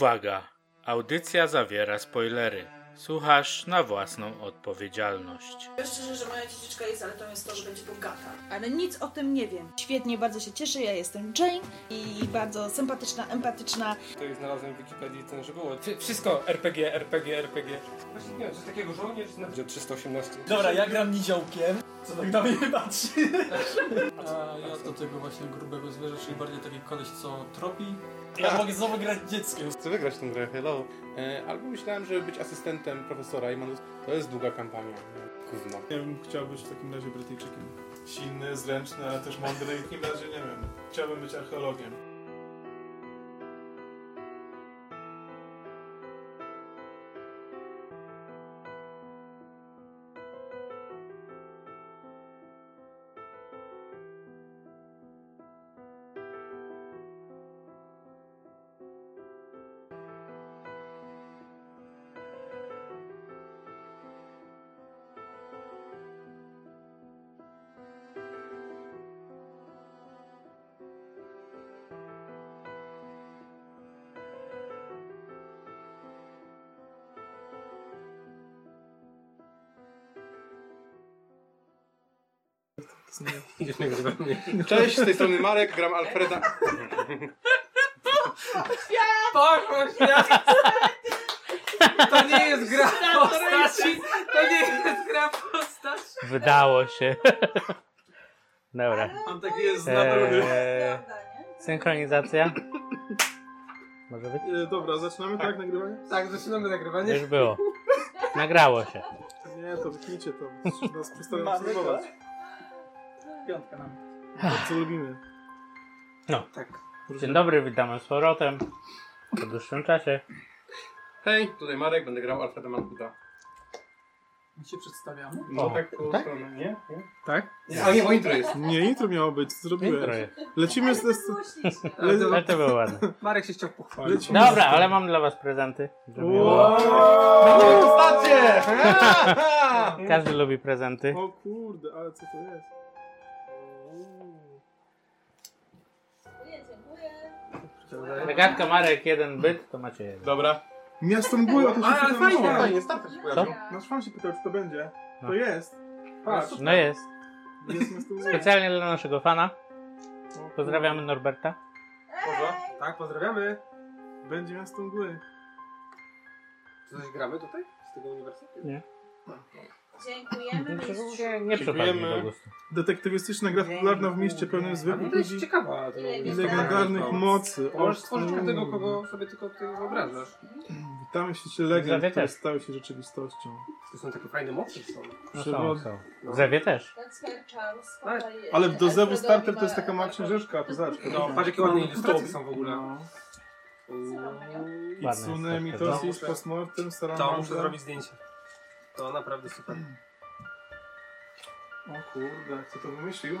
Uwaga! Audycja zawiera spoilery. Słuchasz na własną odpowiedzialność. Powiem szczerze, że moja dziedziczka jest, ale to jest to, że będzie bogata. ale nic o tym nie wiem. Świetnie, bardzo się cieszę, ja jestem Jane i bardzo sympatyczna, empatyczna. Tutaj znalazłem w Wikipedii ten, że było. Wszy- Wszystko RPG, RPG, RPG. Właśnie nie wiem, coś takiego żołnierz na 318. Dobra, ja gram niziołkiem. Co tak na mnie patrzy? A ja do tego właśnie grubego zwierzę, czyli bardziej taki koleś, co tropi. Ja mogę znowu grać dzieckiem. Chcę wygrać tę grę, hello. E, albo myślałem, żeby być asystentem profesora i mam... To jest długa kampania. Gówno. Nie wiem, chciałbym być w takim razie Brytyjczykiem. Silny, zręczny, ale też mądry i w takim razie nie wiem. Chciałbym być archeologiem. Idziesz nagrywa mnie. Cześć, z tej strony Marek, gram Alfreda. Tak, Boże świat! To nie jest gra postaci! To nie jest gra postaci! Wydało się. Dobra. Mam takie jest Eee, synchronizacja. Może być? E, dobra, zaczynamy tak, nagrywanie? Tak, zaczynamy nagrywanie. Już było. Nagrało się. Nie, to wytnijcie to. Nas przestają obserwować. Piątka nam. To, co lubimy. Dzień dobry, witamy z powrotem. Po dłuższym czasie. Hej, tutaj Marek, będę grał Alfreda Mankuda. My się przedstawiamy. No O, tak, po tak? stronę, nie? nie? Tak? A nie, No. bo intro jest. Nie, intro miało być, zrobiłem. Intro jest. Lecimy z... z le, Ale to było ładne. Marek się chciał pochwalić. lecimy z- Dobra, ale mam dla was prezenty. No. żeby było. Wow! Postacie! Każdy lubi prezenty. O kurde, ale co to jest? Regatka Marek, jeden byt, to macie jeden. Dobra. Miasto mgły, o to się Ale pytałem fajnie, Nora. Fajnie, starter się pojawił. Nasz fan się pytał, czy to będzie. No. To jest. Patrz, No jest. jest miasto mgły. Specjalnie dla naszego fana. Pozdrawiamy Norberta. Boże. Tak, pozdrawiamy. Będzie miasto mgły. Czy coś gramy tutaj? Z tego uniwersytetu? Dziękujemy. mistrzu. Nie, nie przypadł mi do gustu. Detektywistyczna gra popularna w mieście pełnym A mnie zwykłych to jest ludzi ciekawa. to- Ile i jest legendarnych mocy. O Możesz stworzyć kurde. tego, kogo sobie tylko ty wyobrażasz. Witamy się legend, Zawiecie. które stały się rzeczywistością. To są takie fajne mocy, są. No są, Przewodny. są. W Zewie też. Kacper, Charles, Ale- Popeye, Ale do Zewu Alfredowi starter to jest ma- taka mała książeczka, to zobacz. No, patrz jakie ładne ilustracje są w ogóle. No. Ładne I jest Tsunę, tak, tak. no. Mitosis, Kosmortem, To muszę Salamandra. zrobić zdjęcie. To naprawdę super. O kurde, kto to wymyślił?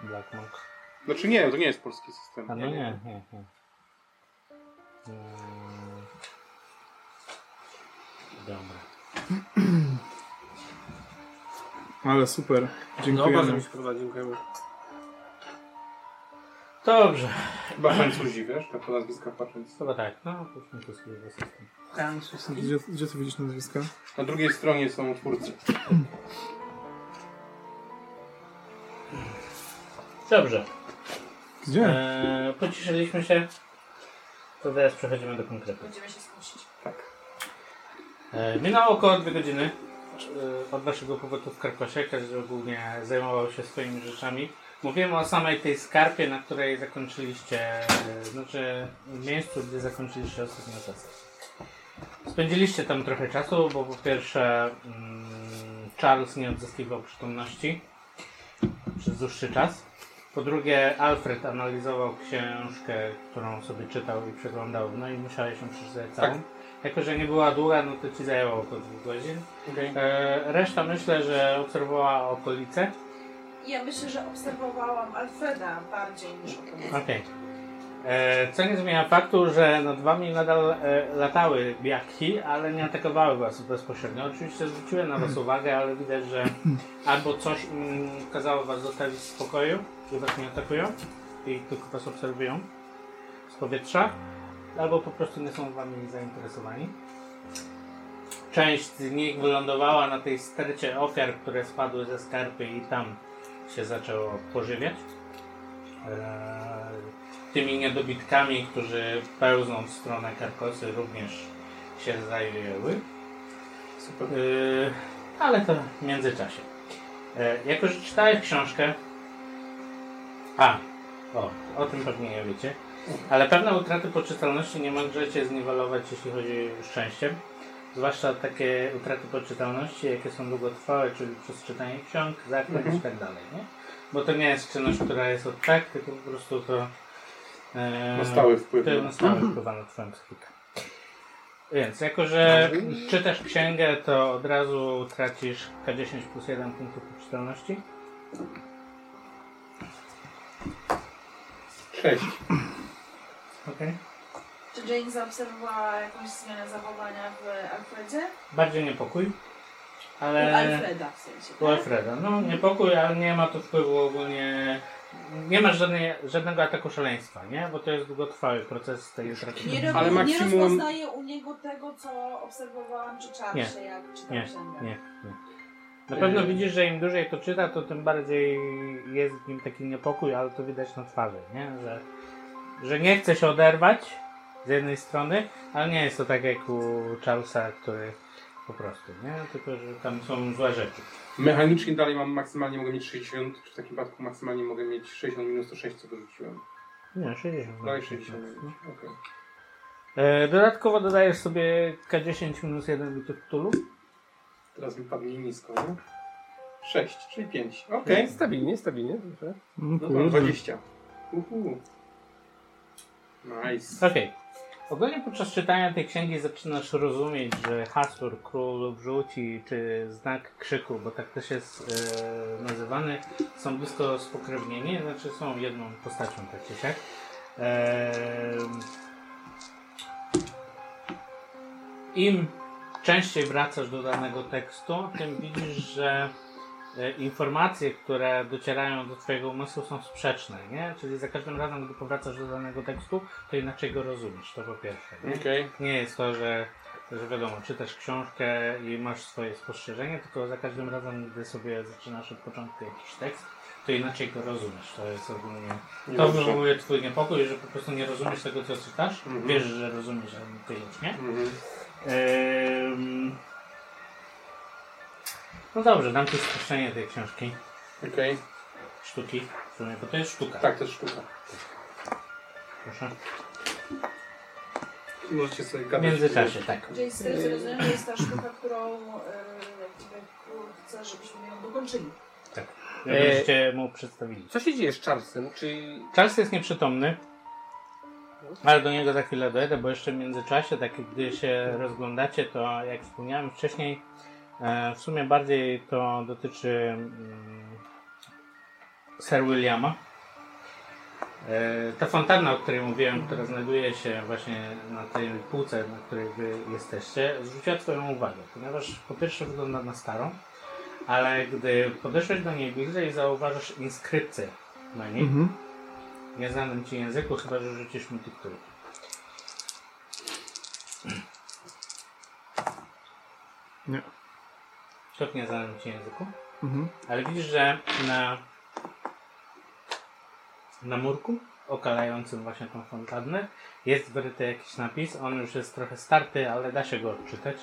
Black Monk. Znaczy nie, to nie jest polski system. A no nie, nie, nie. Mm. Dobra. Ale super, No, bardzo mi dziękujemy. się podoba, dziękujemy. Dobrze. Chyba Francuzi, wiesz? Tak po nazwiskach patrząc. Chyba tak. No, puśćmy to sobie do systemu. Gdzie, gdzie ty widzisz nazwiska? Na drugiej stronie są twórcy. Dobrze. Gdzie? Eee, pociszyliśmy się. To teraz przechodzimy do konkretu. Będziemy się skusić. E, Minęło około dwie godziny e, od waszego pobytu w Karkosie. Każdy ogólnie zajmował się swoimi rzeczami. Mówimy o samej tej skarpie, na której zakończyliście, e, znaczy miejscu, gdzie zakończyliście ostatnią sesję. Spędziliście tam trochę czasu, bo po pierwsze mm, Charles nie odzyskiwał przytomności przez dłuższy czas. Po drugie Alfred analizował książkę, którą sobie czytał i przeglądał, no i musiałeś ją przeczytać całą. Jako, że nie była długa, no to ci zajęło około dwóch godzin. E, reszta myślę, że obserwowała okolice. Ja myślę, że obserwowałam Alfreda bardziej niż o tym. Okej. E, Co nie zmienia faktu, że nad wami nadal e, latały biaki, ale nie atakowały was bezpośrednio. Oczywiście zwróciłem na was uwagę, ale widać, że albo coś im kazało was zostawić w spokoju i was nie atakują i tylko was obserwują z powietrza, albo po prostu nie są wami zainteresowani. Część z nich wylądowała na tej stercie ofiar, które spadły ze skarpy i tam się zaczęło pożywiać. Eee, tymi niedobitkami, którzy pełzą w stronę Karkosy również się zajęły. Super. Yy, ale to w międzyczasie. Yy, jako, że czytałeś książkę. A, o, o tym pewnie nie wiecie. Ale pewne utraty poczytalności nie możecie zniwelować, jeśli chodzi o szczęście. Zwłaszcza takie utraty poczytalności, jakie są długotrwałe, czyli przez czytanie ksiąg, zaklęć i tak dalej, nie? Bo to nie jest czynność, która jest od tak, tylko po prostu to... Yy, Ma stały wpływ. to na stałe wpływa na twoją psychikę. Więc jako, że czytasz księgę, to od razu tracisz K10 plus 1 punktów poczytalności. Sześć. Okay. Czy Jane zaobserwowała jakąś zmianę zachowania w Alfredzie? Bardziej niepokój, U ale... Alfreda w sensie. U tak? Alfreda. No niepokój, ale nie ma to wpływu ogólnie... Nie masz żadnej, żadnego ataku szaleństwa, nie? Bo to jest długotrwały proces tej utraty. Nie, robi, Ale nie maksimum- rozpoznaję u niego tego, co obserwowałam, czy czarsze, Nie. jak czytam Nie, księgę. nie, nie. Na pewno Y, widzisz, że im dłużej to czyta, to tym bardziej jest w nim taki niepokój, ale to widać na twarzy, nie? Że, że nie chce się oderwać z jednej strony, ale nie jest to tak jak u Charlesa, który po prostu, nie? Tylko, że tam są złe rzeczy. Mechanicznie dalej mam maksymalnie mogę mieć 60, czy w takim przypadku maksymalnie mogę mieć 60 minus to 6, co dorzuciłem. Nie, 60. No i 60. tak. Okej. E, Dodatkowo dodajesz sobie K10 minus 1 do tych tulu. Teraz mi padnie nisko, nie? 6, czyli 5. Okej. E, Stabilnie, stabilnie, dobrze. No to 20. Uhu. Nice. Okej. Ogólnie podczas czytania tej księgi zaczynasz rozumieć, że Hasur, król wrzuci, czy znak krzyku, bo tak też jest e, nazywany, są blisko spokrewnieni, znaczy są jedną postacią tak czy siak. E, Im częściej wracasz do danego tekstu, tym widzisz, że e, informacje, które docierają do twojego umysłu są sprzeczne, nie? Czyli za każdym razem, gdy powracasz do danego tekstu, to inaczej go rozumiesz, to po pierwsze. Nie? Okej. nie jest to, że, że wiadomo, czytasz książkę i masz swoje spostrzeżenie, tylko za każdym razem, gdy sobie zaczynasz od początku jakiś tekst, to inaczej go rozumiesz. To jest ogólnie. Nie To dobrze. wywołuje twój niepokój, że po prostu nie rozumiesz tego, co czytasz. Mhm. Wiesz, że rozumiesz, ale ty już nie. Mhm. Ehm... No dobrze, dam ci spuszczenie tej książki. Okej. Sztuki. W sumie, bo to jest sztuka. Tak, to jest sztuka. Proszę. Możecie sobie W gadać. międzyczasie, tak. Jane Steel zrozumiał, że jest ta sztuka, którą e, jakby chcę, żebyśmy ją dokończyli. E, Żebyście mu przedstawili. Co się dzieje z Charlesem? Czy Charles jest nieprzytomny, ale do niego za chwilę dojdę, bo jeszcze w międzyczasie, tak gdy się rozglądacie, to jak wspomniałem wcześniej, e, w sumie bardziej to dotyczy mm, Sir Williama. E, Ta fontanna, o której mówiłem, która znajduje się właśnie na tej półce, na której wy jesteście, zwróciła Twoją uwagę, ponieważ po pierwsze wygląda na starą, ale gdy podeszłeś do niej bliżej, zauważysz inskrypcję na niej nieznanym ci języku, chyba że rzucisz mi tytuł. Nie. To w nieznanym ci języku. Mhm. Ale widzisz, że na, na murku okalającym właśnie tą fontannę jest wryty jakiś napis. On już jest trochę starty, ale da się go odczytać.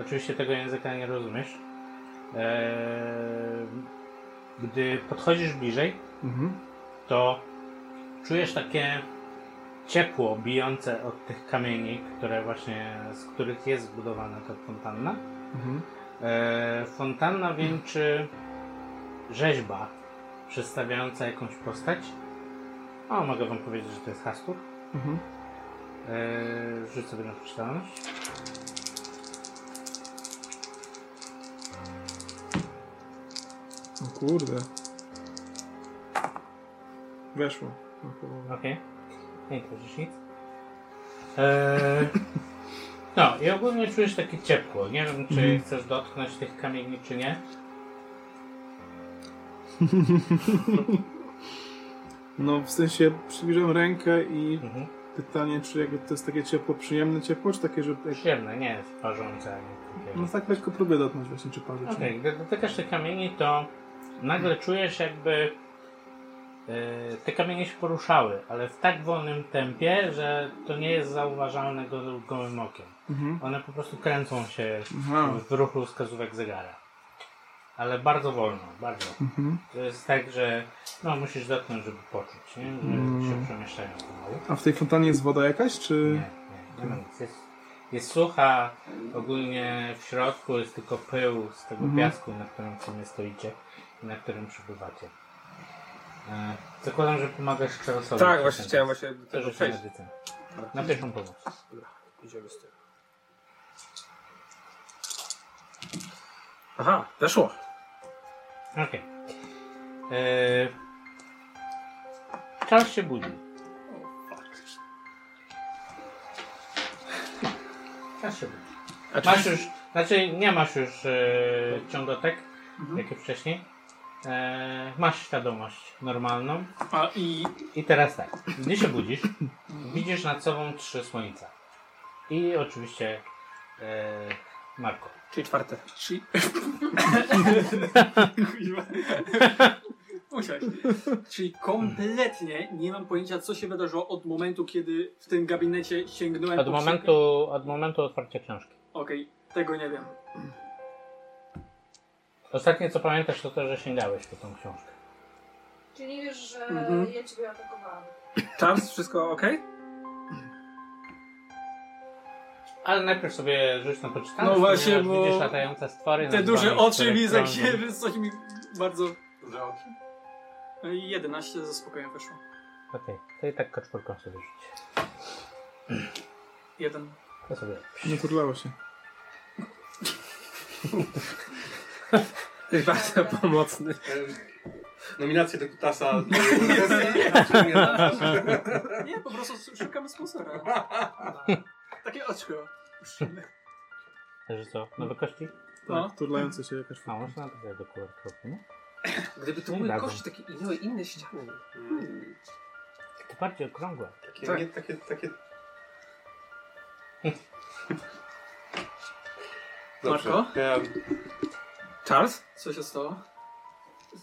Oczywiście tego języka nie rozumiesz. Eee, gdy podchodzisz bliżej, Mhm. to czujesz takie ciepło bijące od tych kamieni, które właśnie, z których jest zbudowana ta fontanna. Mhm. E, fontanna wieńczy rzeźba przedstawiająca jakąś postać. O, mogę wam powiedzieć, że to jest Hastur. Mhm. E, rzuć sobie na przeczytalność. O kurde. Weszło. O kurde. Okej. Nie kojarzysz nic. Eee, no i ogólnie czujesz takie ciepło. Nie wiem, czy Mhm. chcesz dotknąć tych kamieni, czy nie. No w sensie przybliżam rękę i Mhm. Pytanie, czy jakby to jest takie ciepło, przyjemne ciepło, czy takie, że... Jak... Przyjemne, nie jest parzące. ani takie. No tak lekko próbuję dotknąć właśnie, czy parzy, czy nie. Okej, gdy dotykasz tych kamieni, to nagle czujesz jakby e, te kamienie się poruszały, ale w tak wolnym tempie, że to nie jest zauważalne go- gołym okiem. Mhm. No. One po prostu kręcą się Aha. w ruchu wskazówek zegara. Ale bardzo wolno, bardzo. Mhm. To jest tak, że no, musisz dotknąć, żeby poczuć, nie? że Mm. się przemieszczają pomału. A w tej fontannie jest woda jakaś, Nie, czy... nie, nie ma nic. Jest, jest sucha, ogólnie w środku jest tylko pył z tego Mhm. piasku, na którym sobie stoicie i na którym przebywacie. E, zakładam, że pomagasz Charlesowi. Tak, właśnie chciałem właśnie do To tego rzucę przejść. na medycynę. Na pierwszą pomoc. Idziemy z tym. Aha, weszło. Okej. Okay. Charles się budzi. Charles się budzi. A czy... Masz już, znaczy nie masz już e, ciągotek, Mhm. jakie wcześniej. E, masz świadomość normalną. A i I teraz tak, gdy się budzisz, Mhm. widzisz nad sobą trzy słońca. I oczywiście e, Marko. Czyli czwarte. Czy... Kuźwa. Musiałeś. Czyli kompletnie nie mam pojęcia, co się wydarzyło od momentu, kiedy w tym gabinecie sięgnąłem Od po księgę. momentu, od momentu otwarcia książki. Okej, tego nie wiem. Ostatnie co pamiętasz to to, że sięgałeś po tą książkę. Czy nie wiesz, że Mhm. ja ciebie atakowałam? Charles, wszystko ok? Ale najpierw sobie rzuć na poczytanie. No właśnie, ponieważ bo Widzisz latające stwory. Te nad duże wami, oczy które widzę krążą. się, coś mi bardzo... Duże oczy? 11 No ze spokojem weszło. Okej, to i tak kaczporką sobie rzuć. Jeden. To sobie. Nie turlało się. Jesteś bardzo pomocny. Nominacje do Kutasa. Nie, po prostu szukamy sponsora. Takie oczko. Że co? Nowe kości? No. Tak, turlające się jakaś A, fontanna. można tutaj do kółeczka. Gdyby to Nie były dadzą. kości takie miały inne ściany. Hmm. Takie bardziej okrągłe. Takie, Tak. nie, takie, takie... Dobrze. Marko? Ja Charles? Co się stało?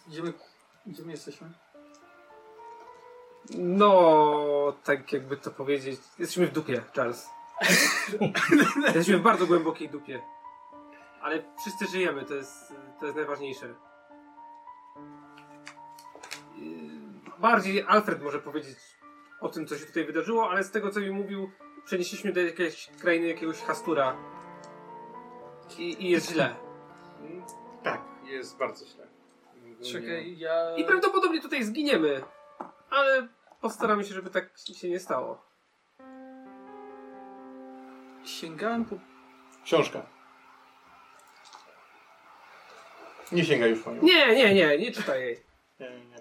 Gdzie my, gdzie my jesteśmy? No, tak jakby to powiedzieć. Jesteśmy w dupie, Charles. Jesteśmy w bardzo głębokiej dupie. Ale wszyscy żyjemy, to jest, to jest najważniejsze. Yy, Bardziej Alfred może powiedzieć o tym, co się tutaj wydarzyło, ale z tego, co mi mówił, przenieśliśmy do jakiejś krainy jakiegoś hastura. I, i jest źle. Tak, jest bardzo źle. Czekaj, ja... I prawdopodobnie tutaj zginiemy, ale postaramy się, żeby tak się nie stało. Sięgałem po Książka. Nie sięgaj już po nią. Nie, nie, nie, nie czytaj jej. Nie, nie, nie.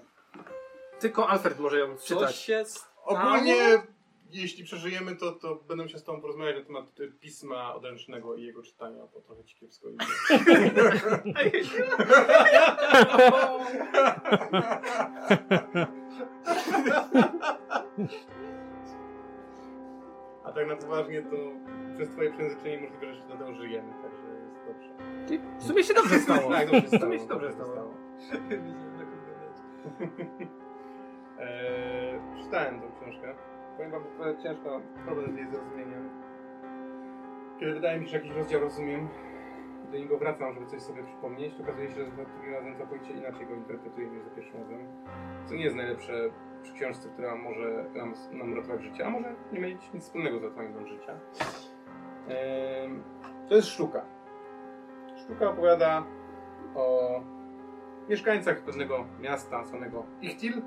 Tylko Alfred może ją coś czytać. się stało. Ogólnie, jeśli przeżyjemy, to, to będę się z tobą porozmawiać na temat y, pisma odręcznego i jego czytania, bo trochę ci kiepsko idzie. A tak na poważnie, to przez twoje przejęzyczenie możliwe, że się nadal żyjemy, także jest dobrze. W sumie się dobrze stało. Tak, dobrze się W stało. tak sumie się dobrze stało. Eee, czytałem tą książkę. Powiem wam, że ciężko problem z jej zrozumieniem. Kiedy wydaje mi się, że jakiś rozdział rozumiem, do niego wracam, żeby coś sobie przypomnieć, to okazuje się, że za drugim razem całkowicie inaczej go interpretuję niż za pierwszym razem. Co nie jest najlepsze przy książce, która może nam, nam ratować życie, a może nie mieć nic wspólnego z ratowaniem nam życia. Em, to jest Sztuka. Sztuka opowiada o mieszkańcach pewnego miasta zwanego Ichtil.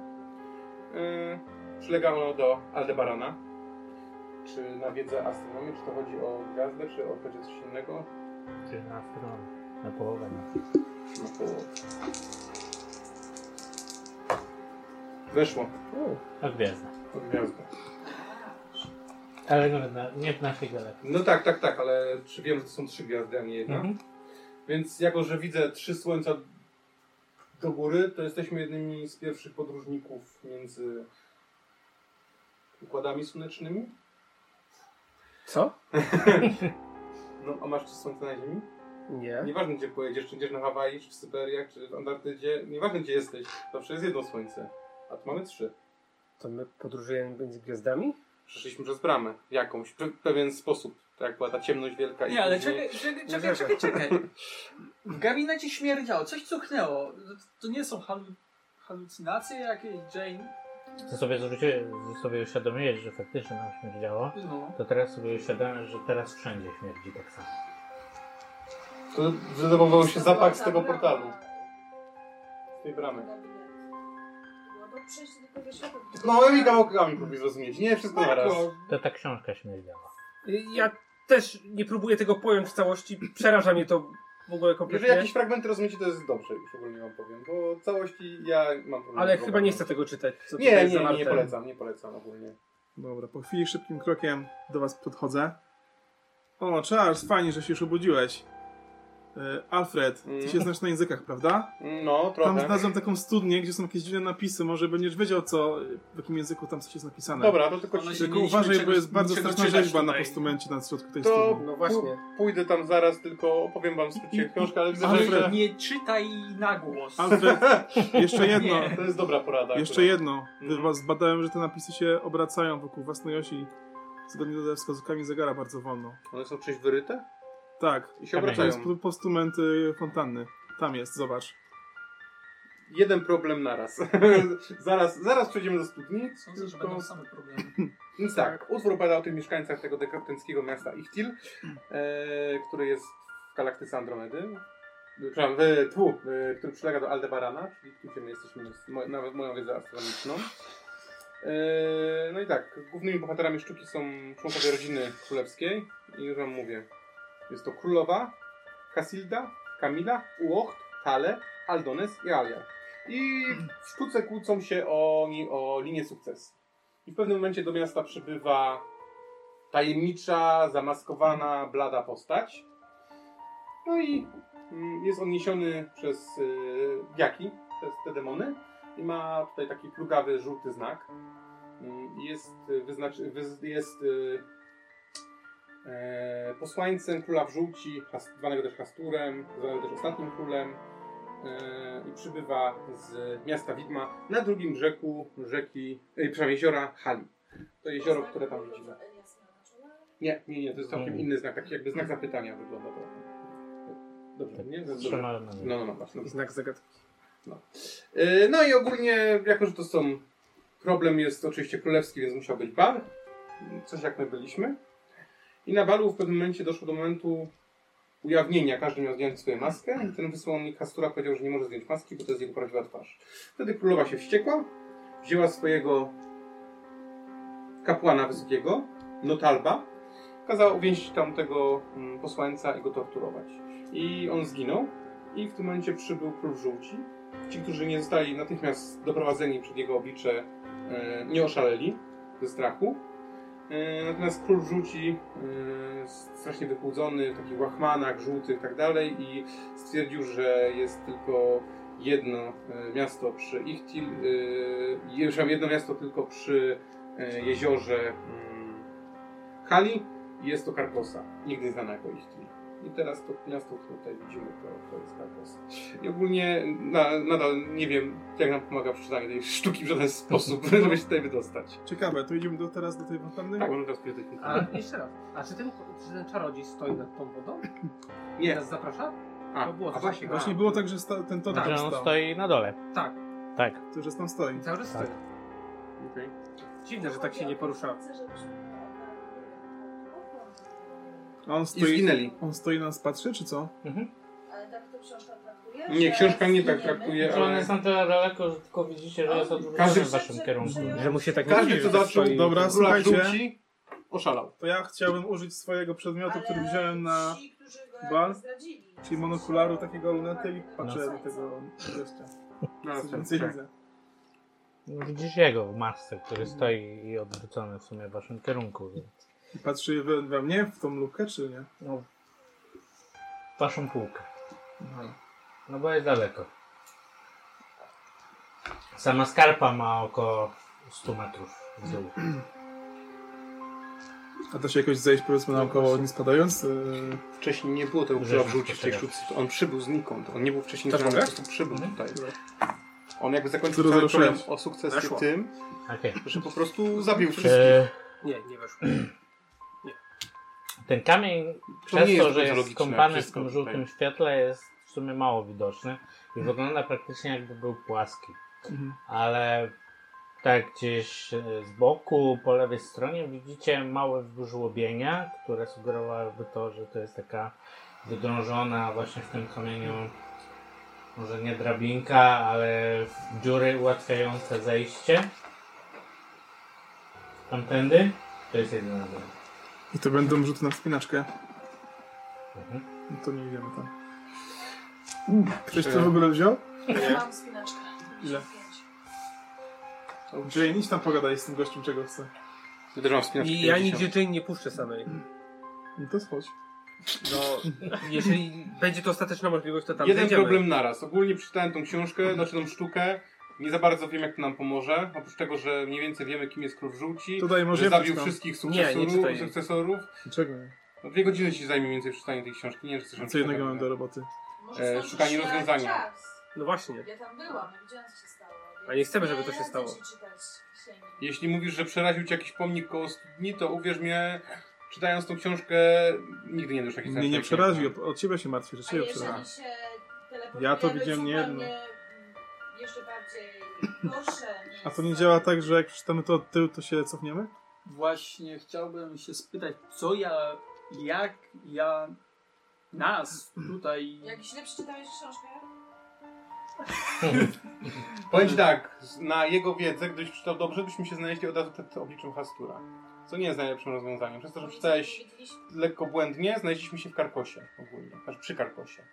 Yy, przylega ono do Aldebarana. Czy na wiedzę astronomii, czy to chodzi o gwiazdę, czy o chodzi o coś innego? Czy na stronę, na połowę. No. No to... Weszło. A gwiazda. O gwiazdę. Ale no, na- nie w naszej galaxii. No tak, tak, tak, ale czy wiem, że to są trzy gwiazdy, a nie jedna? Mhm. Więc jako, że widzę trzy słońca do góry, to jesteśmy jednymi z pierwszych podróżników między układami słonecznymi? Co? No, a masz czy słońce na ziemi? Nie. Nieważne gdzie pojedziesz, czy idziesz na Hawaii, czy w Syberiach, czy w Antarktydzie, nieważne gdzie jesteś, zawsze jest jedno słońce. A tu mamy trzy. To my podróżujemy między gwiazdami? Przeszliśmy przez bramę w jakąś, w pewien sposób. Tak jak była ta ciemność wielka i Nie, ale później- czekaj, czekaj, Nie czekaj, czekaj, wierzę. czekaj. W gabinecie śmierdziało, coś cuchnęło. To- To nie są halu- halucynacje jakieś, Jane? Ty sobie, zwróciłeś- sobie uświadomiłeś, że faktycznie nam śmierdziało. No. To teraz sobie uświadamiasz, że teraz wszędzie śmierdzi tak samo. To wydobywał się zapach z tego portalu, z tej bramy. No to przejście do tego świata. Małymi No, kawałkami próbuj zrozumieć, nie wszystko na raz. To ta książka śmierdziała. Ja też nie próbuję tego pojąć w całości. Przeraża mnie to w ogóle Jeżeli kompletnie. jakieś fragmenty rozumiecie, to jest dobrze, już ogólnie wam powiem, bo całości ja mam problem. Ale z chyba nie wyobrażeniem. chcę tego czytać. co tutaj Nie, jest nie, nie, nie zawarte. polecam, nie polecam ogólnie. Dobra, po chwili szybkim krokiem do was podchodzę. O, Charles, fajnie, że się już obudziłeś. E, Alfred, ty Mm. się znasz na językach, prawda? No, Tam trochę. znalazłem taką studnię, gdzie są jakieś dziwne napisy. Może będziesz wiedział, co, w jakim języku tam coś jest napisane. Dobra, to tylko Ona ci... się- Tylko nie mieliśmy uważaj, bo czegoś- jest bardzo niczego straszna czytać rzeźba na tutaj. postumencie na środku tej To studni. No właśnie. pójdę tam zaraz, tylko opowiem wam w skrócie książkę, ale widzę, Alfred, że... Nie czytaj na głos. Alfred, jeszcze jedno. Nie. To jest dobra porada. Jeszcze akurat. jedno. Mhm. Chyba Zbadałem, że te napisy się obracają wokół własnej osi. Zgodnie ze wskazówkami zegara bardzo wolno. One są czyś wyryte? Tak, I się Tam to obracają. jest po- postument y, fontanny. Tam jest, zobacz. Jeden problem naraz. zaraz, zaraz przejdziemy do studni. Sądzę, że będą same problemy. Więc tak, utwór opowiada o tych mieszkańcach tego dekadenckiego miasta Ichtil, e, który jest w galaktyce Andromedy. Przepraszam, w, tfu, e, który przylega do Aldebarana, czyli tu gdzie my jesteśmy, z mo, nawet moją wiedzę astronomiczną. E, no i tak, głównymi bohaterami sztuki są członkowie rodziny królewskiej i już wam mówię. Jest to królowa, Casilda, Kamila, Uocht, Tale, Aldones i Alia. I w sztuce kłócą się oni o linię sukcesu. I w pewnym momencie do miasta przybywa tajemnicza, zamaskowana, blada postać. No i mm, jest on niesiony przez yy, jaki, przez te demony. I ma tutaj taki plugawy, żółty znak. Mm, Jest, y, wyznacz, wyz, jest y, e, posłańcem króla w żółci, has, zwanego też Hasturem, zwanego też ostatnim królem. E, i przybywa z miasta Widma na drugim brzegu rzeki, e, przepraszam, jeziora Hali. To jezioro, które tam widzimy. Nie, nie, nie, to jest całkiem Nie. inny znak, taki jakby znak zapytania wygląda trochę. Dobrze, nie? Dobrze. Trzymałem na nim. No, no, no, właśnie. I Znak zagadki. Yy, No i ogólnie, jako że to są. Problem jest oczywiście królewski, więc musiał być bal. Coś jak my byliśmy. I na balu w pewnym momencie doszło do momentu ujawnienia. Każdy miał zdjąć swoją maskę. I ten wysłannik Hastura powiedział, że nie może zdjąć maski, bo to jest jego prawdziwa twarz. Wtedy królowa się wściekła, wzięła swojego kapłana wysokiego, Notalba, kazała uwięzić tam tego mm, posłańca i go torturować. I on zginął. I w tym momencie przybył król w żółci, ci, którzy nie zostali natychmiast doprowadzeni przed jego oblicze, e, nie oszaleli ze strachu. E, Natomiast król rzuci e, strasznie wychudzony w takich łachmanach, żółtych i tak dalej i stwierdził, że jest tylko jedno e, miasto przy Ichtil, e, je- przepraszam, jedno miasto tylko przy e, jeziorze mm, Kali i jest to Karkosa, nigdy znana jako Ichtil. I teraz to miasto, które tutaj widzimy, to, to jest Karkosa. I ogólnie na, nadal nie wiem, jak nam pomaga przeczytanie tej sztuki w żaden sposób, żeby się tutaj wydostać. Ciekawe, to idziemy do, teraz do tej fontanny? Tak, możemy teraz pójść do tej A, fontanny. jeszcze raz. A czy ten, czy ten czarodziej stoi nad tą wodą? Nie, Nas zaprasza? a, to było a coś właśnie, takiego. właśnie. Właśnie było tak, że sta, ten totem Tak, tam Że on stał. stoi na dole. Tak. Tak. To, że tam stoi. Cały czas Tak. stoi. Dziwne, że tak się nie porusza. A on I stoi, zginęli. on stoi na nas patrzy, czy co? Ale tak to książka traktuje? Nie, że książka nie tak zginiemy? traktuje, Że on ale jest na tyle daleko, że tylko widzicie, że jest Każdy- odwrócony w waszym kierunku. Że Że mu się tak nie każdy, dziwi, kto że tak zobaczył stoi. Dobra, króla słuchajcie. żółci, oszalał. To ja chciałbym użyć swojego przedmiotu, który Ale wziąłem na... ci, którzy go jakby bal, zdradzili. Czyli monokularu takiego lunety i patrzę No. do tego gościa. No, Nic więcej tak. widzę. Widzisz jego w masce, który stoi i odwrócony w sumie w waszym kierunku. więc- I Patrzy we, we mnie, w tą lukę, czy nie? No, w waszą półkę. No bo jest daleko. Sama skarpa ma około 100 metrów w dół. A da się jakoś zejść powiedzmy naukowo, nie spadając? Yy, Wcześniej nie było tego Rzeźnik przeobrzuci w tej postrzegam. sztuce. On przybył znikąd. On nie był wcześniej Też znany, mogę? po prostu przybył tutaj. On jakby zakończył Zero, cały zero, problem sześć. o sukcesie Weszło. tym, Okej. że po prostu zabił wszystkich. Tak Czy Nie, nie weszło. ten kamień, To przez nie to, jest że bardzo jest logiczne skąpany w wszystko tym tutaj. żółtym świetle, jest w sumie mało widoczny i wygląda praktycznie jakby był płaski. Mhm. Ale tak gdzieś e, z boku, po lewej stronie widzicie małe wżłobienia, które sugerowałyby to, że to jest taka wydrążona właśnie w tym kamieniu może nie drabinka, ale dziury ułatwiające zejście. Tamtędy? To jest jedyna droga. I to będą rzuty na wspinaczkę. Mhm. No to nie idziemy tam. Ktoś e, to w ogóle wziął? Ja mam spinaczkę. Ile? Pięć. Jane, idź tam pogadaj z tym gościem, czego chce. Wydarzam wspinaczkę. I ja 50. nigdzie Jane nie puszczę samej. No to schodź. No, jeżeli będzie to ostateczna możliwość, to tam Jeden zejdziemy. problem naraz. Ogólnie przeczytałem tą książkę, znaczy tą sztukę. Nie za bardzo wiem, jak to nam pomoże. Oprócz tego, że mniej więcej wiemy, kim jest król żółci. Tutaj może że ja zabił przeczytam. wszystkich Nie, nie sukcesorów. czytaj. sukcesorów. Dlaczego nie? No, dwie godziny się zajmie mniej więcej przeczytanie tej książki. Nie wiem, czy coś A nam co jednego przekaże. mam do roboty? Może E, skończy szukanie się rozwiązania. czas. No właśnie. Ja tam byłam, ja widziałam co się stało. A nie chcemy, żeby więc to się radzę stało. ci czytać księgi. Jeśli mówisz, że przeraził cię jakiś pomnik koło studni, to uwierz mnie, czytając tą książkę, nigdy nie doszło Mnie nie przerazi, o, o ciebie się martwię, że A ciebie przerazi. jeżeli się teleportujemy Ja to widziałem nie zupełnie, mm, Jeszcze bardziej gorsze A to nie miejsce. działa tak, że jak przeczytamy to od tyłu, to się cofniemy? Właśnie chciałbym się spytać, co ja, jak ja nas tutaj... Jak źle przeczytałeś książkę? Powiem ci tak, z- na jego wiedzę, gdybyś przeczytał dobrze, byśmy się znaleźli od razu przed obliczem Hastura. Co nie jest najlepszym rozwiązaniem. Przez to, że przeczytałeś Nie widzieliśmy. lekko błędnie, znaleźliśmy się w Karkosie ogólnie. Znaczy przy Karkosie.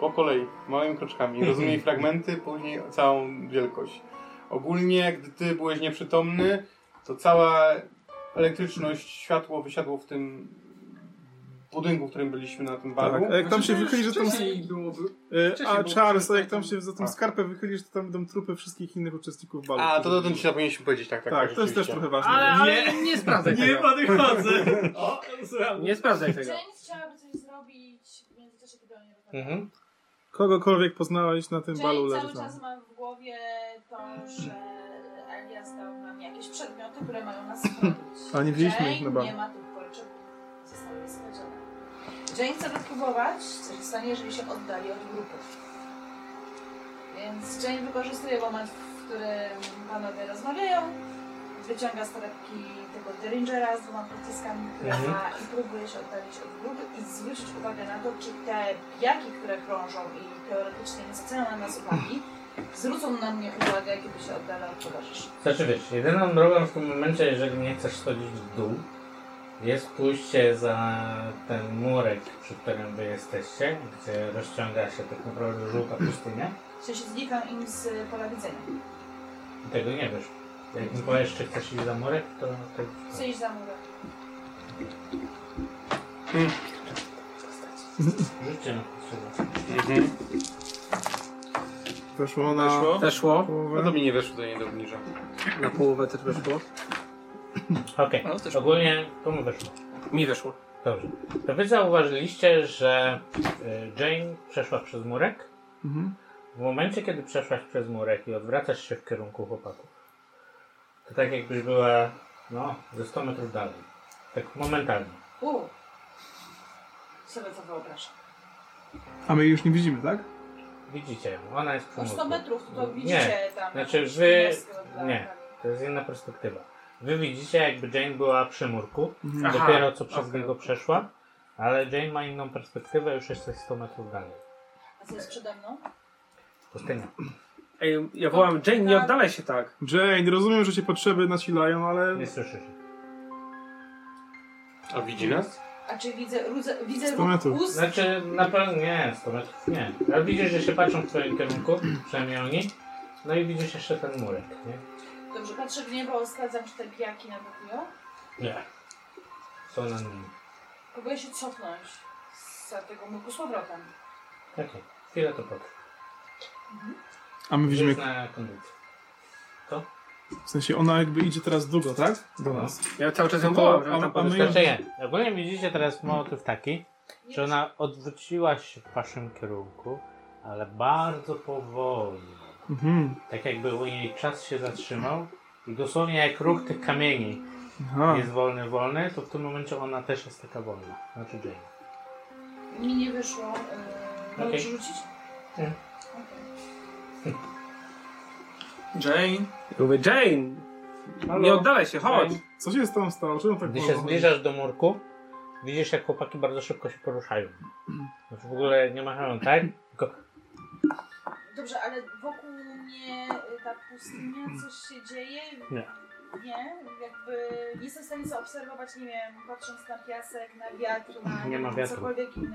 Po kolei, małymi kroczkami. Rozumiem fragmenty, później całą wielkość. Ogólnie, gdy ty byłeś nieprzytomny, to cała elektryczność, światło wysiadło w tym budynku, w którym byliśmy na tym Tak. baru. A jak tam się Znaczy, wychyli, że tam... wcześniej byłoby... Y, wcześniej A było Charles, a przed- jak tam się za tą A. skarpę wychylisz, to tam będą trupy wszystkich innych uczestników balu. A, to do tego ci zapomnieliśmy powiedzieć, tak, tak. Tak, to jest też rzeczywiście. trochę ważne. Ale, ale nie, sprawdzaj tego. podchodzę. O, słucham. Nie sprawdzaj tego. Jane chciałaby coś zrobić w międzyczasie, kiedy o niej rozmawiamy. Mhm. Kogokolwiek poznałeś na tym balu Jane leży cały tam. czas mam w głowie to, że Elias dał nam jakieś przedmioty, które mają nas chronić. A nie wzięliśmy ich na Jane bank. nie ma tych kolczyków. Zostały skradzione. Jane chce wypróbować, co się stanie, jeżeli się oddali od grupy. Więc Jane wykorzystuje moment, w którym panowie rozmawiają. Wyciąga z torebki tego Derringera z dwoma pociskami, które Mhm. ma i próbuje się oddalić od grupy i zwrócić uwagę na to, czy te jaki, które krążą i teoretycznie nie zwracają na nas uwagi, zwrócą na mnie uwagę, kiedy się oddala od towarzyszy. Znaczy wiesz, jedyną drogą w tym momencie, jeżeli nie chcesz schodzić w dół, jest pójście za ten murek, przy którym wy jesteście, gdzie rozciąga się tak naprawdę żółta pustynia. W sensie znikam im z pola widzenia. I tego nie wiesz. Jak mi powiesz, czy chcesz iść za murek, to tak... Chcę iść za murem. Życie na potrzebę. Weszło na Weszło? Weszło. No połowę. to mi nie weszło, to ja nie obniżam. Na połowę też weszło. Okej, No, też- ogólnie to mu weszło. Mi weszło. Dobrze. To wy zauważyliście, że y, Jane przeszła przez murek. Mhm. W momencie, kiedy przeszłaś przez murek i odwracasz się w kierunku chłopaków, to tak jakbyś była, no, ze 100 metrów dalej. Tak momentalnie. U. Sobie to wyobrażam. A my jej już nie widzimy, tak? Widzicie ją, ona jest przy No 100 murku. metrów to Tak, Nie. widzicie tam. Znaczy, jakąś wy- gwiazdkę dla- nie. To jest inna perspektywa. Wy widzicie, jakby Jane była przy murku, Mhm. Aha. dopiero co przez Tak. okej. niego przeszła, ale Jane ma inną perspektywę, już jesteś 100 metrów dalej. A co jest przede mną? Pustynia. Ej, ja wołam, Jane, nie oddalaj się tak. Jane, rozumiem, że się potrzeby nasilają, ale Nie słyszysz. A widzi nas? A czy widzę, rudzę, widzę Sto metrów. ust? Znaczy, na pewno nie, 100 metrów nie. Ale widzisz, że się patrzą w twoim kierunku, przynajmniej oni. No i widzisz jeszcze ten murek, nie? Dobrze, patrzę w niebo, sprawdzam, czy te pijaki nawokują. Nie. Są na nim. Próbuję się cofnąć z tego mógł z powrotem. Okej, chwilę to potrwa. a my widzimy, Jest na kondycji. W sensie ona jakby idzie teraz długo, tak? Do nas. Ja cały czas ją To- wołam, a- żeby No tam a my- podeszła. No. Znaczy nie. Ogólnie widzicie teraz motyw taki, że ona odwróciła się w waszym kierunku, ale bardzo powoli. Mhm. Tak jakby u niej czas się zatrzymał i dosłownie jak ruch tych kamieni Aha. jest wolny, wolny, to w tym momencie ona też jest taka wolna. Znaczy Jane. Mi nie wyszło. Yy, Okej. Możesz rzucić? Nie. Okej. Jane. Mówię, Jane, nie Halo? oddalaj się, chodź. Co się tam stało? Czemu tak Gdy było? się zbliżasz do murku, widzisz jak chłopaki bardzo szybko się poruszają. Znaczy w ogóle nie machają tak, tylko Dobrze, ale wokół mnie y, ta pustynia, coś się dzieje? Nie. Nie? Jakby nie jestem w stanie zaobserwować, nie wiem, patrząc na piasek, na wiatr, na Nie ma wiatru. cokolwiek innego.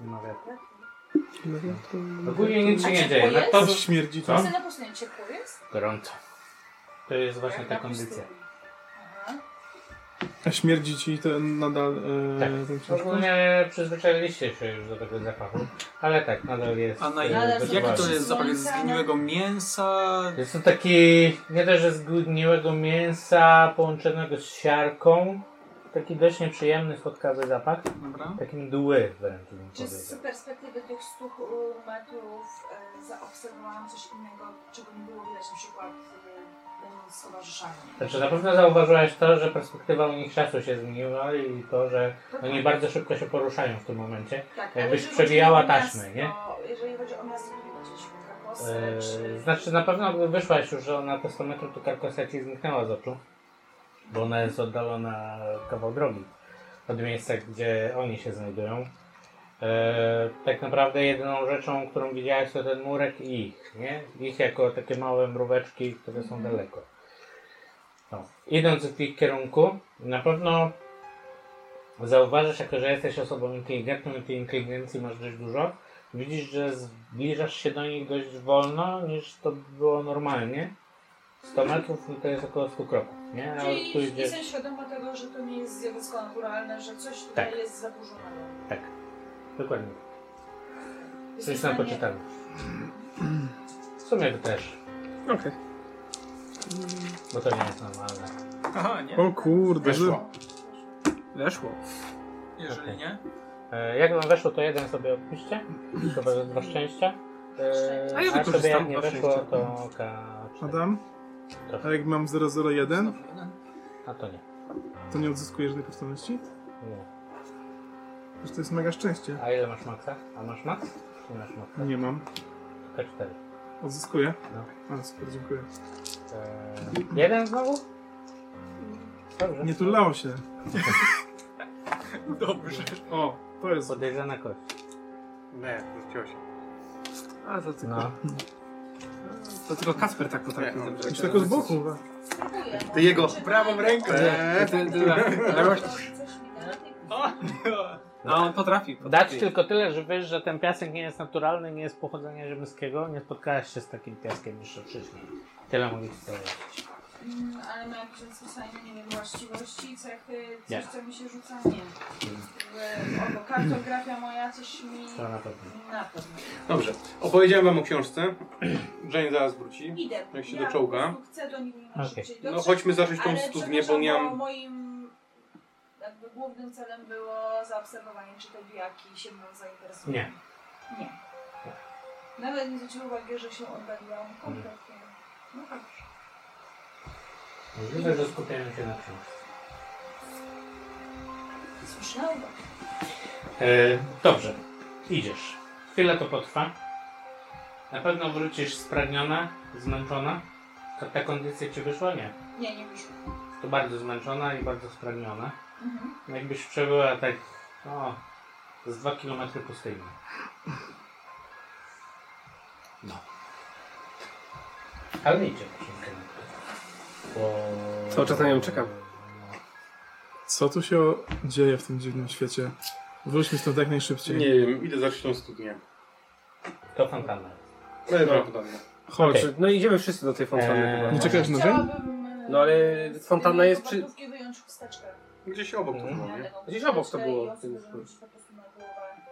nie ma wiatru. Ogólnie nic się A nie ciepło dzieje. Na jest? to Coś śmierdzi Co? tam? Pustynia na pustyni ciepło jest? gorąco. To jest właśnie Jak ta na kondycja. pustyni. Aha. A śmierdzi ci ten nadal e, Tak. ten książką? Ogólnie przyzwyczailiście się już do tego zapachu, ale tak, nadal jest. A na e, Nadal są jaki to wytrwalny. jest zapach? Jest zgniłego mięsa? Jest to taki, nie dość, że zgniłego mięsa połączonego z siarką. Taki dość nieprzyjemny, słodkawy zapach. Dobra. Takim dły wręcz bym Czy z powiedział. perspektywy tych 100 metrów e, zaobserwowałam coś innego, czego nie było widać na przykład e, będąc z towarzyszami? Znaczy na pewno zauważyłeś to, że perspektywa u nich czasu się zmieniła i to, że oni bardzo szybko się poruszają w tym momencie. Tak, Jakbyś ale jeżeli przewijała chodzi o taśmę, miasto, nie? Jeżeli chodzi o miasto, nie wiem, gdzieś w Krakosy, Eee, czy... znaczy na pewno gdy wyszłaś już na te 100 metrów, to karkosa ci zniknęła z oczu. Bo ona jest oddalona kawał drogi od miejsca, gdzie oni się znajdują. Eee, tak naprawdę jedyną rzeczą, którą widziałeś to ten murek i ich, nie? Ich jako takie małe mróweczki, które są daleko. No. Idąc w ich kierunku, na pewno zauważysz, jako że jesteś osobą inteligentną i tej inteligencji masz dość dużo, widzisz, że zbliżasz się do nich dość wolno, niż to było normalnie. 100 metrów no to jest około 100 kroków, nie? Ale tu Czyli idziesz... jestem świadoma tego, że to nie jest zjawisko naturalne, że coś tutaj Tak. jest zaburzonego. Dokładnie. Jestem w Coś na stanie- poczytaniu. W sumie to też, Okej. bo to nie jest normalne. Aha, nie. O kurde, że... Weszło. Jeżeli nie. E, Jak wam weszło, to jeden sobie odpiszcie. Chyba że dwa szczęścia. E, A ja a sobie jak wykorzystam nie dwa weszło, szczęścia. to K4. Adam? Proszę. A jak mam 001, Znowu jeden. A to nie. to nie odzyskujesz żadnej powstałności? nie. Przecież to jest mega szczęście. A ile masz maksa? A masz max? Nie masz maksa. Nie mam. K4. Odzyskuję? No. A, super, dziękuję. E, jeden znowu? Dobrze. Nie turlało się. Dobrze. O, to jest... Podejrzana kość. Nie, rzuciło się. A to tylko, No. to tylko Kasper tak potrafił. Nie, robić. Już tylko z boku. chyba. Próbuję, no. Ty jego Czytaj, prawą bo- ręką. Ty- ty- ty- Coś ty- mi da, No, on potrafi. Dać potrafi. tylko tyle, że wiesz, że ten piasek nie jest naturalny, nie jest pochodzenia ziemskiego. Nie spotkałaś się z takim piaskiem jeszcze wcześniej. Tyle mogę ci powiedzieć. Mm, Ale ma jakieś odpisanie, nie wiem, właściwości, cechy, coś Nie. co mi się rzuca, nie. Jakby, Albo kartografia moja coś mi To na pewno. na pewno. Dobrze. Opowiedziałem wam o książce. Jane zaraz wróci. Idę. Jak się ja doczołga. po prostu Chcę do nich Okej. szybciej No dotrzeć, chodźmy zacząć tą ale studnię, bo przepraszam, nie mam... moim jakby głównym celem było zaobserwowanie, czy te bijaki się mną zainteresują. Nie. Nie. Nawet nie zwróciłam uwagi, że się Mhm. oddaliłam kompletnie. No tak. Możliwe, że skupiamy się na książce. Słyszałam. E, dobrze, idziesz. Chwilę to potrwa. Na pewno wrócisz spragniona, zmęczona. Ta, ta kondycja ci wyszła? Nie. Nie, nie wyszło. To bardzo zmęczona i bardzo spragniona. Mhm. Jakbyś przebyła tak, no, z 2 km pustyni. No. Ale nie idzie w tym kierunku. Bo... Cały czas na nią czekam. Co tu się dzieje w tym dziwnym świecie? Wróćmy stąd jak najszybciej. Nie wiem, idę zacząć tą studnię. To fontanna. Prawdopodobnie. Chodź. Okej. No idziemy wszyscy do tej fontanny Eee. chyba. Nie czekasz na Jane? Chciałabym, e, No ale z fontanna tej jest przy- No kopertówki wyjąć chusteczkę. Gdzieś obok to Mhm. było, nie? Taką Gdzieś obok to chusteczkę było. i ją sobie rzucić po prostu na głowę.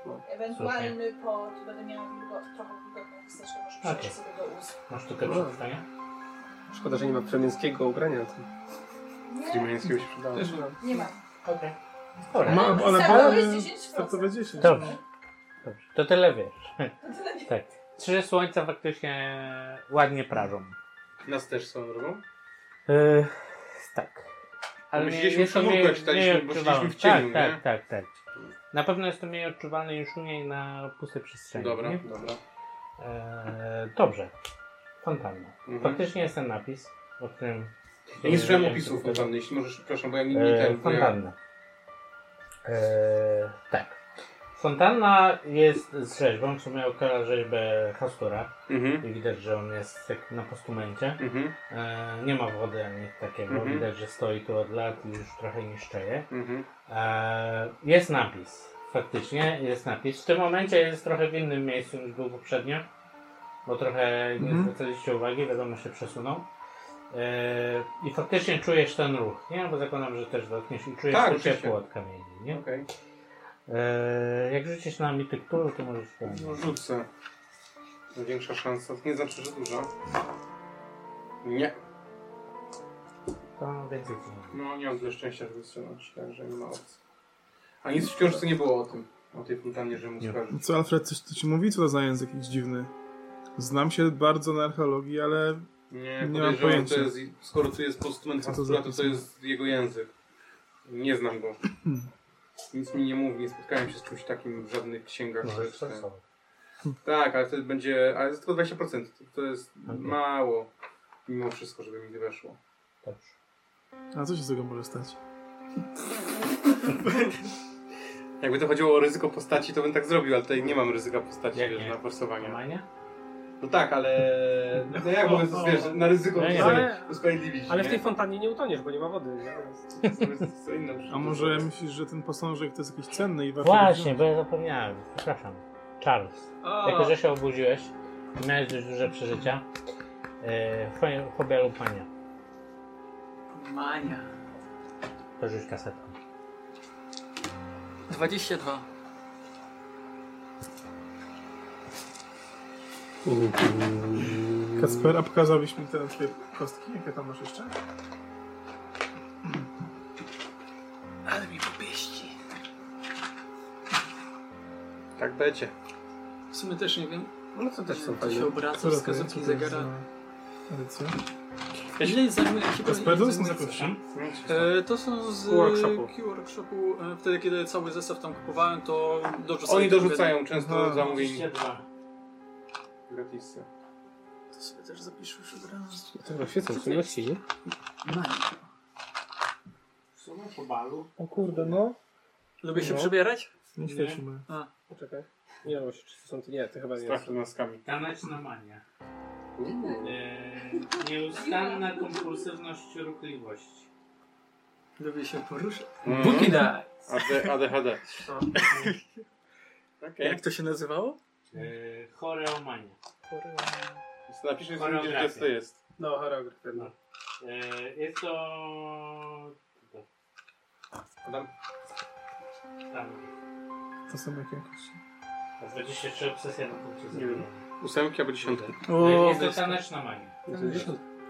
No. Ewentualny pot, będę miała wilgo- trochę wilgotną chusteczkę, może Okej. przyjść sobie do ust. Masz tylko przetrwania? Szkoda, że nie ma przemięskiego ubrania. Nie, Krymińskiego się przydało. Też mam. nie ma. Okej. Ma, No. ona Startowałeś była 10 startowe 10. Dobrze. Dobrze. To tyle wiesz. tyle Tak. Trzy słońca faktycznie ładnie prażą. Nas też są drogą. Yy, tak. Myśleliśmy jest to w mniej- mrówkach, czytaliśmy, mniej bo siedzieliśmy w odczuwalne. cieniu, tak, nie? Tak, tak, tak. Na pewno jest to mniej odczuwalne niż u niej na pustej przestrzeni. Dobra, nie? dobra. E, dobrze. Fontanna. Mhm. Faktycznie jest ten napis, o którym... Ja nie słyszałem opisów fontanny, jeśli możesz, przepraszam, bo ja nie, nie E, ten, bo ja... fontanna. E, tak. Fontanna jest z rzeźbą, w sumie okala rzeźbę Hastura Mhm, i widać, że on jest jak na postumencie. mhm, E, nie ma wody ani nic takiego. Mhm. Widać, że stoi tu od lat i już trochę niszczeje. mhm. E, jest napis. Faktycznie jest napis. W tym momencie jest trochę w innym miejscu niż był poprzednio, bo trochę nie Mhm. zwracaliście uwagi, wiadomo się przesunął. E, I faktycznie czujesz ten ruch, nie? Bo zakładam, że też dotkniesz i czujesz Tak, to oczywiście. ciepło od kamieni, nie? Okej. E, jak rzucisz na mitykturę, to możesz... No, Rzucę. Największa szansa, to nie znaczy, że duża. Nie. To więcej ci nie da. No nie mam tyle szczęścia, żeby strzelać, także nie ma opcji. A nic w książce nie było o tym, o tej fontannie, że mu Nie. skarżyć. Co Alfred, coś to ci mówi? Co to za język jakiś dziwny? Znam się bardzo na archeologii, ale Nie, Nie mam podejrzewam, pojęcia. to jest, skoro tu jest postument Co to Hastura, to za to postument? jest jego język. Nie znam go. Nic mi nie mówi, nie spotkałem się z czymś takim w żadnych księgach. Możesz czy- czy- stosować. Tak, ale to będzie, ale jest tylko 20%, to, to jest Okej. mało, mimo wszystko, żeby mi nie weszło. Dobrze. a co się z tego może stać? Jakby to chodziło o ryzyko postaci, to bym tak zrobił, ale tutaj nie mam ryzyka postaci, Jak wiesz, nie? na forsowanie. Mania? No tak, ale no jak mogę, wiesz, na ryzyko No nie, sobie ale- usprawiedliwić, Ale w nie? tej fontannie nie utoniesz, bo nie ma wody. nie? To jest- to jest co inne. A może myślisz, że ten posążek to jest jakiś cenny i warto Właśnie, bo ja zapomniałem. Przepraszam. Charles, jako że się obudziłeś, miałeś dość duże przeżycia. Yy, fo- fobia lupania. Mania. To rzuć kasetką. 22. Kasper, a pokazałbyś mi te twoje kostki? Jakie tam masz jeszcze? Ale mi popieści. Tak, dajcie. W sumie też nie wiem. No to też są To fajne. się obraca wskazówki zegara. Edycja? Ile jest zajmuje Kasper, to są za zajmuje- kości? E, To są z Workshopu. workshopu. workshopu E, Wtedy, kiedy cały zestaw tam kupowałem, to dorzucają. Oni dorzucają często Aha. zamówień gratisy. To sobie też zapiszę już od razu. To właśnie są czynności, nie? po balu. O kurde, no. Lubię się No. przebierać? Nie świećmy. Czekaj. Nie wiem, czy to są... Nie, to chyba nie Strach jest. przed maskami. Taneczna mania. Mm. Yy, nieustanna kompulsywność ruchliwości. Lubię się poruszać. Mhm. Boogie Nights! AD, ADHD. Okej. Jak to się nazywało? Yy, choreomania. Napiszę sobie, gdzie to jest. No, choreografia. No. Yy, jest to... Adam? Tam. To są jakie kości? 23 obsesja na punkcie Nie wiem. Ósemki albo dziesiątki. Yy, Jest to taneczna mania.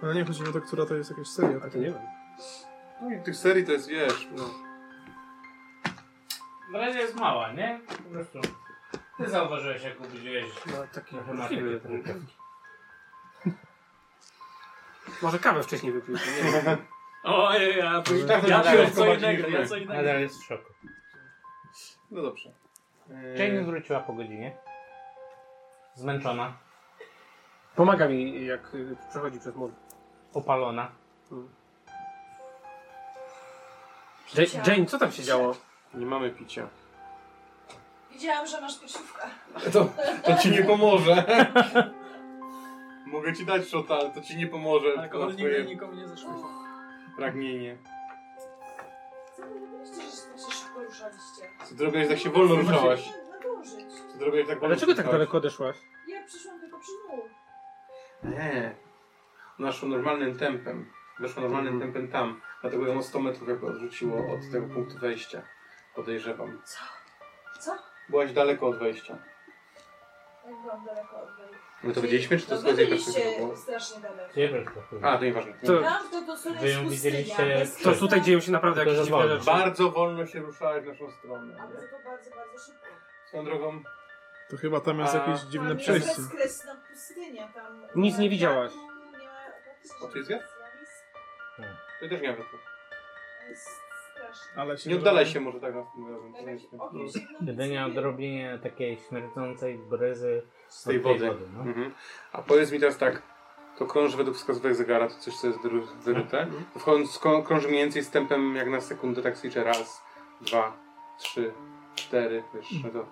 No nie, chodzi mi o to, która to jest jakaś seria. tak? A to nie wiem. No i tych serii to jest, wiesz, no. W razie jest mała, nie? Po prostu. Ty zauważyłeś, jak obudziłeś No, taki Trochę ma możliwy. takie trupeczki. Może kawę wcześniej wypił. Nie wiem. Ojej, ja Tak, ja tak, piłem tak, co tak, innego, tak. ja co innego. jest w szoku. No dobrze. E, Jane Eee. wróciła po godzinie. Zmęczona, Pomaga mi, jak y, przechodzi przez mur. opalona. Jane, Jane, co tam się działo? Nie mamy picia. Widziałam, że masz kościówkę. To, to ci nie pomoże. Mogę ci dać szota, ale to ci nie pomoże. na Alkohol tak, nigdy twoje nikomu nie zeszło. pragnienie. Co wy robiliście, że się tak się szybko ruszaliście? Co zrobiłeś, tak się wolno ruszałaś. Nadążyć. Co zrobiłeś, tak A wolno dlaczego tak ruszałaś? daleko odeszłaś? Ja przyszłam tylko przy mur. Nie. Ona szła normalnym tempem. Weszła normalnym tempem tam. Dlatego ją o 100 metrów jakby odrzuciło od tego punktu wejścia. Podejrzewam. Co? Byłaś daleko od wejścia. Jak byłam daleko od Beli. My to wiedzieliśmy, czy to No z wy twojej perspektywy byliście było? strasznie daleko. Nie wiem, co to A, to nieważne. To- Tam to dosłownie Wy jest ją widzieliście- pustynia. bez Tak. To liścia. tutaj dzieją się naprawdę Tylko, jakieś że dziwne wolno. rzeczy. Bardzo wolno się ruszałeś w naszą stronę. Ale to bardzo, bardzo szybko. Swoją drogą, To chyba tam jest A- jakieś dziwne tam przejście. jest bezkresna pustynia. Tam Nic ma nie widziałaś. wiatru, nie ma praktycznie O, to jest wiatr? zjawisk. ty też nie wiem. To jest straszne. Ale się Nie oddalaj się może tak następnym razem. Tak to jak jest- się okiem sięgnął, Jedynie nic nie było. odrobienie takiej śmierdzącej bryzy Z tej od tej wody. no. Mhm. A powiedz mi teraz tak, to krąży według wskazówek zegara, to coś co jest dru- wyrute. Wchodząc, ko- krąży mniej więcej z tempem jak na sekundę, tak liczę raz, dwa, trzy, cztery, wiesz, no to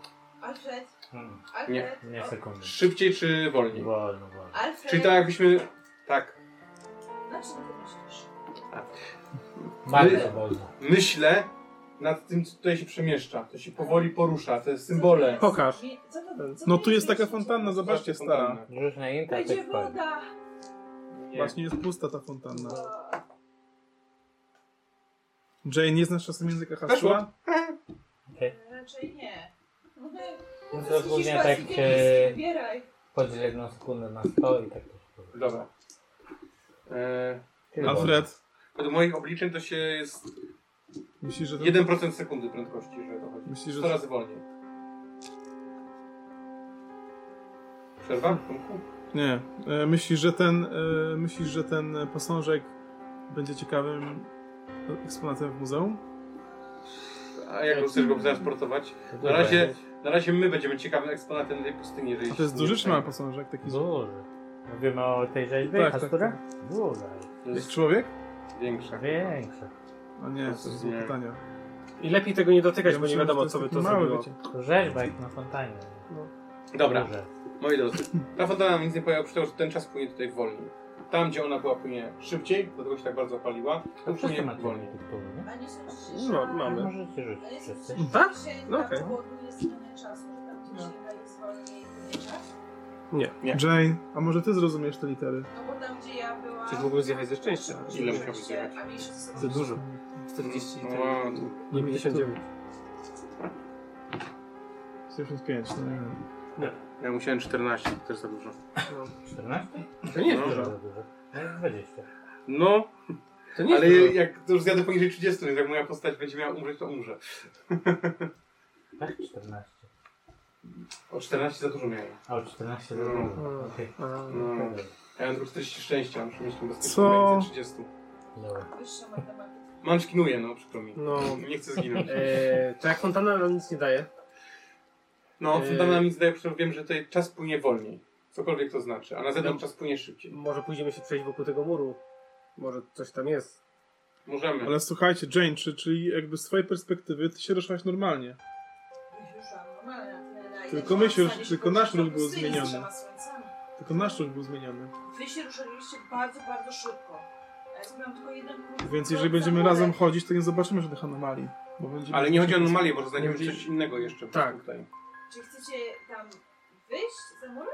Alfred, Mm, Alfred, Nie. Nie o, sekundy. szybciej czy wolniej? Wolno, wolno. Alfred, Czyli tak jakbyśmy, tak, na czym ty myślisz? Bardzo wolno. myślę nad tym, co tutaj się przemieszcza, to się powoli porusza, te symbole. Pokaż. No tu jest taka fontanna, zobaczcie, stara. Już na intra Będzie tak wpadł. woda. Nie. Właśnie jest pusta ta fontanna. Jane, nie znasz czasem języka hasła? Raczej nie. No To to jest głównie tak hiszpański e, pianist, wybieraj. podziel jedną sekundę na sto i tak to się powiem. Dobra. E, Alfred, według moich obliczeń to się jest myślisz, że to... 1% sekundy prędkości, że to chodzi. Myślisz, że 100 to... razy wolniej. Przerwa? Tomku? Nie. E, Myślisz, że ten... e, Myślisz, że ten posążek będzie ciekawym eksponatem w muzeum? A jak chcesz go transportować? Na razie, na razie my będziemy ciekawym eksponatem tej pustyni. Jeżeli A to jest duży czy mały posążek? Taki No. Duży. Mówimy o tej rzeźbie, Tak, tak, tak, która? Duża. To Jest jest człowiek? tak większa. Większa. A nie, To to jest są nie. pytania. I lepiej tego nie dotykać, bo nie myślałem, wiadomo że co by jest to taki mały, zrobiło. wiecie. To Rzeźba jak na fontanie. Dobra, Duże. moi drodzy. Ta fontana nam nic nie powiedziała, przy tym, że ten czas płynie tutaj wolniej. Tam, gdzie ona była, płynie szybciej, dlatego się tak bardzo opaliła. To Tu wszyscy płynie macie wolniej. tytuły, nie? A nie są No, dzisiejsze- mamy. Możecie A nie rzucić są wszyscy. dzisiejsze Tak? dzisiaj No na okej. połowie jest zmiana czasu, że tam gdzieś No. chyba jest wolniej płynie czas. Nie. Jane, a może ty zrozumiesz te litery? No bo tam, gdzie ja byłam- Coś mógłbym zjechać ze szczęścia. Ile musiałbyś zjechać? A mieliście ze sobą Za dużo. 40 No, no. tu- 59. 75, no nie wiem. ja musiałem 14, to też za dużo. 14? To nie jest No. dużo. Za dużo. No jest 20. No, To nie jest ale dużo. jak to już zjadę poniżej 30, więc jak moja postać będzie miała umrzeć, to umrze. Tak? 14. O 14 za dużo miałem. A o 14 za No. dużo. Okej. No. Ja mam tylko 40 szczęścia, muszę mieć tą bezpieczność Co? więcej 30. Dobra. wyższą matematykę. Manczkinuję, no przykro mi. No. Nie chcę zginąć. Eee, to jak fontana nam nic nie daje. No, Eee. fontana mi zdaje, że wiem, że tutaj czas płynie wolniej. Cokolwiek to znaczy, a na zewnątrz czas płynie szybciej. Może pójdziemy się przejść wokół tego muru. Może coś tam jest. Możemy. Ale słuchajcie, Jane, czy, czyli jakby z twojej perspektywy ty się ruszałaś normalnie. Tylko my się ruszy- tylko nasz ruch był zmieniony. Tylko nasz ruch był zmieniony. Wy się ruszyliście bardzo, bardzo szybko. A Ja zrobiłam tylko jeden krok. Więc jeżeli będziemy razem chodzić, to nie zobaczymy żadnych anomalii. Bo będziemy Ale nie chodzi o anomalię, bo znajdziemy Chodzi- coś innego jeszcze. Tak. Tutaj. Czy chcecie tam wyjść za murek?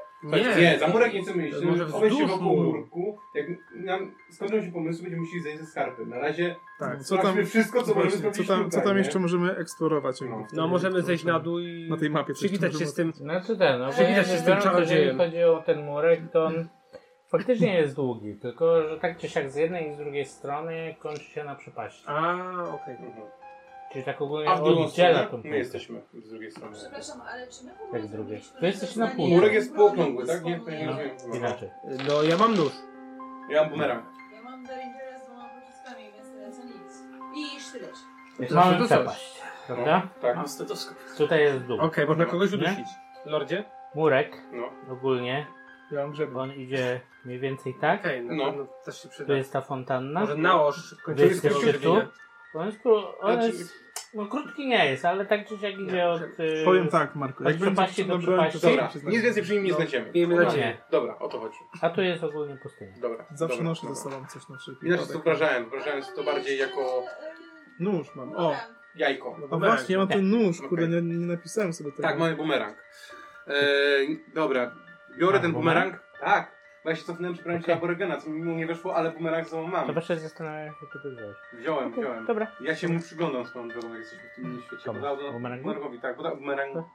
Nie, nie, za murek nie chcemy iść. To może Obejść się wzdłuż wokół muru. murku. Jak nam skończą się pomysły, będziemy musieli zejść ze skarpy. Na razie Tak, co tam, sprawdźmy wszystko, co możemy właśnie, zrobić co tam, co tutaj, tam nie? jeszcze możemy eksplorować? jakby No. w tej- No możemy to zejść możemy- na dół i Na tej mapie coś przywitać się możemy- z tym. Znaczy ten, no bo Przywita ja się z biorąc, tym czarodziejem. Jeżeli chodzi o ten murek, to on faktycznie jest długi, tylko że tak czy siak z jednej i z drugiej strony kończy się na przepaści. A, okej. Mhm. Czyli tak ogólnie A w drugą oddziela stronę? tą My jesteśmy z drugiej strony. Przepraszam, ale czy my w ogóle Jak drugie. zrobiliśmy To jesteś na rozdanie pół. Murek jest półokrągły, tak? Nie, z to nie pomniejszą? rozumiem. chyba. Inaczej. No ja mam nóż. Ja mam bumerang. Ja mam Derringera z dwoma pociskami, więc teraz nic. I sztylet. Jest to mamy dosyć. przepaść, prawda? Tak. Mam stetoskop. Tutaj jest dół. Okej, można kogoś Nie? udusić. Lordzie? Murek No. ogólnie, Ja mam grzeby. on idzie mniej więcej tak. Okej, no, No. no też się Tu przyda. jest ta fontanna. Może naoż Tu kończymy jest z tego króciutko. czerwienia. On jest, kró- on Znaczy- jest, no krótki nie jest, ale tak czy siak idzie od... y, Powiem tak, Marko. Od Jak będzie przepaści do dobrałem, to przepaści. Dobra, zawsze nic się znajdzie. więcej przy nim nie No. znajdziemy. Miejmy no nadzieję. nie. Dobra, o to chodzi. A tu jest ogólnie pustynia. Dobra. Zawsze dobra, noszę ze dobra. sobą coś na wszelki Inaczej to wypadek. wyobrażałem. Wyobrażałem sobie to bardziej jako Nóż mam, o. jajko. A No właśnie, ja mam ten nóż, kurde, Okej. nie, nie napisałem sobie tego. Tak, mamy bumerang. E, dobra, biorę Tak, ten bumerang? bumerang. Tak. Bo ja się cofnąłem, przybrałem Okej. się aborygena, co mi nie wyszło, ale bumerang znowu mam. Chyba się zastanawiam, jak to wziąłeś. Wziąłem, wziąłem. Dobra. Ja się mu przyglądam swoją drogą, jak jesteśmy w tym innym świecie. Komu? Bo dał nam- Bumerangu? Bumerangowi, tak, bo dał- bumerangowi,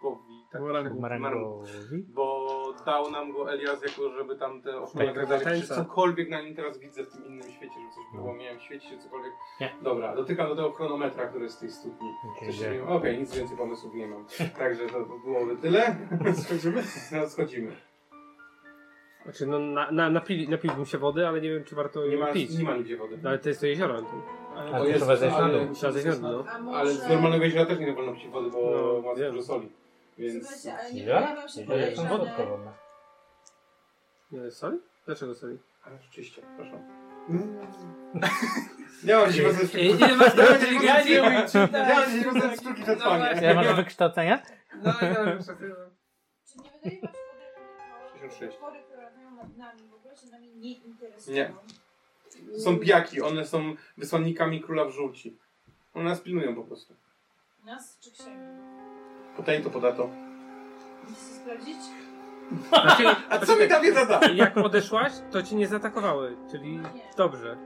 tak. Bumerangu. bumerangu. Marangowi. Bo dał nam go Elias jako, żeby tam te oszczędzenia tak dalej, czy zatańca. cokolwiek na nim teraz widzę w tym innym świecie, że coś było, miałem w świecie, czy cokolwiek. Nie. Dobra, dotykam do tego chronometra, który jest z tej studni. Coś się nie- Okej, nic więcej pomysłów nie mam. Także to byłoby tyle. Schodzimy? No, schodzimy. Znaczy, no, na, na, napili, napiłbym się wody, ale nie wiem, czy warto Nie ją ma, pić. No, nie ma nigdzie wody. Ale to jest to jezioro. To to trzeba zejść na dół. trzeba zejść na dół, no. A Ale z normalnego jeziora też nie wolno pić wody, bo No, ma wiem. dużo soli. Więc... Słuchajcie, ale nie Ja? pojawią się Ja jestem podejrzane... wodkowo. Nie, soli? No, Dlaczego soli? Ale rzeczywiście, proszę. Nie mam siły ze sztuki. nie masz Ja nawet nie inteligencji. wiem, czy- Nie mam siły ze sztuki przetrwania. Ja może wykształcenia? No, ja już tak, no. Czy nie wydaje wam się, że te 66. potwory, które latają nad nami, w ogóle się nami nie interesują? Nie. Są pijaki, one są wysłannikami króla w żółci. One nas pilnują po prostu. Nas czy księgi? Podaj to, poda to. Musicie sprawdzić? Znaczy, A co mi ta wiedza da? jak odeszłaś, to ci nie zaatakowały, czyli Nie. dobrze.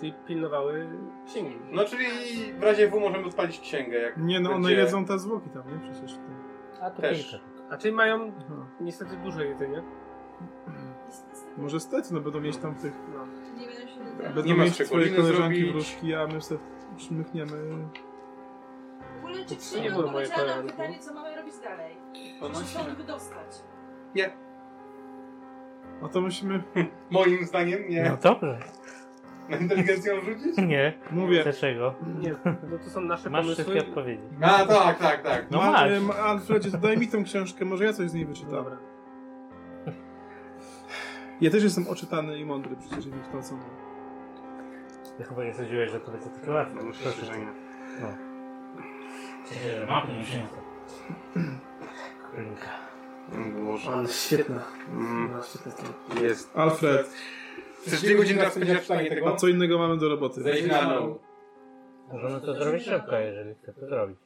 Czyli pilnowały księgi. No czyli w razie W możemy odpalić księgę. Jak Nie no, one będzie- jedzą te zwłoki tam, nie? Przecież to... A to Też. kilka. A czyli mają Aha. niestety duże jedzenie. Niestety. Może stety, no będą mieć tam tych... Nie będą się Bez- wydawać. Będą No. ma mieć z czego twoje liny koleżanki zrobić. wróżki, a my sobie przymykniemy... W ogóle czy nie księga były moje odpowiedziała nam plany. pytanie, co mamy robić dalej? Czy się Ponoć stąd wydostać? A to musimy... Moim zdaniem nie. No dobrze. Na inteligencją rzucić? Nie. Mówię, Dlaczego? Nie, no to są nasze Masz wszystkie pomysły. odpowiedzi. A tak, tak, tak. No Ma- masz. em, Alfredzie, to daj mi tą książkę, może ja coś z niej wyczytam. Dobra. Ja też jestem oczytany i mądry, przecież nie kształcony. Ja chyba nie sądziłeś, że to będzie takie łatwe. No, myślę, że nie. No. Mapy mi się Krynka. Boże. Ale świetna. Mm, No, świetna sprawa. Jest. Alfred, Przez dwie godziny teraz spędzisz w stanie a tego? co innego mamy do roboty? Zejdź na dół. Możemy to zrobić szybko, jeżeli chce to zrobić.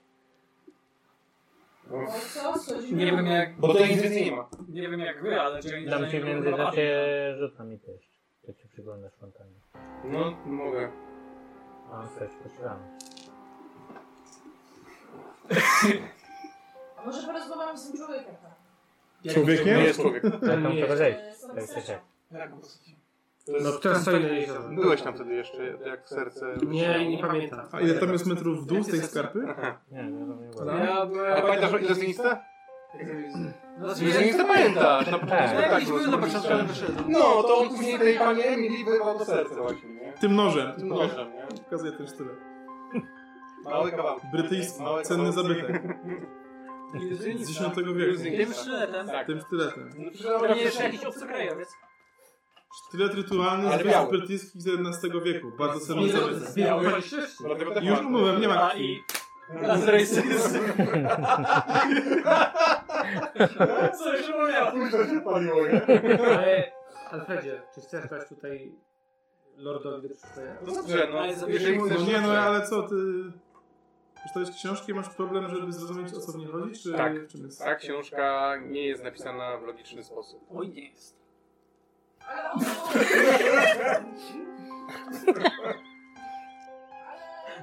O co? Schodzimy? Nie wiem jak, Bo tutaj nic więcej nie ma. nie wiem jak wy, ale Jane... Dam ci w międzyczasie rzutami też, jak się przyglądasz fontanie. No, mogę. A, tak, też poczekamy. A Może porozmawiamy z tym człowiekiem tam? Nie Człowiekiem? jest człowiek. Tam trzeba zejść. E, z tą Tak, tak, sercem. tak. No, kto stoi na jeziorze? Byłeś tam wtedy jeszcze, jak serce... Nie, nie pamiętam. A ile tam jest metrów w dół z tej skarpy? Nie, no to nie było. Ale- Ja byłem... Ale pamiętasz o ile z lista? No, Z lista pamiętasz, na początku Tak. Jakiś był na rozmawialiśmy. początku, ale wyszedł. No, to on później tej pani Emily wyrwał to serce właśnie, nie? Tym nożem. Tym nożem, nie? Pokazuję ten sztylet. Mały kawałek. Brytyjski, Mały cenny kawałek. zabytek. Z X wieku. Tym sztyletem. Tak. Tym sztyletem. No, To przynajmniej nie jest jeszcze jakiś obcokrajowiec. Sztylet rytualny z Ale wysp biały. brytyjskich XVII wieku. Bardzo no, cenny zabytek. Biały. Dlatego tak Już mam. umyłem, nie ma A krwi. i... A z rejsy. Co już mówiłem? Kurde, się paliło, nie? Ale, Alfredzie, czy chcesz dać tutaj lordowi do przeczytania? No dobrze, no. Ale zabierzemy Jeżeli mu- No chcesz... nie no, ale co ty... Czytałeś książki, masz problem, żeby zrozumieć o co mnie chodzi? Czy Tak. w czym jest? Ta książka nie jest napisana w logiczny sposób. Oj, nie jest. Ale on...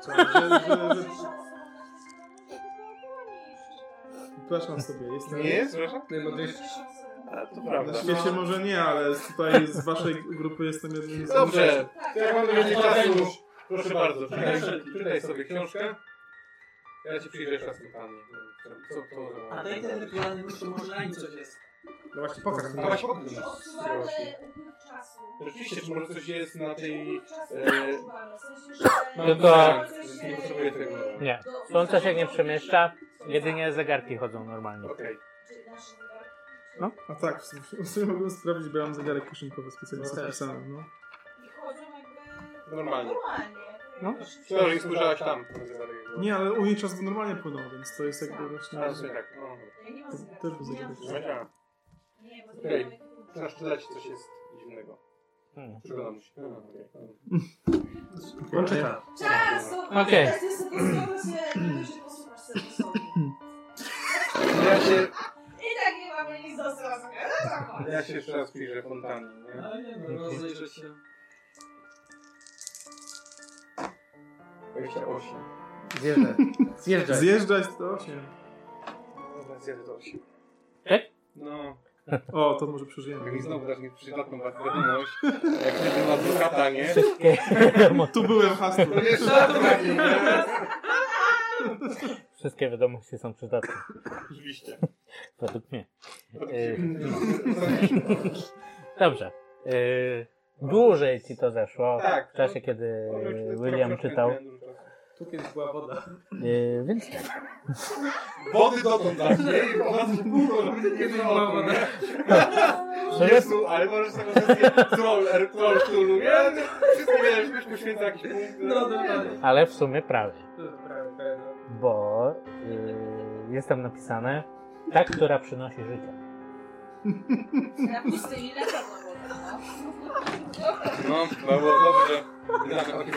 Że, że, Ale... że... Przepraszam sobie, jestem... Nie No. jest, proszę? Ale... To Na świecie może nie, ale z- tutaj z waszej grupy jestem jednym z... Dobrze, to jak mamy więcej czasu, Odejdziesz. proszę bardzo, czytaj, czytaj sobie książkę. Ja ci przyjrzę jeszcze raz pytanie. Co, co, co A daj ten rytualny nóż, to może na nim coś jest. No właśnie, pokaż. A właśnie pokaż mi. Odsuwamy upływ czasu. Rzeczywiście, czy może coś jest na tej... Upływ czasu e, odsuwamy, w sensie, że- No to- Słońce Nie się- potrzebuję tego. Nie. do- Słońce się nie przemieszcza, jedynie zegarki chodzą normalnie. Okej. Czy nasze zegarki? No, a tak, w sumie, w sumie mogłem sprawdzić, bo ja mam zegarek kieszonkowy specjalnie No też. zapisany, no. I chodzą jakby... Normalnie. Normalnie. No. Chyba, że nie spojrzałaś tam. Nie. Nie, ale u niej czas normalnie płynął, więc to jest jakby właśnie... A, w sumie tak. no. Ja nie mam To- zegarka. też był Nie mam zegarek. zegarka. Zobaczyłam. Nie, bo Okej. zegarek- Zaczynasz czytać, coś jest dziwnego. Hmm. Przyglądam się. A, okej. On czyta. Czas! Okej. Teraz jest to się, mówisz, że posłuchasz sobie sobie. Ja się... I tak nie mamy nic do zrobienia. No to Ja się jeszcze raz przyjrzę fontannie, nie? Mhm. A nie no, rozejrzę się. 28. Zjeżdżaj. Zjeżdżaj. Zjeżdżać 108. Dobra, zjadę do 8. Tak? E? No, O, to może jak przeżyjemy. mi znowu dasz mi przydatną wiadomość, jak wtedy Tak. na brata, nie? Tu byłem hastu. To nie żartowali, nie? Wszystkie wiadomości są przydatne. Oczywiście. Według mnie. Eee, Oczywiście. Dobrze. Yy, dłużej ci to zeszło Tak. w czasie, kiedy No, już William trochę czytał. miałem dużo czasu. Tu kiedyś była woda. Yy, więc Wody dotąd dasz, nie? I po prostu kurwa, Kiedyś była woda. Jezu, ale możesz sobie zrobić troll, er, troll, trollu, nie? Wszystko wiesz, byś poświęcał jakiś punkt. No dokładnie. Ale w sumie prawie. Prawie, prawie. no. Bo yy, jest tam napisane ta, która przynosi życie. Na pustyni na pewno woda, no. No, no było dobrze. Tak, okej,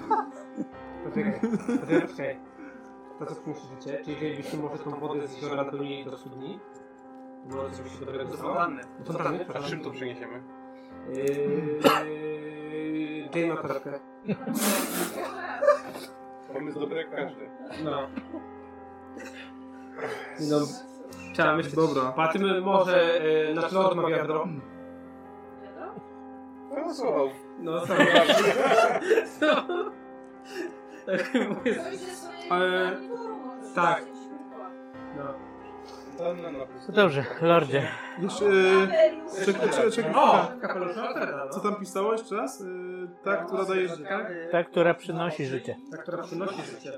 Poczekaj, poczekaj, poczekaj. To co przynosi życie, czyli wzięlibyśmy może tą wodę z jeziora napełnili do studni. Może coś się dobrego zostało. Do fontanny, A czym to przepraszam. przeniesiemy? Yy, Jane ma torebkę. Pomysł dobry jak każdy. No. No, trzeba myśleć. Dobra. Patrzymy może, yy, nasz lord ma wiadro. No, słowo. No, co? Co? Tak, mówię, Ale- tak. no. Fontanna na pustyni. Dobrze, lordzie. Jeszcze... y, Czekaj, czekaj, czekaj. O! Kapelusz Alfreda, Co no. tam pisało jeszcze raz? Y, Ta, która daje życie. Ta, która przynosi życie. Ta, która przynosi życie.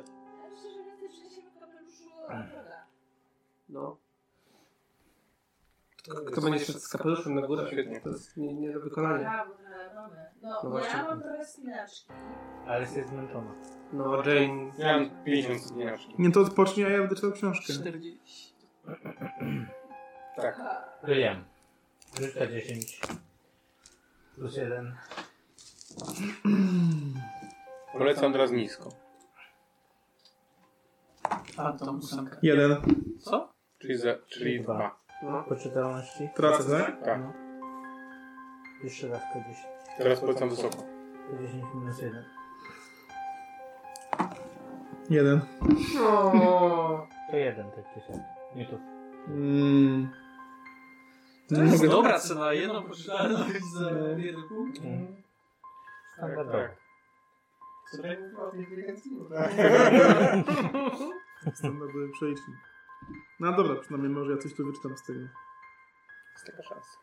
No. Kto, kto będzie szedł z kapeluszem na górę? Świetnie. To jest nie, nie do wykonania. No, no właśnie. ja mam trochę spinaczki. Ale jest zmęczona. No, Jane... Ja mam 50 dniaszki. Nie to odpocznij, a ja będę czytał książkę. 40. William. Życia 10. Plus 1. Polecam teraz nisko. Phantom 8. Jeden. Co? Czyli, za, czyli Dwa. dwa. No. Poczytalności. Tracę, tak? Tak. No. Jeszcze raz po 10. Teraz polecam wysoko. Po 10 minus 1. Jeden. No. To jeden tak dzisiaj. Nie tu. Mm. To jest dobra cena, jedną poczytałem no i za jeden punkt. Tak, Standardowo. Tutaj mówiła o inteligencji. Tak. Standardowy przelicznik. No dobra, przynajmniej może ja coś tu wyczytam z tego. Jest taka szansa.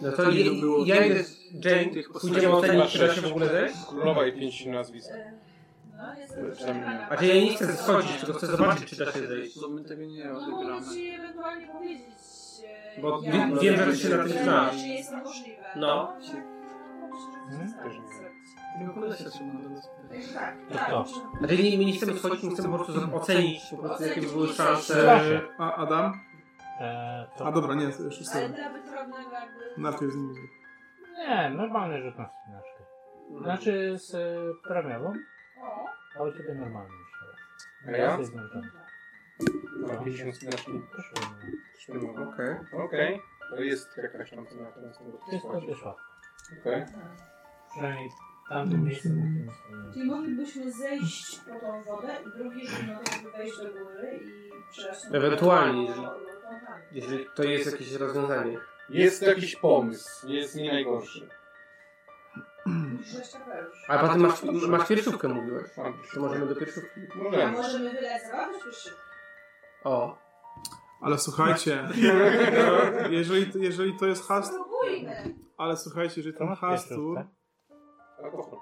No to ja, ja idę z Jane, pójdziemy o tej postaci. trzeba się w ogóle zejść? Królowa i pięć nazwisk. No, jestem Przynajmniej- A czy Znaczy, ja nie chcę schodzić, tylko chcę zobaczyć, czy da się zejść. To my tego nie No mogę odegramy. ci ewentualnie powiedzieć, e, Bo jak- wi- wiem, że ty się na tym czy- znasz. Czy jest możliwe. No. Tak, Hmm? tak, Też nie. zrobić. Tego kolesia trzeba do nas Także Tak, To tak. kto? możemy- A czy nie, my nie chcemy schodzić, my chcemy po prostu ocenić, po prostu jakie by były szanse. Proszę. A, Adam? E, Eee, to... A dobra, nie, jeszcze Ale sobie. dla wytrawnego jakby... Najpierw z nim. zrób. Nie, normalny rzut na spinaczkę. Znaczy z y, premiową, O, a u ciebie normalny jeszcze raz. A ja? Jesteś zmęczony. Mam 50 dniaszki. Też powinno. No. Okej. Okej. Okej. To jest jakaś tam cena, którą chcę Wszystko dostosować. wyszło. Okej. Przynajmniej w tamtym miejscu. czyli moglibyśmy zejść po tą wodę i drugi rzut mogliby wejść do góry i No, przerażać. Ewentualnie, jeżeli- tak. Jeżeli to jest jakieś rozwiązanie. Jest jakiś pomysł. Jest nie najgorszy. Musisz dać kapelusz. Ale potem masz, masz pierwszówkę mówiłeś. Mam Czy możemy do pierwszówki? A Możemy. możemy wylać zabawę czy szybko? O. Ale słuchajcie, jeżeli, jeżeli to jest No, hast, Spróbujmy. ale słuchajcie, jeżeli ten masz hastur, pierwszą, Alkohol.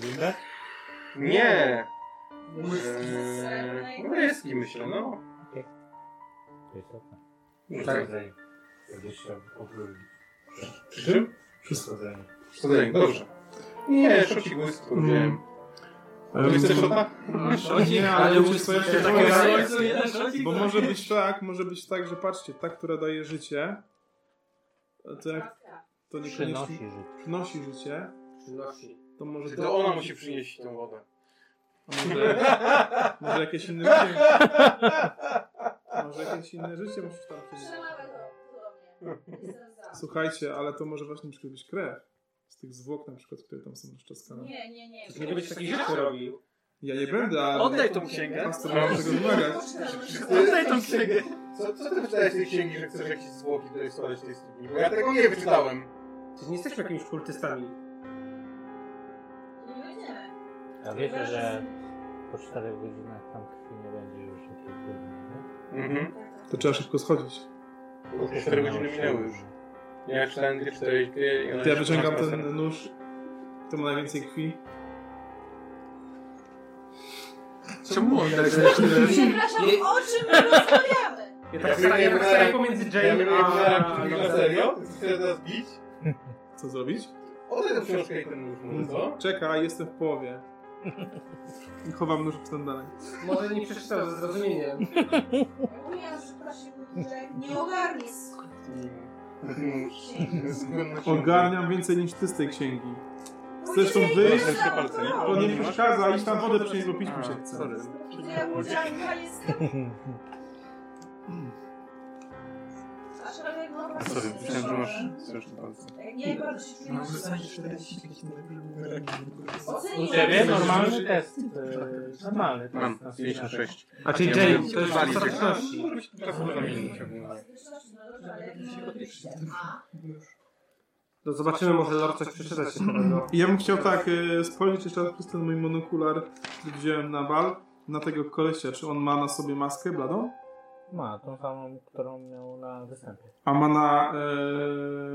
Linda? Nie! Whisky. Eee, No jest myślę, no. To jest okno. Tak. Gdzieś się obrócić. Przy czym? Przysadzenie. Przysadzenie, dobrze. Nie, szocik błysku, powiedziałem. To em, jest też szota? Nie, ale ale już już swoje swoje takie- takie słońcu, jeden szocik. bo może być tak, może być tak, że patrzcie, ta, która daje życie, to jak to Przynosi niekoniecznie życie. przynosi życie, to może To ona musi przynieść tą wodę. A Może, może jakieś inne życie. Może jakieś inne życie musisz tam przynieść. Przelałem to do mnie. Jestem za. Słuchajcie, ale to może właśnie na przykład być krew. Z tych zwłok na przykład, które tam są rozczaskane. Nie, nie, nie. Nie będziesz takich rzeczy robił. Ja nie będę, ale... Oddaj tą księgę. Pastor może tego wymagać. Oddaj tą księgę. Co, co ty wyczytałeś z tej księgi, że chcesz jakieś zwłoki tutaj schować w tej studni? Bo ja tego nie wyczytałem. Przecież nie jesteśmy jakimiś kultystami. No nie. A wiecie, że po 4 godzinach tam krwi nie będzie już takiej płynnej, Mhm. To trzeba szybko schodzić. Bo te 4 godziny minęły już. Ja czytałem 2-4 i ona To ja się wyciągam trzyma ten nóż, to ma najwięcej krwi. Czemu on tak Przepraszam, o czym my rozmawiamy? Ja Ja tak staram ja wiem, tak że- staram pomiędzy Ja Jane bym a... nie na no serio? Chcesz nas bić? Co zrobić? Oddaj tę książkę i ten nóż, no co? Czekaj, jestem w połowie. I chowam nóż w dalej. Może nie przeczytał ze zrozumieniem. Mówiłam, że prosiłbym, że nie ogarnij swoich Nóż. Zgłębna książka. Ogarniam więcej niż ty z tej księgi. Zresztą Później wy- za Te palce, nie? To nie przeszkadza, iść tam wodę przynieść, bo pić mi się A, chce. sorry. To ja udziałka jestem. Aż ale no właśnie Sorry, myślałem, że słyszałem. masz straszne palce. Jak nie bardzo się czujesz. nie? U Oceniłam. ciebie normalny test. e, Normalny test. Mam na seminarze. 56. A czyli Jane, Jane, to to jest jest stateczności. Zresztą, no dobrze, ale jak nie odpiszę. No zobaczymy, może Lord coś przeczytać ciekawego. I ja bym chciał tak e, spojrzeć jeszcze raz przez ten mój monokular, który wziąłem na bal, na tego kolesia. Czy on ma na sobie maskę bladą? Ma, tą samą, którą miał na występie. A ma na, e,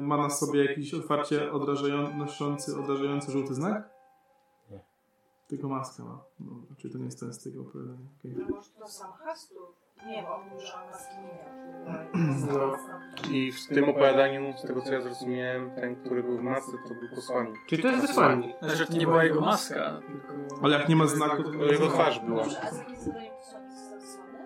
ma na sobie jakiś otwarcie odrażają, noszący, odrażający żółty znak? Nie. Tylko maskę ma. Dobra, czyli to nie jest ten z tego opowiadania. okej. Może to sam Hastur? Nie wiem, on już o nas nie No. miał. I w tym opowiadaniu, z tego co ja zrozumiałem, ten, który był w masce, to był posłannik. Czyli to jest wysłannik. Znaczy, Że to nie była jego maska. Ale jak nie ma znaku, to... Jego twarz była. Dobrze, a z jakim zadaniem posłannik został wysłany?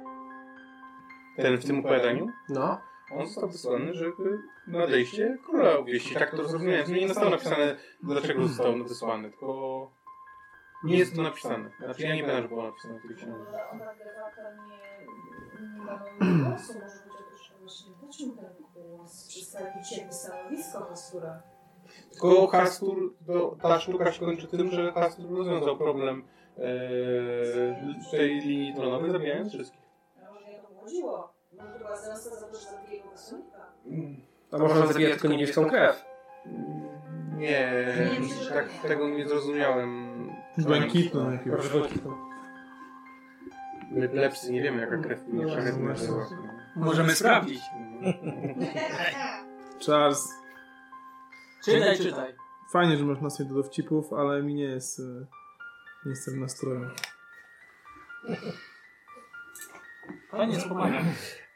Ten w tym opowiadaniu, No. on został wysłany, żeby nadejście króla obwieścić. Tak to zrozumiałem. Nie zostało napisane, dlaczego został wysłany, tylko nie jest to napisane. Znaczy ja nie pamiętam, że było napisane w tej książce. Może ona grała pewnie nie ma głosu, może być jakoś właśnie wrócił ten głos, przedstawiciel stanowisko Hastura. Tylko Hastur, to, ta sztuka się kończy tym, że Hastur rozwiązał problem e, tej linii tronowej, zabijając wszystkich. A może ja to chodziło? Może to była zemsta za to, że zabije jego wysłannika? A może on zabija tylko niebieską krew. Nie, Nie, tak nie. tego nie zrozumiałem. Błękitną jakiegoś. Proszę wrócić to. My plepsy nie wiemy jaka krew No płynie. właśnie. Możemy sprawdzić. Charles, Czytaj, czytaj. fajnie, że masz nastrój do dowcipów, ale mi nie jest... e, Nie jestem w nastroju. Fajnie, co pomaga.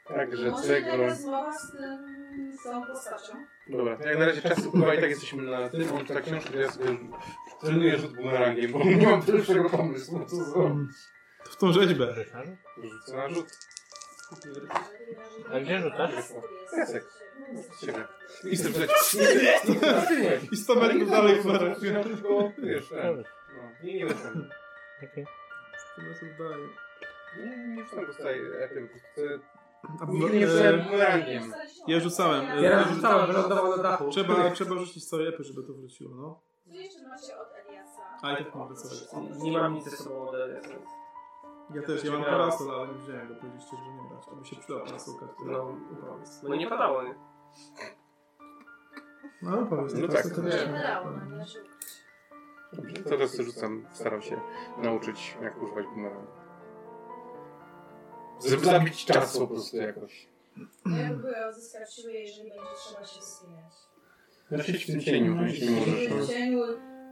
Także Może tego... taka rozmowa z tym, z tą postacią? Dobra, jak na razie czas upływa i tak jesteśmy na tym. On ta książka, to ja sobie trenuję rzut bumerangiem, bo nie mam lepszego pomysłu, co zrobić. To w tą rzeźbę. Ryszard? Rzucę na rzut. A gdzie rzucasz? Piasek. Ciebie. I chcę I 100 metrów dalej tak uważaj. Przynosić go, wiesz, ten. Dobrze. No, nie, nie wyszło. Okej. 100 metrów dalej. Nie, nie wstęp dostaję epym. A, Nigdy nie e, rzucałem bumerangiem. Ja rzucałem, e, Ja rzucałem, wylądował na dachu. Trzeba, trzeba rzucić całe epy, żeby to wróciło, no. Co jeszcze macie od Eliasa? A i tak mam wycofać. Nie mam nic ze sobą od Ja też, ja mam parasol, ale nie wziąłem, bo powiedzieliście, że nie brać. To by się przydała parasolka, która... No, no nie padało, nie? No, powiedz, No no tak. tak. to Nie też... wydało, no nie rzucę. Dobrze, No, to teraz rzucam, staram się nauczyć, jak używać bumerangu. Żeby zabić czas po prostu jakoś. Ja próbuję odzyskać siłę, jeżeli będzie trzeba się wspinać. No siedź w tym cieniu, to jeśli możesz. W no. cieniu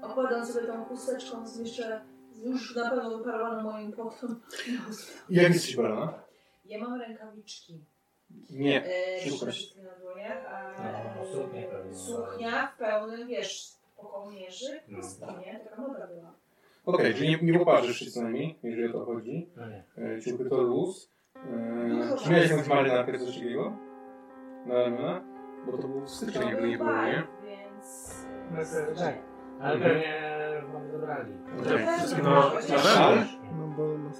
okładam sobie tą chusteczką, zmieszczę już na pewno wyparowaną moim potem. Jak jesteś ubrana? Ja mam rękawiczki. Nie. E, Szukasz. przede wszystkim na dłoniach, a No, e, suknię pewnie. suknia w pełnym, wiesz, po kołnierzyk, No. nie? Taka moda była. Okej, czyli nie, nie poparzysz się co najmniej, jeżeli o to chodzi. No nie. E, Ciuchy to luz. E, Czy miałeś jakąś marynarkę coś takiego? Na ramiona? Bo to był styczeń, To jakby był nie było, nie? bal, więc... No, tak, tak. Ale Mhm. pewnie wam zabrali. Okej. Pewnie. No, Szal? Nie. bo ma...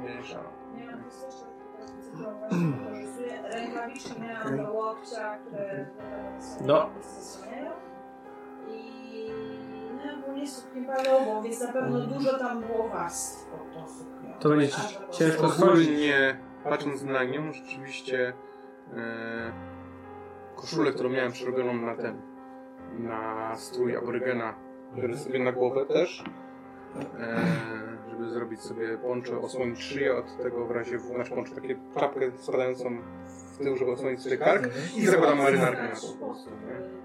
Mniejsza. Miałam też jeszcze taką cyfrową, wykorzystuję rękawiczki, miałam do łokcia, które No. zasłaniają. I no, bo nie suknię balową, więc na pewno dużo tam było warstw pod tą suknią. To będzie Aż do ciężko końca. Ogólnie, patrząc na nią, rzeczywiście e, koszulę, którą miałem przerobioną na ten, na strój aborygena, biorę sobie na głowę też, e, żeby zrobić sobie poncho, osłonić szyję od tego w razie, w, znaczy poncho, takie czapkę spadającą w no. tył, żeby osłonić sobie kark i zakładam marynarkę na to po prostu, nie?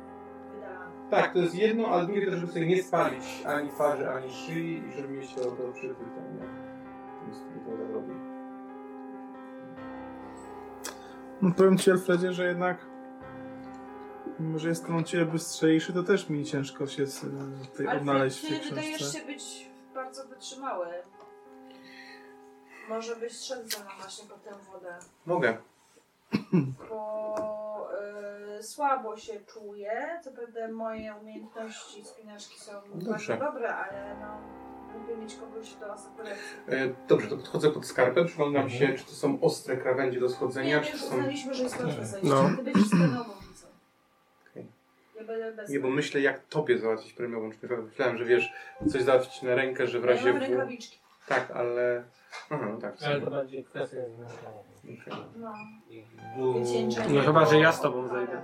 Tak, to jest jedno, ale drugie też, żeby sobie nie spalić ani twarzy, ani szyi i żeby mieć to, to przykryte, nie? Więc to tak robię. No, powiem ci, Alfredzie, że jednak... Mimo, że jestem od ciebie bystrzejszy, to też mi ciężko się z, e, tutaj odnaleźć w tej Alfred, ty wydajesz książce. się być bardzo wytrzymały. Może byś szedł za mną właśnie po tę wodę. Mogę. bo y, słabo się czuję. Co prawda moje umiejętności spinaczki No są Dobrze. bardzo dobre, ale no, lubię mieć kogoś do asekuracji. E, Dobrze, to podchodzę pod skarpę, przyglądam się, czy to są ostre krawędzie do Nie, schodzenia, my czy to już są... uznaliśmy, że jest łatwe zajście. No. Ty będziesz stanowowicą. Okej. Ja będę bez... Nie, bo myślę, jak tobie załatwić premiową. Czy Myślałem, że wiesz, coś załatwić na rękę, że w ja razie... mam W... rękawiczki. Tak, ale... Aha, no tak. Ale to super. bardziej kwestia Okej. No. zmęczenia. No chyba, że ja z tobą zejdę.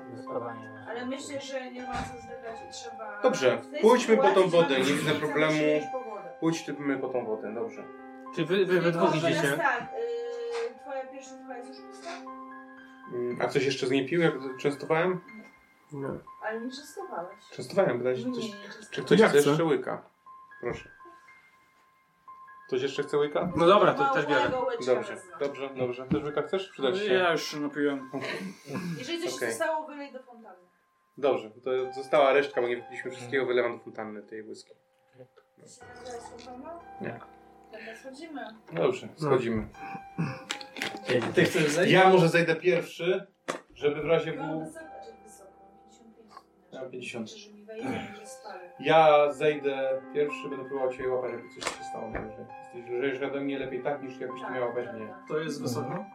Ale myślę, że nie ma co zwykać i trzeba... Dobrze, w tej pójdźmy po tą sytuacji wodę, trzeba nie widzę się problemu. zanieść po wodę. Pójdźmy po tą wodę, dobrze. Czy wy, wy, wy dwóch Tylko teraz idziecie? tak, y, twoja pierwsza chyba jest już pusta, Mm, A coś jeszcze z niej pił, jak częstowałem? No. ale nie czystowałeś. Częstowałem, wydaje się, Nie, że nie coś... czystowałeś. Czy ktoś Ja chce chcę. jeszcze łyka? Proszę. Ktoś jeszcze chce łyka? no dobra, to też biorę. Małego łyczka Dobrze, wezmę. dobrze, dobrze. Też łyka chcesz? No Przyda ci się. Ja już się napiłem. Jeżeli coś Okej. się stało, wylej do fontanny. Dobrze, to została resztka, bo nie wypiliśmy wszystkiego, wylewam do fontanny tej whisky. Ty się nazywasz fontanną? Nie. Dobra, schodzimy. No Dobrze, No. schodzimy. Ty chcesz zejść? Ja może zejdę pierwszy, żeby w razie Byłam był... wysoko, czy wysoko? 55. Ja mam 50. Czy że mi wejdzie, że spalę. Ja zejdę pierwszy, będę próbował cię łapać, jakby coś się stało. Że jesteś lżejszy ode mnie, lepiej tak, niż jakbyś ty miała łapać mnie. To jest wysoko.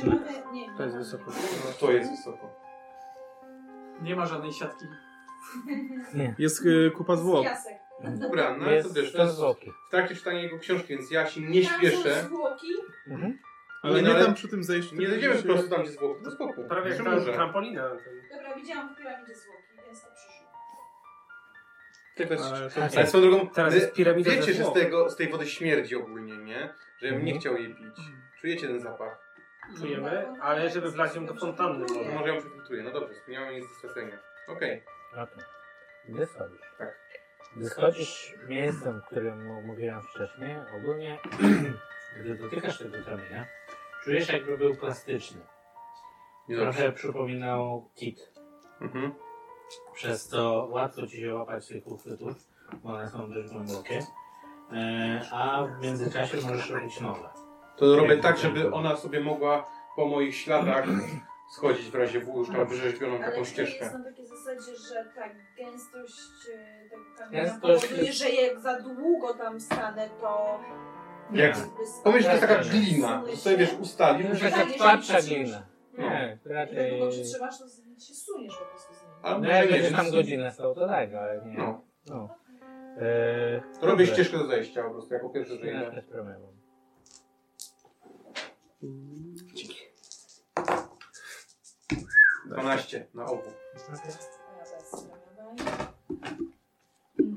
Czy mamy... Nie, nie. To jest mamy. wysoko. No, to jest wysoko. Nie ma żadnej siatki. Jest y, kupa zwłok. Piasek. Dobra, no ale to Jest wiesz, też to jest zwłoki. w trakcie czytania jego książki, więc ja się nie Tam śpieszę. są zwłoki. Ale Nie, no, nie ale- tam przy tym zejściu. Nie tylko dojdziemy po gdzieś- prostu tak- tam, gdzie zwłoki. To spoko. Prawie jak Przy tam murze. trampolina. no na tym. Dobra, widziałam w piramidzie zwłoki, więc to przyszło. Tylko jest... Ale to- Ale swoją drogą, Teraz wy- jest piramida Wiecie, ze że z, zwłok. tego, z tej wody śmierdzi ogólnie, nie? Że ja bym Mhm. nie chciał jej pić. Czujecie ten zapach? Czujemy, ale żeby wlać ją do fontanny. No, Może. może ją przekontuję. No dobrze, nie mam nic do stracenia. Okej. Okej. Gdy schodzisz? Tak. Gdy schodzisz miejscem, o którym mu- mówiłem wcześniej, ogólnie, gdy dotykasz tego kamienia, czujesz jakby był plastyczny. nie dobrze. Trochę przypominał kit. Mhm. Przez to łatwo ci się łapać tych uchwytów, bo one są dość głębokie. E, a w międzyczasie możesz robić nowe. To robię tak, żeby ona sobie mogła po moich śladach schodzić w razie w już tam wyrzeźbioną Ale taką czy jest ścieżkę. na takiej zasadzie, że ta gęstość e, tego kamienia Gęstość powoduje, jest- że jak za długo tam stanę, to... Jak- jakby Pomyśl, że to jest taka Tak, tak. glina. To sobie wiesz, ustali. no. To jest musisz taka tak- taka nie twardsza patrzysz. glina. Nie, Jak raczej... długo przytrzymasz, to z- się suniesz po prostu z nim. Ale No może jak nie, będziesz że- tam godzinę stał, to tak, ale nie... No. No. E, To robię ścieżkę do zejścia po prostu, jako pierwszy, że Dobra, idę. bez problemu. Dzięki. 12 na obu.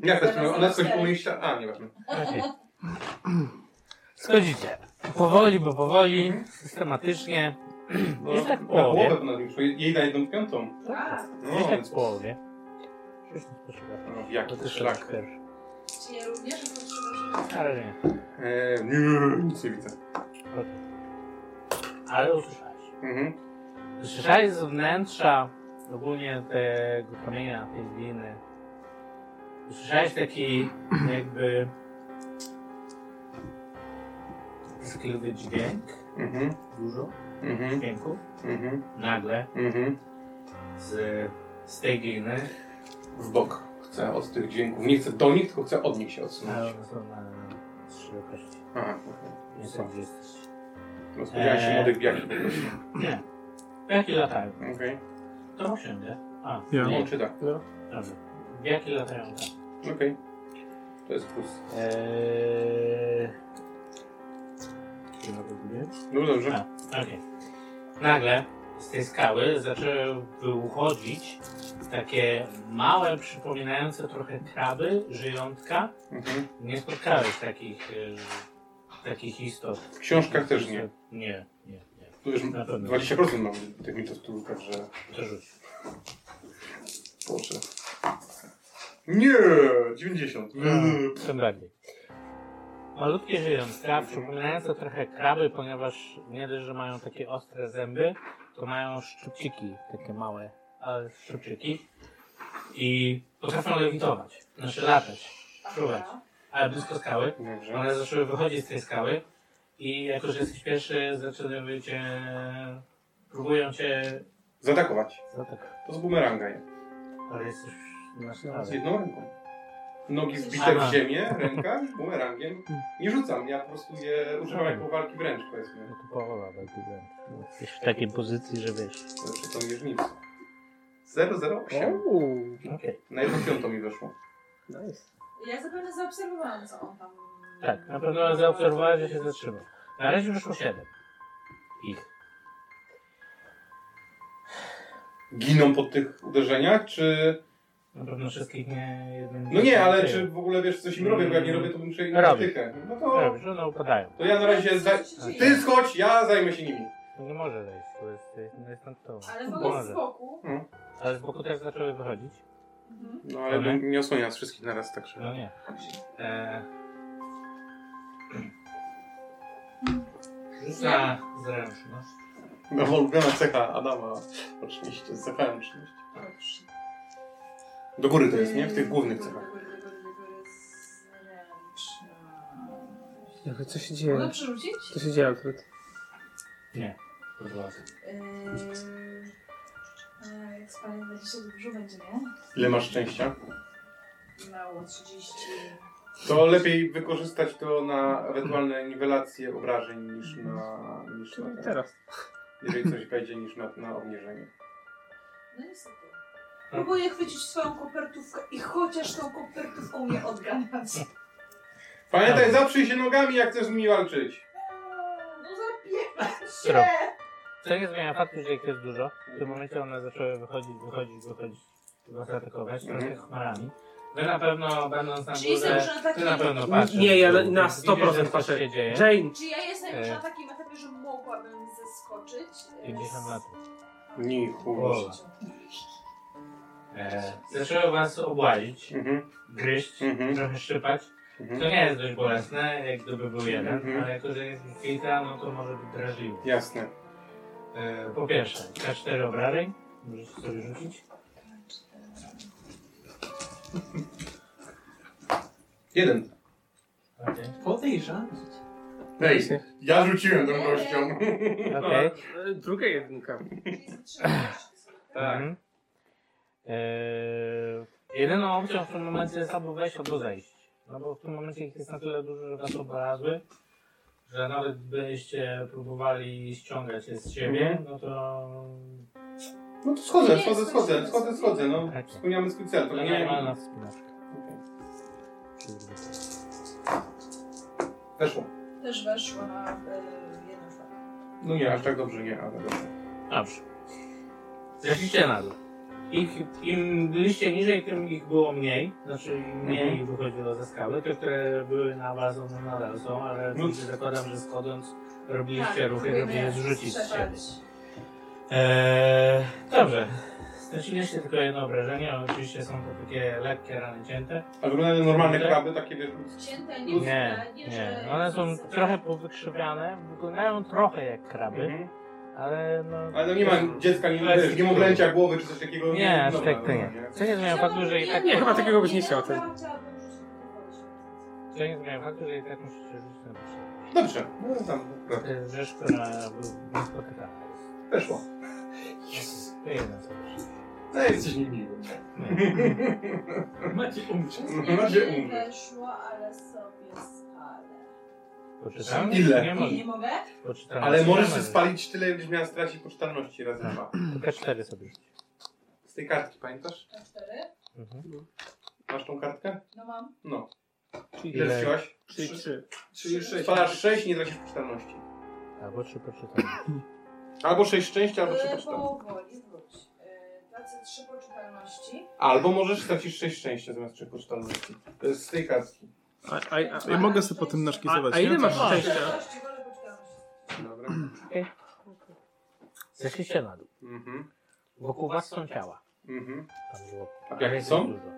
Ja bez Jak sprawowania. Zaraz to Ona schodzi po cztery. moich śladach. A, nieważne. Okej. Schodzicie. Powoli, bo powoli, systematycznie. No, Jest tak o, w połowie. połowę na większą. Jej na jedną piątą. A, No, Gdzieś tak więc- w połowie. No, jaki To ty szlak. szlak pierwszy. czy ja również potrzebuję? Ale nie. Eee, nie, nic nie widzę. Okej. Ale usłyszałeś. Mhm. Usłyszałeś z wnętrza, ogólnie tego kamienia, tej gliny. Usłyszałeś taki jakby... Skliwy dźwięk. Mhm. Dużo Mhm. dźwięków. Mhm. Nagle Mhm. z, z tej gliny W bok. chcę od tych dźwięków. Nie chcę do nich, tylko chcę od nich się odsunąć. są no na trzy kości. Aha, okej. Nie są gdzie jesteś. No, Spodziewałem się Eee. młodych biali po prostu. Nie. Wielki latają. Okej. To osiem, nie? A, Ja. nie. On czy tak? Dobrze. Wielki latają tak. Okej. To jest plus. Eee... Chyba wygubię. No dobrze. A, okej. Nagle z tej skały zaczęły wychodzić takie małe, przypominające trochę kraby, żyjątka. Mhm. Nie spotkałeś takich, e, takich istot. W książkach też nie. Nie, nie, nie. Tu już Na pewno. 20% mam tych mitostów, także... To rzuć. Boże. Nie! 90. No. Eee. Tym bardziej. Malutkie żyjątka, przypominające trochę kraby, ponieważ nie dość, że mają takie ostre zęby, to mają szczypciki, takie małe, ale szczypciki i potrafią lewitować, znaczy latać, fruwać, ale blisko skały. Dobrze. One zaczęły wychodzić z tej skały i jako, że jesteś pierwszy, zaczynają cię, próbują cię Zaatakować. zaatakować, To z bumeranga jest. ale jesteś na Z skale. jedną ręką. Nogi zbite Aha. w ziemię, ręka bumerangiem. Nie rzucam, ja po prostu je używam jako walki wręcz, powiedzmy. No to połowa, tak powiem. Jesteś w takiej pozycji, że wiesz. Znaczy tą mierznicę. No. 008. Okej. Na jedną piątą mi wyszło. Ja zapewne zaobserwowałam, co on tam... Tak, na pewno zaobserwowałeś, że się zatrzymał. Na razie wyszło 7. Ich. Giną po tych uderzeniach, czy... Na pewno wszystkich nie jeden. No nie, ale trafił. czy w ogóle wiesz coś im robię, bo jak nie robię, to muszę ich Robię. taktykę. No to, Dobrze, no upadają. to ja na razie... Za... Ty schodź, ja zajmę się nimi. Nie może zejść, bo jest niestantowo. Ale w ogóle z Może. boku. Ale z boku też zaczęły wychodzić? Mhm. No ale ale Dobra. nie osłania nas wszystkich naraz, No także... nie. E... Rzuć na zręczność. No ulubiona cecha Adama, oczywiście, zachęczność. Dobrze. Do góry to jest, nie? W tych głównych cechach. Zręczność. Jachy, co się Mogę dzieje? przerzucić? Co się dzieje, Alfred? Kurwa. Yy, a jak spalę 20, to dużo będzie, nie? Ile masz szczęścia? Mało, 30. To lepiej wykorzystać to na ewentualne niwelacje obrażeń niż na... Niż Czyli na teraz. Jeżeli coś wejdzie, niż na, na obniżenie. No niestety. Próbuję chwycić swoją kopertówkę i chociaż tą kopertówką mnie odganiać. Pamiętaj, zaprzyj się nogami, jak chcesz z nimi walczyć. No zapieprzam Dobra. się! Co nie zmienia faktu, że ich jest dużo. W tym momencie one zaczęły wychodzić, wychodzić, wychodzić, was atakować, Mhm. trochę chmarami. Wy na pewno będąc na Czyli jestem już górze, na ty na takim... pewno patrzysz. Nie, ja w dół. na Widzisz, że 100% coś patrzę. się dzieje. Jane! Czy ja jestem już E. na takim etapie, że mogłabym zeskoczyć? e, 50 z- lat. Nie, Boże. E, zaczęły was obłazić, Mhm, gryźć, Mhm. trochę szczypać. To mhm. nie jest dość bolesne, jak gdyby był jeden, Mhm. ale jako, że jest ich kilka, no to może być drażliwe. Jasne. E, po pierwsze, K4 obrażeń, możesz sobie rzucić. Jeden. Okej. Podejrzam. Ej, ja rzuciłem tą gością. Okej. E, Druga jedynka. Czyli z 30. Tak. Mhm. Eee, jedyną opcją w tym momencie jest albo wejść, albo zejść. No bo w tym momencie ich jest na tyle dużo, że was obalazły, że nawet byście próbowali ściągać je z siebie, Mhm. no to No to schodzę, Nie, schodzę, jest schodzę, to schodzę, jest- schodzę, no. Tak. Wspomniamy swój cel, to nie normalna wspinaczka. Okej. Weszło. Też weszła na e, jedną szlakę. No nie, aż tak dobrze nie, ale dobrze. Dobrze. Zeszliście na dół. Ich, Im byliście niżej, tym ich było mniej. Znaczy im mniej Mhm. ich wychodziło ze skały. Te, które były na was, one nadal są, ale No. zakładam, że schodząc robiliście ruchy, żeby Tak, próbujemy je zrzucić z siebie. przepalić. Eee, dobrze. Straciliście tylko jedno obrażenie, ale oczywiście są to takie lekkie rany cięte. Ale wyglądają normalne Tak. kraby, takie wiesz, ludzkie. Cięte, nie, Nie, nie, nie. One są trochę powykrzywiane, wyglądają trochę jak kraby, Mhm. ale no... Ale no nie ma dziecka, nie, To jest- wiesz, niemowlęcia głowy czy coś takiego. No Nie, aż dobra, tak to nie. dobra, Co nie zmienia faktu, że i tak... Nie, chyba takiego byś nie chciał, ten. Co nie zmienia faktu, że i tak musicie rzucić na pierwsze. Dobrze, no tam, dobra. To jest rzecz, która była niespotykana. weszło. Jest. To jedna rzecz. No jesteś niemiły. Macie umrzeć. Macie Nie umrzeć. weszło, ale sobie spalę. Poczytam? Ile? Nie Nie mogę. mogę? Poczytam. Ale możesz się Nie spalić tyle, będziesz miała stracić poczytalności razy dwa. mogę. Tylko cztery sobie rzuć. Z tej kartki, pamiętasz? Na cztery? Mhm. Masz tą kartkę? No mam. No. Ile Ile? rzuciłaś? Czyli trzy. Czyli sześć. Spalasz 6 i nie tracisz poczytalności. Albo trzy poczytam. Albo 6 szczęścia, albo 3 Eee, Yy, poczytalności. Powoli wróć. Yy, 23 poczytalności. Albo możesz stracić 6 szczęścia zamiast 3 poczytalności. To jest z tej kartki. A, a, a, Ja mogę sobie potem naszkicować. a, a ile nie? masz szczęścia? Poczytalności, wolę poczytalności. Dobra. Zeszliście na dół. Mhm. Wokół was są ciała. Mhm. Tam było. A tam jakie jest są? Dużo.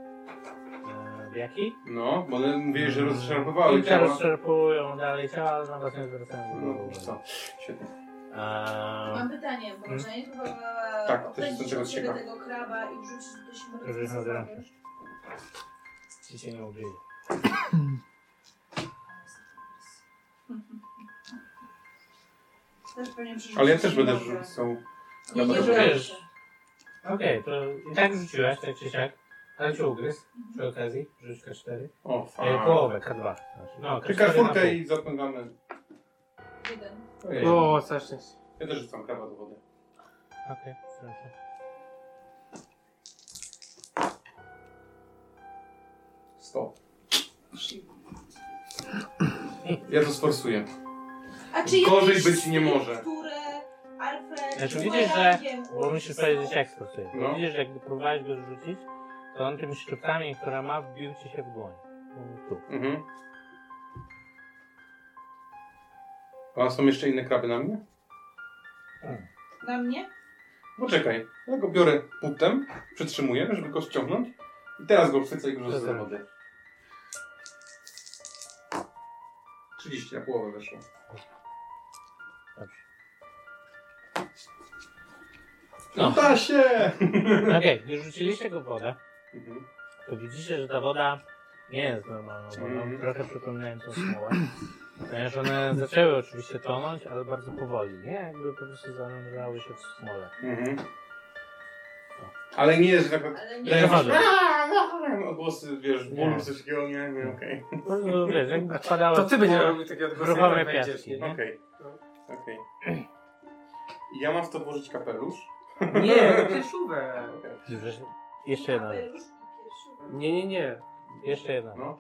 E, jaki? No, bo one mówiłeś, Mm. że rozszarpowały I ciała. teraz szarpują dalej ciała, ale na was nie zwracają No, uwagi. co? Świetnie. Eee, Mam pytanie, bo hmm? nie próbowała Mhm. Tak, to jest do odpędzić czego od siebie ciekawe. tego kraba i wrzucić do Żeby śmierci. na drapie. Ci się nie ubiję. Też pewnie przerzucić Ale ja też będę nogę. rzucał. Nie, nie Dobra, to udało wiesz. się. Okej, to i tak rzuciłeś, tak czy siak. Ale cię ugryzł przy okazji. Rzuć K4. O, E, fajnie. połowę, K2. No, Czekaj na pół. furkę i zapędzamy. Jeden. Ojej. O, całe szczęście. Ja też rzucam krawa do wody. Okej, proszę. Stop. Ja to sforsuję. A czy Gorzej jakieś być nie może. Które Alfred Znaczy była widzisz, że- rankiem Bo musisz ułożył? sobie że jak stosuje. No. Bo widzisz, że jakby próbowałeś go zrzucić, to on tymi szczyptami, które ma, wbił ci się w dłoń. No, Tu. Mhm. A są jeszcze inne kraby na mnie? Na mnie? Poczekaj. Ja go biorę butem, przytrzymuję, żeby go ściągnąć. I teraz go wsycę i go rzucę do wody. 30 na połowę weszło. Dobrze. No. Da się! Okej, gdy rzuciliście go w wodę, Mhm. to widzicie, że ta woda nie jest normalną wodą, Mhm. trochę przypominającą smołę. Ponieważ one zaczęły oczywiście tonąć, ale bardzo powoli, nie? Jakby po prostu zanurzały się w smole. Mhm. Ale nie jest tak... Ale Lewa nie. Przechodzę. Lewa. Odgłosy, no, wiesz, bólu, Nie. coś takiego, nie, nie, okej. Po prostu, No, wiesz, jakby wpadały To ty będziesz w robił takie odgłosy, Gruchowe jak wejdziesz, piaski. nie? Nie? Okej. Okej. I Ja mam w to włożyć kapelusz? Nie, kieszówę. Okej. Wiesz, Jeszcze jedna rzecz, Kapelusz i piersiówek. Nie, nie, nie. jeszcze jedna rzecz. No.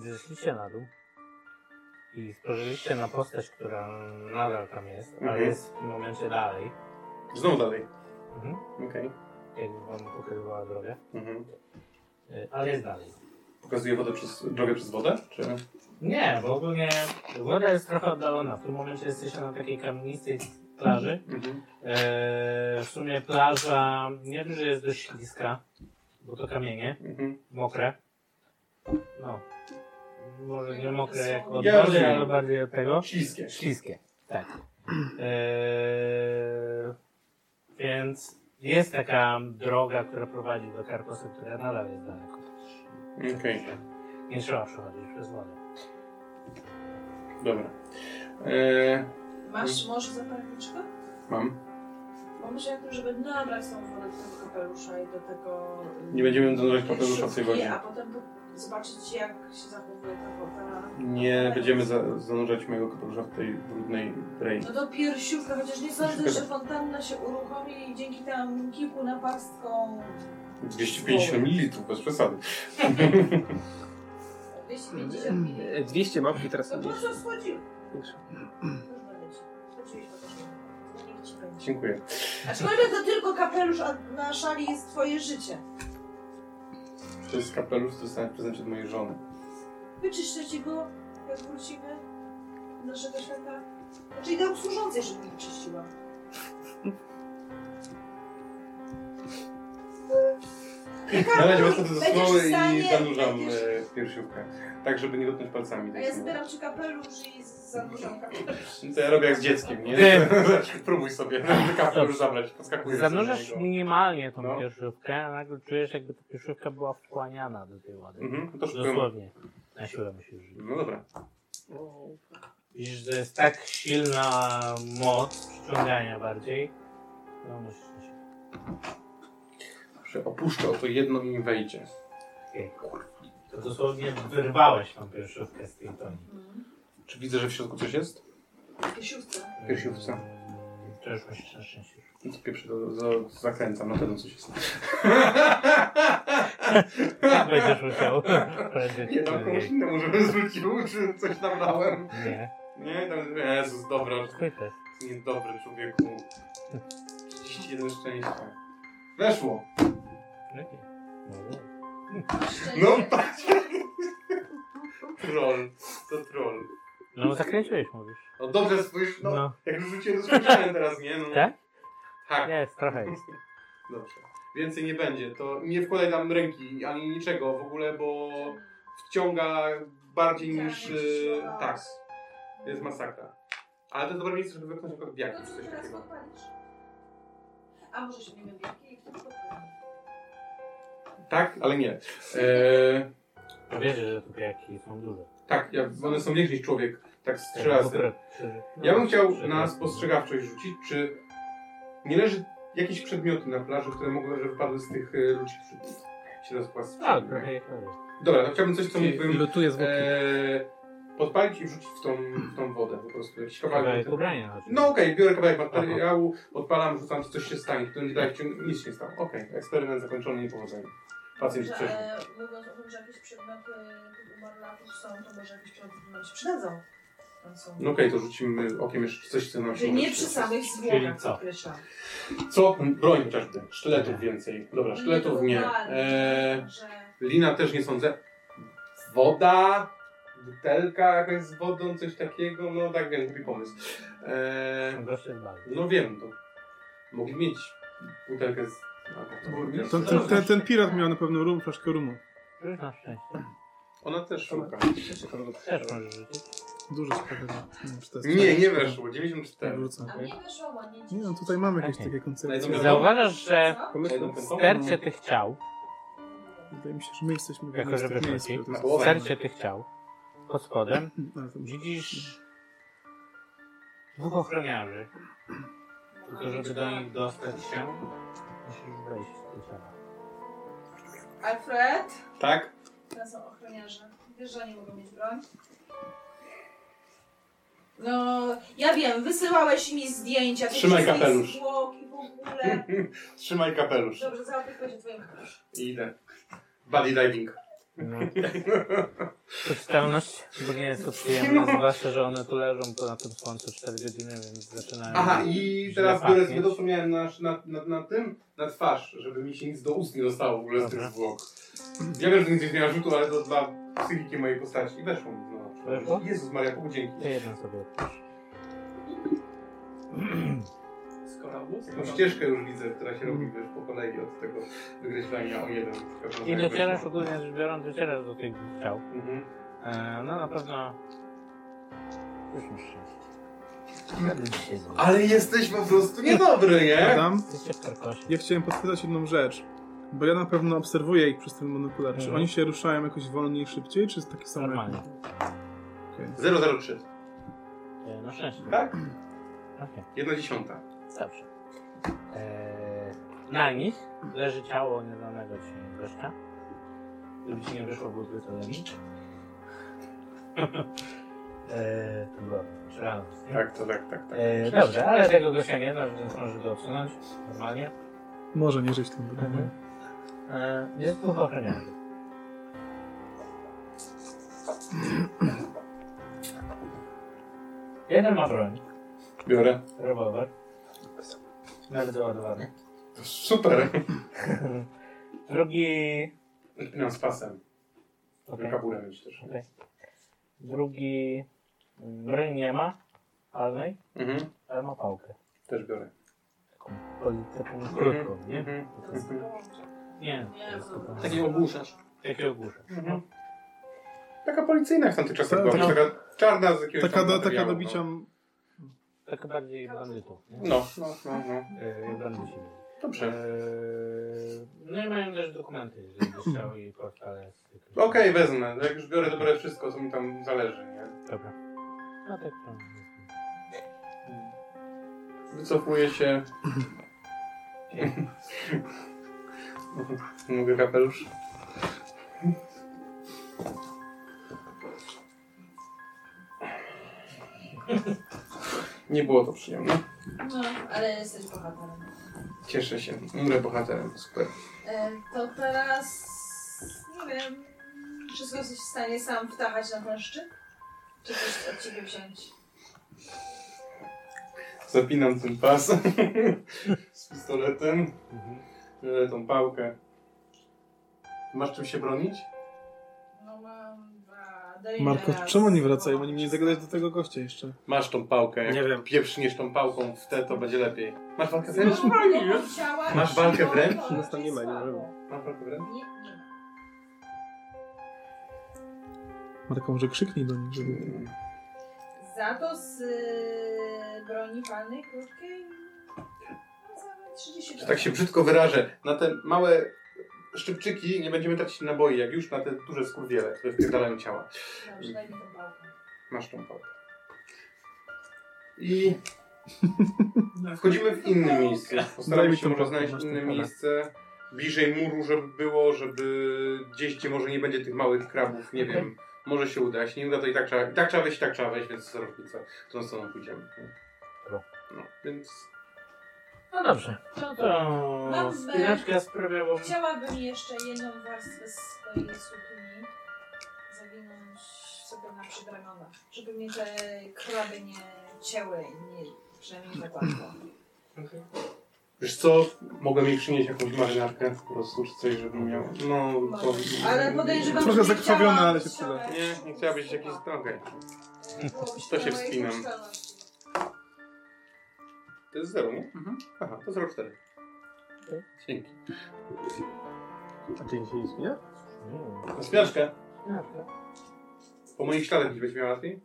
Gdy zeszliście na dół i spojrzeliście na postać, która nadal tam jest, ale Mhm. jest w tym momencie dalej, Znowu dalej. mhm. Okej. jakby wam pokrywała drogę, Mhm. y, ale jest dalej. Pokazuję wodę przez, drogę przez wodę? Czy... Nie, bo ogólnie woda jest trochę oddalona. W tym momencie jesteście na takiej kamienistej plaży. Mhm. Eee, w sumie plaża nie dość, że jest dość śliska, bo to kamienie, Mhm. mokre. No, może nie mokre jak od Ja wody, rozumiem. ale bardziej od tego. Śliskie. Śliskie, tak. Eee, więc jest taka droga, która prowadzi do Karkosy, która nadal jest daleko. Okej. Nie trzeba przechodzić przez wodę. Dobra. Eee, Masz może zapalniczkę? mam. Bo myślę, jak żeby nabrać tą wodę do tego kapelusza i do tego... y, Nie będziemy dodawać kapelusza w tej piersiówki, wodzie. A potem po- zobaczyć, jak się zachowuje ta woda. Nie będziemy za, zanurzać mojego kapelusza w tej brudnej rei. No do piersiówka, chociaż nie sądzę, Piersiówka, że fontanna się uruchomi i dzięki tam kilku napastkom 250 ml, bez przesady. 250 Mm. ml. E, 200 mapki teraz są To No po mniejsze. co schodził? Większe. Już będę ci. Chodziłeś po to. Niech ci będzie. Dziękuję. Aczkolwiek to tylko kapelusz a na szali jest twoje życie. To jest kapelusz, który dostałem w prezencie od mojej żony. Wyczyszczę go, jak wrócimy do naszego świata. Znaczy idę u służącej, żeby mi czyściła. Nalać was do Będziesz smoły w stanie- i zanurzam będziesz- e, piersiówkę. Tak, żeby nie dotknąć palcami. A tej ja smoły. zbieram ci kapelusz i zanurzam kapelusz. To ja robię jak z dzieckiem, nie? Wiem. Próbuj sobie kapelusz zabrać, podskakujesz. Zanurzasz do niego. minimalnie tą No. pierzówkę, a nagle czujesz, jakby ta pierzówka była wchłaniana do tej wody. Mhm, to szukuję. Dosłownie. Na siłę musisz żyć. No dobra. Widzisz, że jest tak silna moc przyciągania bardziej. No musisz na siłę. się opuszcza o to jedno i mi wejdzie. To dosłownie wyrwałeś tą pierwszówkę z tej toni. Czy widzę, że w środku coś jest? Siówce. W piersiówce. Mm, Przeszłość na szczęście. Więc pierwszy to, to zakręcam, na pewno coś jest. Tak będziesz musiał. Będziesz Nie, no, tam komuś nie. innemu, żeby zwrócił, czy coś tam dałem. Nie. Nie, tam, Jezus, dobra, Twój test. niedobry człowieku. 31 szczęścia. Weszło! Okej. No tak! troll, to troll. No, no zakręciłeś, mówisz. No dobrze spójrz, no, No. jak już rzuciłem, to spojrzałem teraz, nie? No. Tak? Tak. Jest, trochę jest. Dobrze. Więcej nie będzie. To nie wkładaj tam ręki ani niczego w ogóle, bo wciąga bardziej niż. y, tak. Jest masakra. Ale to jest dobre miejsce, żeby wypchnąć jako No diagnóz, to coś teraz takiego. podpalisz. A może się nie białki i wtedy podpalisz. Tak, ale nie. Eee, No wiesz, że tu jaki są duże. tak, jak one są większe niż człowiek. Tak z trzy razy. Ja bym chciał na spostrzegawczość rzucić, czy nie leży jakieś przedmioty na plaży, które mogły, że wypadły z tych y, ludzi, którzy się rozpłaskały. Tak, trochę jest. Dobra, to chciałbym coś, co mógłbym Lutuje z Eee, podpalić i wrzucić w tą, w tą wodę po prostu. Jakiś kawałek. Kawałek ubrania. na przykład. No okej, biorę kawałek materiału, odpalam, rzucam, czy coś się stanie. To nie daje wciąg- nic się nie stało. Okej, eksperyment zakończony, niepowodzeniem. Pacjent Że, przeżył. e, Mówiąc o tym, że jakieś przedmioty umarlaków są, to może jakieś przedmioty nam się przydadzą. Tam są. No okej, to rzucimy okiem jeszcze coś, co nam się Czyli nie może przy przydać. samych Czyli zwłokach, co? podkreślam. Co? Broń chociażby. Sztyletów więcej. Dobra, sztyletów nie. Eee, Że lina też nie sądzę. Woda? Butelka jakaś z wodą, coś takiego? No tak, wiem, głupi pomysł. Eee, Goście z balu. No wiem, to mogli mieć butelkę z... alkoholem. To, ten, ten, ten pirat miał na pewno rum, flaszkę rumu. Na szczęście. Ona też szuka. Też możesz rzucić. Dużo sprawia. Nie, wiem, czy to jest Nie, nie weszło, 94. Wrócę. A mnie weszło ładnie. Nie no, tutaj mamy jakieś Okej. takie koncepcje. Najdobra- Zauważasz, że Co? w stercie tych ciał, Wydaje mi się, że my jesteśmy w Jako, jednym z żeby tych miejsc. wrócić. które to Na w jest- No, stercie tych ciał, pod spodem, Ale to musi- widzisz dwóch ochroniarzy. Tylko żeby do nich dostać się, musisz wejść w te ciała. Alfred? Tak? To są ochroniarze. Wiesz, że oni mogą mieć broń? No, ja wiem, wysyłałeś mi zdjęcia. tych Trzymaj wszystkich kapelusz. Zwłok i w ogóle. Trzymaj kapelusz. Dobrze, załatwię będzie twoim kapelusz. I idę. Body diving. No. Czytelność, bo nie jest to przyjemne, zwłaszcza, że one tu leżą po na tym słońcu 4 godziny, więc zaczynają... Aha, i źle teraz biorę pachnieć. zbyt co miałem na, na, na, na tym, na twarz, żeby mi się nic do ust nie dostało w ogóle z tych Dobra. zwłok. Ja wiem, że nic nie miałem rzutu, ale to dla psychiki mojej postaci. I weszło mi. No. Weszło? Jezus Maria, Bogu dzięki. Ty jedną sobie otwórz. Tą No, ścieżkę już widzę, która się robi wiesz, po kolei od tego wykreślenia o jeden. I docierasz ogólnie rzecz biorąc, docierasz do tych dwóch ciał. Mhm. E, no na pewno... Już masz szczęście. Ale jesteś po prostu niedobry, nie? Adam, Jesteście w karkosie. ja chciałem podpytać jedną rzecz. Bo ja na pewno obserwuję ich przez ten monokular. Czy Mhm. oni się ruszają jakoś wolniej, szybciej, czy jest takie samo? jak- Normalnie. 003. E, no szczęście. Tak? Okej. Jedna dziesiąta. Dobrze. Eee, na nich leży ciało nieznanego ci gościa. Gdyby ci nie wyszło byłby to lewi. eee, to była rano. Tak, to tak, tak, tak. Eee, dobrze, ale tego gościa nie znasz, więc możesz go odsunąć normalnie. Może nie żyć w tym budynku. Mhm. Eee, jest dwóch ochroniarzy. Jeden ma broń, Biorę. rewolwer. Nawet załadowany. Super. Drugi Mam No, z pasem. Okej. Kaburem już też. Okej. Drugi mm, broń nie ma, palnej, Mhm. ale ma pałkę. Też biorę. Taką, poli- taką krótką, nie? Mhm. To jest wyłączone. Nie, Nie, to jest dobra. taka- Taki ogłuszasz. takiego górze. Mhm. Taka policyjna jak w tamtych czasach Ta- była. Tak, taka- Taka czarna z jakiegoś Taka, tam do, taka materiału, do no. bicia... Tak bardziej bandytów, nie? No, no, no, no. Yy, bandyci. Dobrze. Yy, no i mają też dokumenty, jeżeli byś chciał i portale. z tych- Okej, wezmę. Jak już biorę, to biorę wszystko, co mi tam zależy, nie? Dobra. No tak, no. Wycofuję się. Mogę kapelusz? Nie było to przyjemne. No, ale jesteś bohaterem. Cieszę się. Umrę bohaterem. Super. E, to teraz... Nie wiem... Wszystko jesteś w stanie sam wtachać na ten szczyt? Czy coś od ciebie wziąć? Zapinam ten pas z pistoletem. Biorę tą pałkę. Masz czym się bronić? No mam dwa... Derringer Marko, Raz. czemu nie wracają? Oni nie zagadać do tego gościa jeszcze. Masz tą pałkę. e, Jak nie wiem. Pieprzniesz tą pałką w te, to będzie lepiej. Masz walkę wręcz? No, no, chciała- Masz walkę wręcz? Nas tam nie ma, nie Masz walkę wręcz? Nie, nie ma. Marko, może krzyknij do nich, żeby... Za to z y, broni palnej krótkiej... No, za 30 Że tak się brzydko wyrażę. Na te małe szczypczyki nie będziemy tracić naboi, jak już na te duże skurwiele, które wpierdalają ciała. Dobrze, daj mi tą pałkę. Masz tą pałkę. I wchodzimy w inne miejsce. Daj Postaramy mi się tą może pałkę, znaleźć masz tą inne palę. miejsce. Bliżej muru, żeby było, żeby gdzieś, gdzie może nie będzie tych małych krabów, nie wiem. Może się uda, jeśli nie uda, to i tak trzeba, i tak trzeba wejść, i tak trzeba wejść, więc co różnica, którą stroną pójdziemy. No, więc No dobrze. No to... Mam Spinaczka sprawiała... Chciałabym jeszcze jedną warstwę swojej sukni zawinąć sobie na przedramiona, żeby mnie te kraby nie cięły i nie, przynajmniej tak łatwo. Wiesz co, mogę mi przynieść jakąś marynarkę po prostu, czy coś, żebym miał. No, to... Ale podejrzewam, Trochę że nie zakrwawione, chciała- ale się przyda. Nie, nie chciałabyś jakiejś... no, Okej. Byłoby To się na mojej wspinam. funkcjonalności. To jest zero, nie? Mhm. Aha, to 0,4. Dzięki. A ty się nie zmienia? Na spiaczkę. Po moich śladach byś miała łatwiej?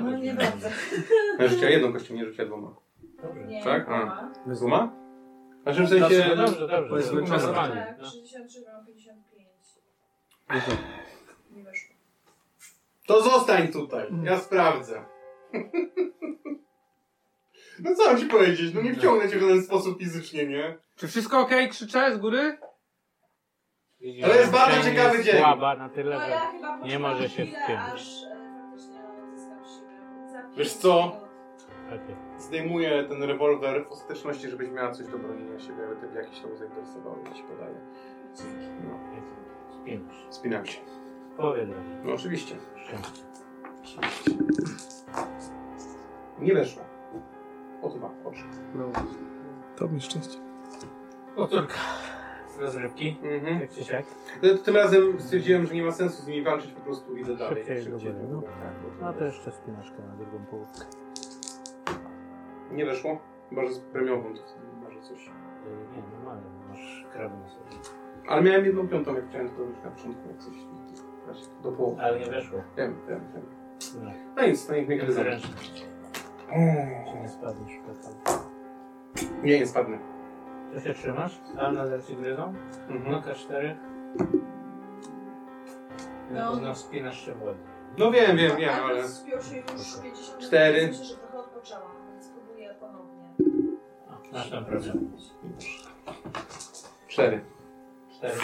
No nie Tak? bardzo. No, Ja rzuciła jedną kością, nie rzuciła dwoma. Nie, Tak? A. ma. Z dwoma? Znaczy w sensie... Dobrze, dobrze, dobrze. jest Dobrze, zmęczona. dobrze. Tak, 63 mam 55. Nie tak. weszło. To zostań tutaj, ja sprawdzę. No co mam ci powiedzieć, no nie wciągnę cię w żaden sposób fizycznie, nie? Czy wszystko okej? Krzyczę z góry? To jest bardzo Dzień ciekawy jest dzień. Słaba na tyle, No że... ja chyba nie może się poczekam chwilę, wpiąć. aż e, faktycznie odzyskam siłę. Za Wiesz co? pięć minut. Okej. Zdejmuję ten rewolwer w ostateczności, żebyś miała coś do bronienia siebie, ale ty jakiś to zainteresowało, jak ci podaje. No, Spinusz. spinam się. Powiedz. No oczywiście. Nie weszło. O dwa, oczy. To mi szczęście. Powtórka. Z rozrywki. Mhm. Jak czy siak. No, to Tym razem stwierdziłem, że nie ma sensu z nimi walczyć, po prostu idę dalej. Szybciej do góry, no. tak, bo to No to wiesz. jeszcze spinaczka na drugą połówkę. Nie weszło? Chyba, że z premiową to wtedy może coś. Yy, Nie, normalnie, masz krabę na sobie. Ale miałem jedną piątą, jak chciałem to robić na początku, jak coś. Właśnie, Do połowy. Ale nie weszło. Wiem, wiem, wiem. No. No nic, to niech mnie Jak gryzą. zręczny. Czy nie spadniesz przykład. Mm, Nie, nie spadnę. To się trzymasz? A na racji gryzą? No Mhm. K4. No. No. Poznam spinasz się w wodę. No wiem, wiem, wiem, Ale ale... rozpiął się już 50 Cztery. minut, myślę, że trochę odpoczęłam, więc spróbuję ponownie. Masz tam problem. Cztery. Cztery.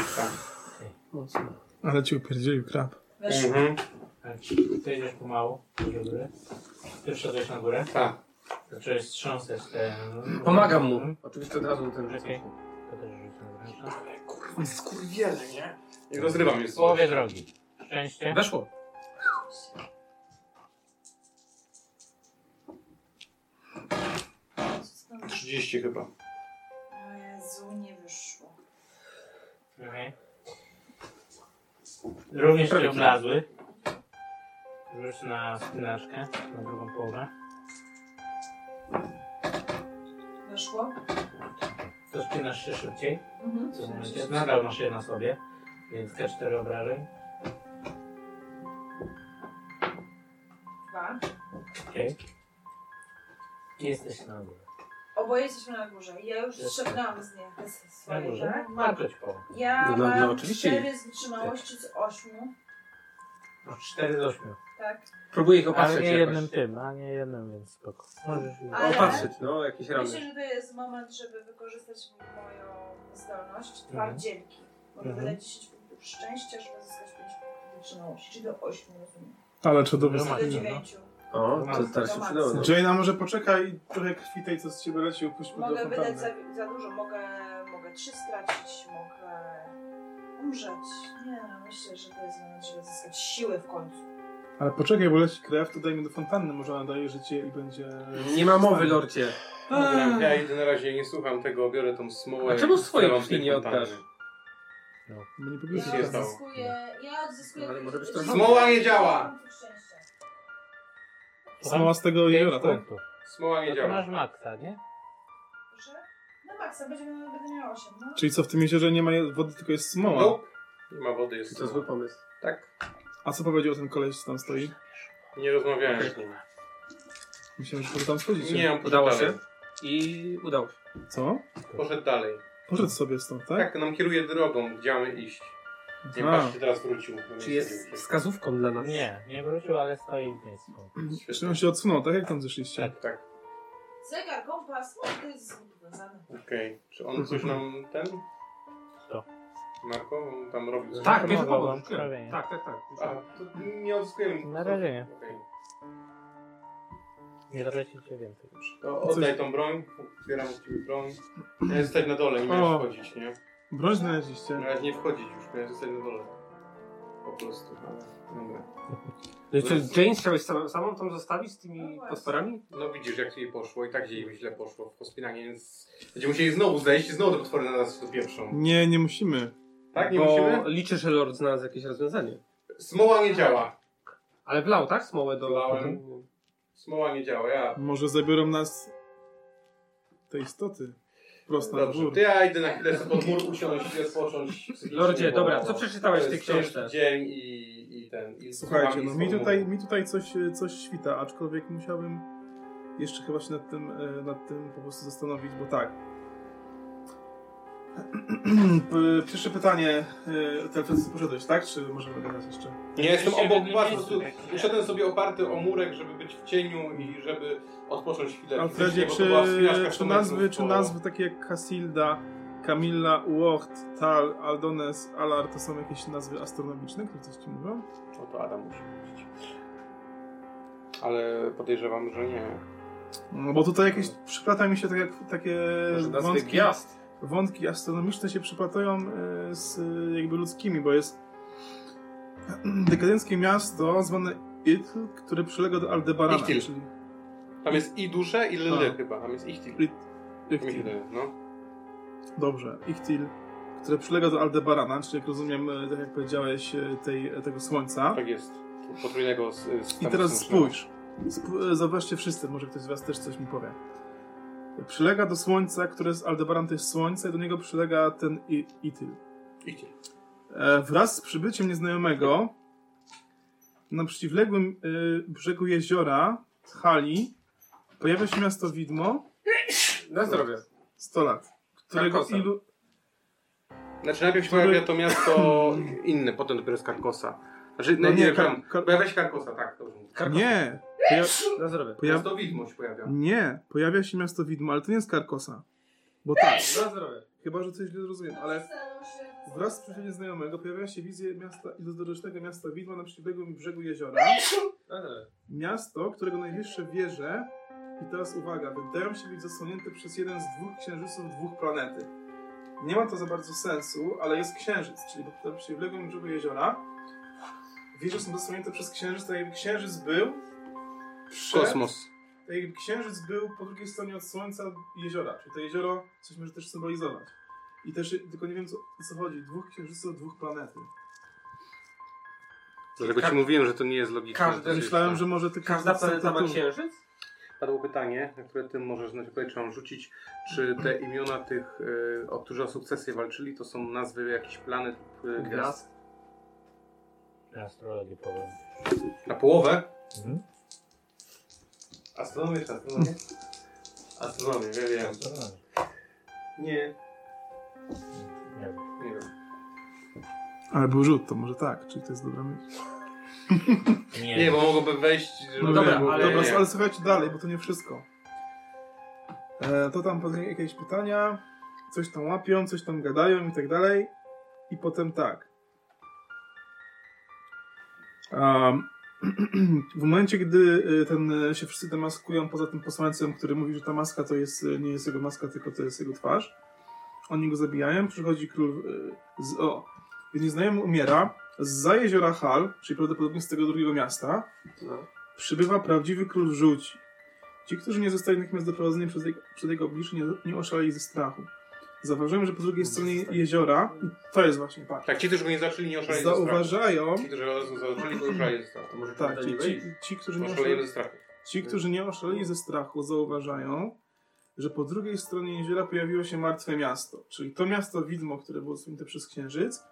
Ale ci upierdzielił krab. Weszło. Mhm. Tak. Ty idziesz pomału. Do góry. Ty wszedłeś na górę. Tak. Zacząłeś strząsać te... Pomagam mu. Oczywiście od razu mu ten rzucę. Mhm. Okej. To też rzucam wręcz. Kurwa, skurwiele, nie? I rozrywam je W sobie. połowie drogi. Szczęście. Weszło. Znowu. 30 chyba. O Jezu, nie wyszło. Okej. Również cię oblazły. Rzuć na spinaczkę, na drugą połowę. Mm. Weszło? To spinasz się szybciej. Mhm. W tym momencie nadal masz je na sobie, więc te cztery obrażeń. Dwa. Okej. Jesteś na górze. Oboje jesteśmy na górze. Ja już Jest. strzelałam z niej. To jest Na swoje, górze? tak? Marko ci połowę. Ja No, no, mam oczywiście. cztery z wytrzymałości z ośmiu. 4 do 8. Tak. Próbuję ich opatrzyć Ale nie jakoś. jednym tym, a nie jednym, więc spoko. Możesz je- Ale- Opatrzyć, no, jakieś Myślę, ramy. że to jest moment, żeby wykorzystać moją zdolność Mhm. twardzielki. Mogę Mhm. wydać 10 punktów szczęścia, żeby zyskać 5 punktów wytrzymałości, czyli do 8, rozumiem. Ale czy dobrze Do zrobiłem, no. 9. O, to teraz się przydało. No. Jaina może poczeka i trochę krwi tej, co z ciebie leci, upuśćmy do Mogę wydać za, fontanny. za dużo, mogę, mogę 3 stracić, mogę umrzeć. Nie, no, myślę, że to jest moment, żeby zyskać siłę w końcu. Ale poczekaj, bo leci krew, to dajmy do fontanny, może ona daje życie i będzie... Nie ma mowy, lordzie. Dobra, ja idę na razie, nie słucham tego, biorę tą smołę. A czemu i swoje wlewam krwi tej nie fontanny. oddasz? Bo nie Ja powiesz, się stało? odzyskuję, ja odzyskuję... No, ale może być to- Smoła nie działa! Szczęścia. Sama z tego Pięć jeziora, tak? punktów. Smoła No nie to działa. masz maksa, nie? Proszę? No maksa, będzie, będę miała 8, no. Czyli co, w tym jeziorze nie ma je- wody, tylko jest smoła. No. Nope. No, Nie ma wody, jest To smoła. zły pomysł. Tak, A co powiedział ten koleś, co tam stoi? nie rozmawiałem z nim. Myślałem, że to tam schodzicie. Nie, on poszedł Udało dalej. Tak, się? I udało się. Co? Poszedł dalej. Poszedł sobie stąd, tak? Tak, nam kieruje drogą, gdzie mamy iść. Nie Aha. patrzcie, teraz wrócił. do miejsca, Czy gdzie jest uciekł. wskazówką dla nas? Nie, nie wrócił, ale stoi w miejscu. Czy on się odsunął, tak jak tam zeszliście? Tak, tak. Zegar, kompas, no to jest związane. Okej. Czy on coś nam ten? Co? Marko, on tam robił coś. Tak, bierze Pomogło wam pomoc. krwawienie. Tak, tak, tak. A, to nie odzyskujemy. Na razie nie. Okej. Nie dolecicie więcej. To oddaj tą broń, zbieram od ciebie broń. Miałem zostać na dole, nie O. miałem wchodzić, nie? Broń znaleźliście. Na razie nie wchodzić już, miałem zostać na dole. Po prostu, ale dobra. No, czy Jane chciałeś samą, samą tam zostawić z tymi No potworami? No widzisz, jak jej poszło i tak jej źle poszło w pospinanie, więc będziemy musieli znowu zejść i znowu te potwory na nas dopieprzą. Nie, nie musimy. Tak, nie Bo musimy? liczę, że Lord znalazł jakieś rozwiązanie. Smoła nie działa. Ale wlał, tak? Smołę do... Wlałem. Smoła nie działa, ja... Może zabiorą nas te istoty. Prosto na Dobrze, dwór. to ja idę na chwilę sobie pod mur usiąść i odpocząć. psychicznie, Lordzie, bo- dobra, co przeczytałeś w to tej jest ciężki książce? dzień i, i ten... I Słuchajcie, słucham no i mi słucham. tutaj, mi tutaj coś, e, coś świta, aczkolwiek musiałbym jeszcze chyba się nad tym, e, nad tym po prostu zastanowić, bo tak. P- Pierwsze pytanie, e, teraz poszedłeś, tak? Czy możemy gadać jeszcze? Nie, jestem Jesteście w obok jednym was, po miejscu, prostu tak? usiadłem sobie oparty o murek, żeby być w cieniu i żeby odpocząć chwilę. Alfredzie, fizycznie, bo to czy, była wspinaczka czy, 100 nazwy, metrów czy po- nazwy takie jak Casilda, Camilla, Uocht, Tal, Aldones, Alar to są jakieś nazwy astronomiczne, które coś ci mówią? No to Adam musi powiedzieć. Ale podejrzewam, że nie. No bo tutaj jakieś przyplata mi się tak jak, takie Może nazwy wątki, gwiazd. wątki astronomiczne się przyplatają e, z e, jakby ludzkimi, bo jest dekadenckie miasto zwane Itl, które przylega do Aldebarana. Ichtil. Czyli Tam jest i dusze, i A. lyle chyba. Tam jest ich til. It, Ichtil. Myślę, no. Dobrze, Ichtil, które przylega do Aldebarana, czyli jak rozumiem, e, tak jak powiedziałeś, e, tej, tego słońca. Tak jest. Potrójnego z, z I teraz spójrz. Sp- e, Zobaczcie wszyscy, może ktoś z was też coś mi powie. Przylega do Słońca, które z Aldebaran to jest Słońce, i do niego przylega ten I- Ityl. Ich til. E, wraz z przybyciem nieznajomego na przeciwległym e, brzegu jeziora Hali pojawia się miasto Widmo Na zdrowie. 100 lat, którego Karkosem. ilu... Znaczy najpierw się Który- pojawia to miasto inne, potem dopiero z Karkosa. Znaczy, no, No nie, nie, Kar- tam, Kar- pojawia się Karkosa, tak. Dobrze. Karkos. Nie! Poja... Na zdrowie. Poja... Miasto Widmo się pojawia. Nie! Pojawia się miasto Widmo, ale to nie jest Karkosa. Bo tak, Na zdrowie. chyba, że coś źle zrozumiałem, ale... Staram się- Wraz z przyjacielem znajomego pojawia się wizja miasta iluzorycznego miasta widma na przeciwległym brzegu jeziora. Na zdrowie. Miasto, którego najwyższe wieże, i teraz uwaga, wydają się być zasłonięte przez jeden z dwóch księżyców dwóch planety. Nie ma to za bardzo sensu, ale jest księżyc, czyli na przeciwległym brzegu jeziora. Wieże są zasłonięte przez księżyc, tak jakby księżyc był przed, Kosmos. Tak jakby księżyc był po drugiej stronie od słońca jeziora, czyli to jezioro coś może też symbolizować. I też, tylko nie wiem co, o co chodzi, dwóch księżyców, dwóch planety. Dlatego Kar- ci mówiłem, że to nie jest logiczne. Każdy- to jest- Myślałem, że może tylko... Każda planeta ma księżyc? Padło pytanie, na które ty możesz znać odpowiedź, czy mam rzucić, czy te imiona tych, y, o którzy o sukcesję walczyli, to są nazwy jakichś planet y, gwiazd. Na astrologii powiem. Na połowę? Mhm. Astronomię czy astronomię? Astronomię, ja wiem. Nie. Nie wiem. Nie wiem. Ale był rzut, to może tak, czyli to jest dobra myśl. Nie, bo mogłoby wejść... No żeby- dobra, bo- ale, dobra, ale- słuchajcie dalej, bo to nie wszystko. E, to tam pewnie jakieś pytania, coś tam łapią, coś tam gadają i tak dalej. I potem tak. Em, w momencie, gdy y, ten y, się wszyscy demaskują, poza tym posłańcem, który mówi, że ta maska to jest, y, nie jest jego maska, tylko to jest jego twarz, oni go zabijają, przychodzi król y, z... O, nieznajomy umiera, z jeziora Hal, czyli prawdopodobnie z tego drugiego miasta, przybywa prawdziwy król żółci. Ci, którzy nie zostali natychmiast doprowadzeni przez jego, przed jego oblicze, nie, nie oszaleli ze strachu. Zauważyłem, że po drugiej stronie jeziora, to jest właśnie tak, Tak, ci, którzy go nie zaczęli, nie oszaleli ze strachu. zauważają, Ci, którzy go zaczęli, go oszaleli ze strachu. tak, ci, ci, ci, którzy nie Oszaleli oszaleli, ze strachu. ci, którzy nie oszaleli ze strachu, zauważają, że po drugiej stronie jeziora pojawiło się martwe miasto, czyli to miasto widmo, które było usunięte przez księżyc,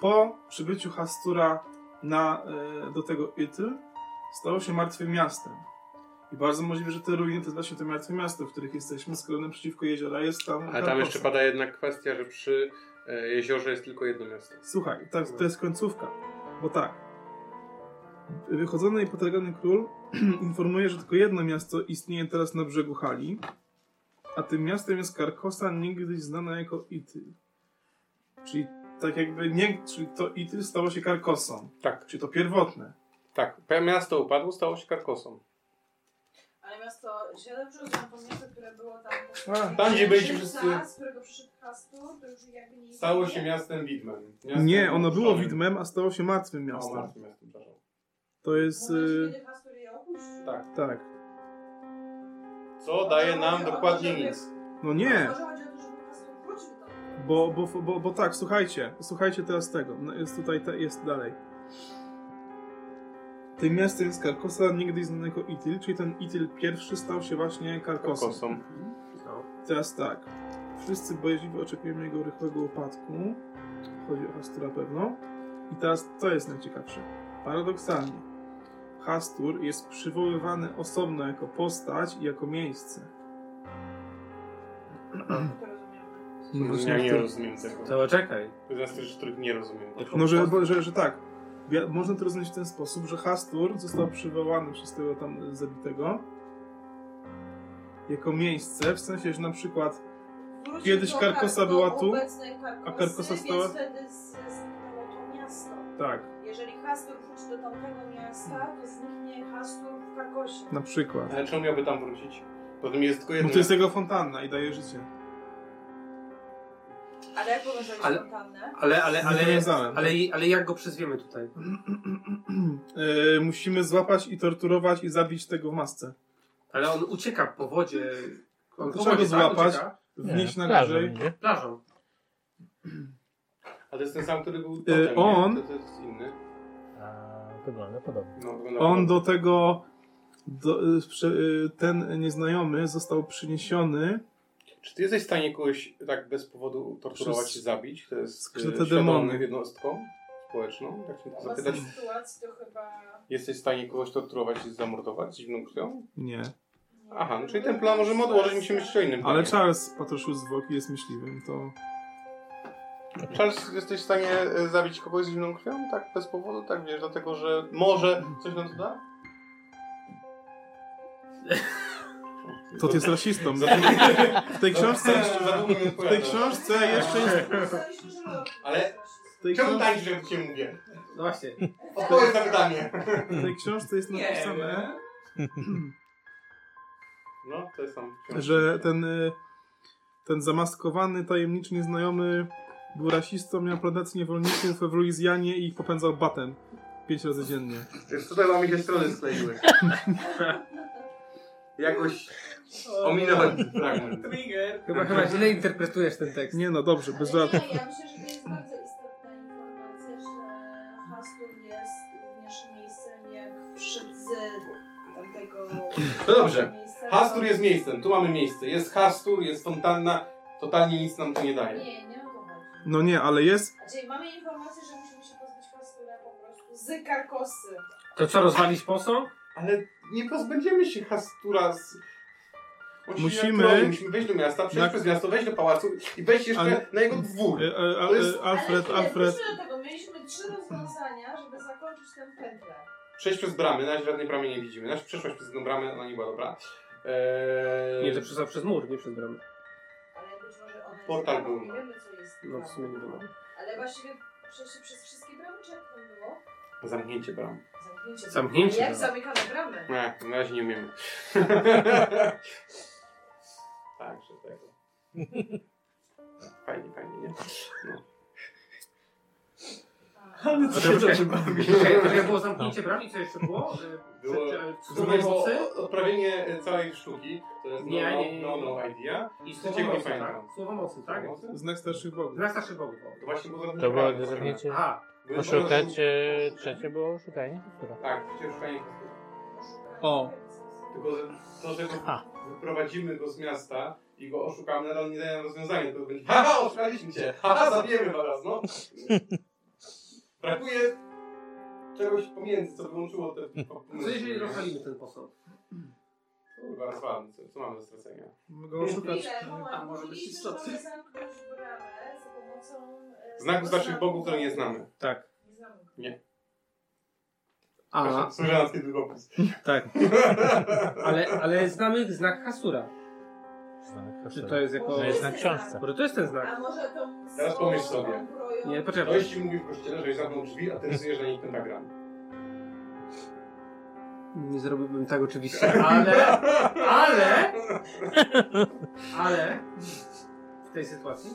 po przybyciu Hastura na, e, do tego Ytyl, stało się martwym miastem. I bardzo możliwe, że te ruiny to jest właśnie to martwe miasto, w których jesteśmy, skoro naprzeciwko jeziora jest tam... Ale tam jeszcze pada jednak kwestia, że przy e, jeziorze jest tylko jedno miasto. Słuchaj, tak, to jest końcówka. Bo tak. Wychodzony i potargany król informuje, że tylko jedno miasto istnieje teraz na brzegu Hali, a tym miastem jest Karkosa, niegdyś znana jako Ityl. Czyli tak jakby nie, czyli to Ityl stało się Karkosą. Tak. Czyli to pierwotne. Tak, miasto upadło, stało się Karkosą. Ale miasto, czy ja dobrze rozumiem, to miasto, które było tam... A, tam, gdzie byliśmy Księżyca, wszyscy. Z którego przyszedł Hastur, to już jakby nie Stało istnieje. się miastem widmem. Miastem Nie, ono było opuszczonym. widmem, a stało się martwym O, miastem. martwym miastem, przepraszam. To jest... Moment, y, kiedy Hastur je opuścił. Tak. tak. Co daje nam dokładnie nic. No nie! Może chodzi o to, żeby Hastur wrócił tam. Bo, bo, bo, bo tak, słuchajcie, słuchajcie teraz tego. No Jest tutaj, te, jest dalej. Tym miastem jest Karkosa, niegdyś znany jako Ityl, czyli ten Ityl pierwszy stał się właśnie Karkosem. Karkosą. Teraz tak. Wszyscy bojeźliwie oczekujemy jego rychłego upadku. Chodzi o Hastura pewno. I teraz to jest najciekawsze. Paradoksalnie. Hastur jest przywoływany osobno jako postać i jako miejsce. To rozumiem. Ja nie rozumiem tego. To czekaj. To jest rzecz, których nie rozumiem. No, że, bo- że, że tak. Wi- Można to rozumieć w ten sposób, że Hastur został przywołany przez tego tam zabitego jako miejsce, w sensie, że na przykład Wrócił Kiedyś do Karkosa Kar- do była tu, obecnej Karkosy, a Karkosa więc stała- wtedy z- zniknęło to miasto. tak, Jeżeli Hastur wróci do tamtego miasta, to zniknie Hastur w Karkosie. na przykład. Ale czemu miałby tam wrócić? Potem jest tylko jedno. Bo No to jest jego fontanna i daje życie. Ale jak powiązać Ale- fontannę? Ale, ale, ale, Nie ale, znałem. ale, ale jak go przyzwiemy tutaj? E, musimy złapać i torturować i zabić tego w masce. Ale on ucieka po wodzie. On To po trzeba wodzie, go złapać, Tak? wnieść na plażą górze. będzie. Ucieka? Plażą. A to jest ten sam, który był E, potem, nie? on- To, to jest inny. A, wygląda podobnie. No, wygląda On podobnie. do tego, do, y, prze- y, ten nieznajomy został przyniesiony Czy ty jesteś w stanie kogoś tak bez powodu torturować Przez- i zabić? To jest przez te e, demony. świadomą jednostką społeczną? Tak się zapytać. Obecnej sytuacji to chyba... Jesteś w stanie kogoś torturować i zamordować z zimną krwią? Nie. Aha, no Mm, czyli ten plan możemy odłożyć, musimy myśleć o innym Ale planie. Charles patroszył zwłoki, jest myśliwym, to... Charles, jesteś w stanie e, zabić kogoś z zimną krwią? Tak bez powodu? Tak wiesz, dlatego że może coś nam to da? To ty jest rasistą. W tej książce... Za długo nie W tej odpowiadasz. książce jeszcze jest... Dostaliśmy, że Loki Ale- jest rasistą. W tej, Czemu książ... tańczysz, jak cię mówię? No właśnie. Odpowiedz na pytanie. w tej książce jest napisane, No, to jest tam. że ten, y, ten zamaskowany, tajemniczy, nieznajomy był rasistą, miał plantację niewolników w Luizjanie i ich popędzał batem. Pięć razy dziennie. Wiesz, tutaj mam jakieś strony skleiły. Jakoś ominąłem fragment. Chyba, chyba źle interpretujesz ten tekst. Nie no, dobrze, bez żartów. Nie, ja myślę, że to jest bardzo istotna informacja, że Hastur jest również miejscem jak wszedł z tamtego No dobrze. miejsca. Hastur jest miejscem, tu mamy miejsce. Jest Hastur, jest fontanna. Totalnie nic nam to nie daje. Nie, nie o to chodzi. No nie, ale jest... A Czyli mamy informację, że musimy się pozbyć Hastura po prostu z Karkosy. To co, rozwalić posąg? Ale nie pozbędziemy się Hastura z... On się Musimy- nie odrobi. Musimy wejść do miasta, przejść Na- przez miasto, wejść do pałacu i wejść jeszcze Ale- na jego dwór. y, y, a- To jest- y, Alfred, Ale Alfred... Wróćmy do tego. Mieliśmy trzy rozwiązania, żeby zakończyć Jestem pętlę. Przejść przez bramy, na razie żadnej bramy nie widzimy. Nasz przeszłaś przez jedną bramę, ona nie była dobra. Eee, Nie, to przez, przez mur, nie przez bramę. Ale być może ona jest Portal prawą, był. Nie wiemy, co jest No w sumie nie prawą. było. Ale właściwie przeszli przez wszystkie bramy, czy jak tam było? Zamknięcie bram. Zamknięcie. Zamknięcie Jak bram. zamykamy bramy? Nie, na razie nie umiemy. Także tego. Fajnie, fajnie, nie? No. Ale co się Poczekaj, dobrze bawi. Czekaj, czekaj, było zamknięcie bramy, co jeszcze było? Było, było odprawienie e, całej sztuki. To jest no, Nie, no, nie, nie, no, nie. no idea. I Trzeciego słowo nie mocy, tak? pamiętam. Słowo mocy, tak? Pomocy? Znak starszych bogów. Znak starszych bogów. o. To właśnie było To zamknięcie było bram. zamknięcie. Aha, Były Poszukać, same- e, trzecie było szukanie. Dobra. Tak, przecież fajnie posłuchaj. O. Tylko że to, że go A. wyprowadzimy go z miasta i go oszukamy, ale on nie daje nam rozwiązania, tylko będzie haha, oszukaliśmy cię, haha, zabijemy was, no. Brakuje czegoś pomiędzy, co by łączyło te... co jeżeli rozwalimy ten posąg? Kurwa, rozwalmy, co, co mamy do stracenia? Mamy go oszukać. Chwilę, moment. A może być Mówiliśmy, istotny. że mamy zamknąć bramę za pomocą... e, Znaku starszych znaku. bogów, którego nie znamy. Tak. Nie znamy. A, Słyszałem taki długopis. Tak. ale, ale znamy znak Hasura. Czy to jest jako... No jest na książce. Może to jest ten znak? Tak. A może to... Teraz pomyśl sobie. Zbroją... Nie, To poczekaj. jeśli mówi w kościele, że zamknął drzwi, a ty rysujesz na nich pentagram. Nie zrobiłbym tak oczywiście, ale... Ale... Ale... W tej sytuacji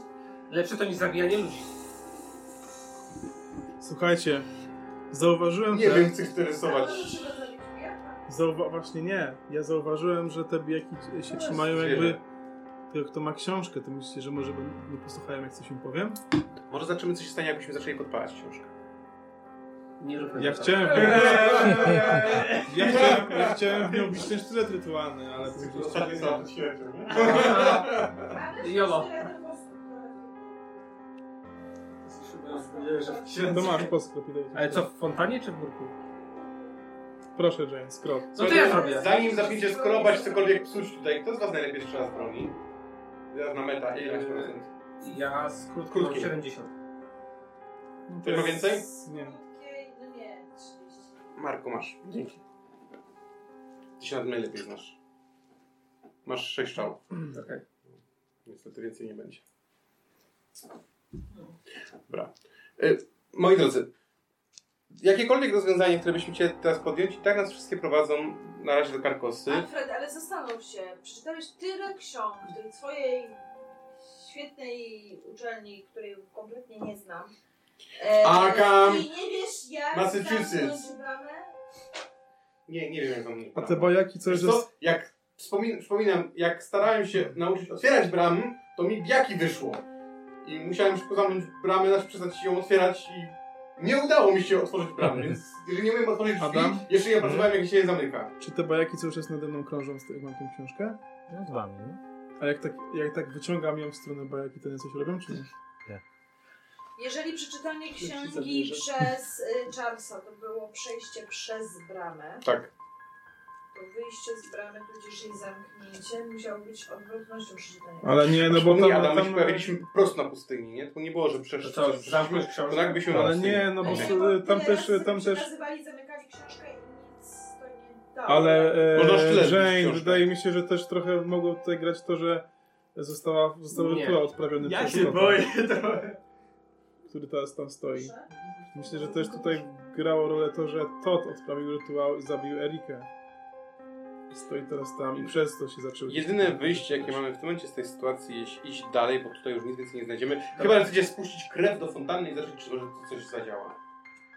lepsze to niż zabijanie ludzi. Słuchajcie, zauważyłem Nie też... wiem, chcę A rysować. może trzeba zabić kwiatka? Zauwa- właśnie nie. Ja zauważyłem, że te bijaki się trzymają jakby... Tylko kto ma książkę, to myślicie, że może będą- nie posłuchają, jak coś im powiem? Może zobaczymy, co się stanie, jakbyśmy zaczęli podpalać książkę. Nie róbmy Ja tego. chciałem... w nią- Ja chciałem, ja chciałem w nią bić ten sztylet rytualny, ale... później- Ale Jolo. Powiedziałeś, że w To księdze. masz, posklopidaj. Ale co, w fontanie czy w murku? Proszę, Jane, skrop. No to ja zrobię. Zanim zaczniecie skrobać cokolwiek psuć tutaj, kto z was najlepiej strzela z broni? Ja na meta, ile masz procent? Ja z krótkim Krótkim. 70. Ty ma więcej? Nie. Krótkiej, no nie, 30. Marku, masz. Dzięki. Ty się nawet najlepiej znasz. Masz 6 szał. Mm, Okej. Niestety więcej nie będzie. Dobra. Y, moi drodzy, jakiekolwiek rozwiązanie, które byśmy chcieli teraz podjąć, i tak nas wszystkie prowadzą na razie do karkosy. Alfred, ale zastanów się, przeczytałeś tyle ksiąg w tej twojej świetnej uczelni, której kompletnie nie znam. E, Arkham, I nie wiesz jak Massachusetts. zamknąć bramę? Nie, nie wiem jak on A te bajaki, co Wiesz jest... co, jak wspomin- przypominam, jak starałem się nauczyć otwierać bram, to mi biaki wyszło. I musiałem szybko zamknąć bramę, aż przestać ją otwierać i nie udało mi się otworzyć bramy, więc jeżeli nie umiem otworzyć drzwi, Adam? Mhm. jeszcze nie pracowałem, jak się je zamyka. Czy te bajaki cały czas nade mną krążą, z- jak mam tą książkę? No z wami, no. A jak tak, jak tak wyciągam ją w stronę bajaki, to one coś robią, czy nie? Jeżeli przeczytanie księgi przez y, Charlesa to było przejście przez bramę, Tak. to wyjście z bramy, tudzież jej zamknięcie, musiało być odwrotnością przeczytania. Ale nie, no bo Znaczy, Przypomnij, tam... Adam, my się tam pojawiliśmy prosto na pustyni, nie? To nie było, że To przeszedł. co, zamknąć książkę? To tak jakbyśmy na ale pustyni. nie, no bo Ale s- było tyle tam też, y, razy tam też... przekazywali, zamykali książkę i nic to nie dało. Ale Można sztylet e, wbić w Jane, książkę. wydaje mi się, że też trochę mogło tutaj grać to, że została, został Nie. rytuał odprawiony Ja przez się Scotta, boję trochę. który teraz tam stoi. Proszę. Myślę, że też tutaj grało rolę to, że Todd odprawił rytuał i zabił Erikę. Stoi teraz tam i przez to się zaczęło. Jedyne wyjście, jakie mamy w tym momencie z tej sytuacji, jest iść dalej, bo tutaj już nic więcej nie znajdziemy. Chyba, że chcecie spuścić krew do fontanny i zobaczyć, czy może coś zadziała.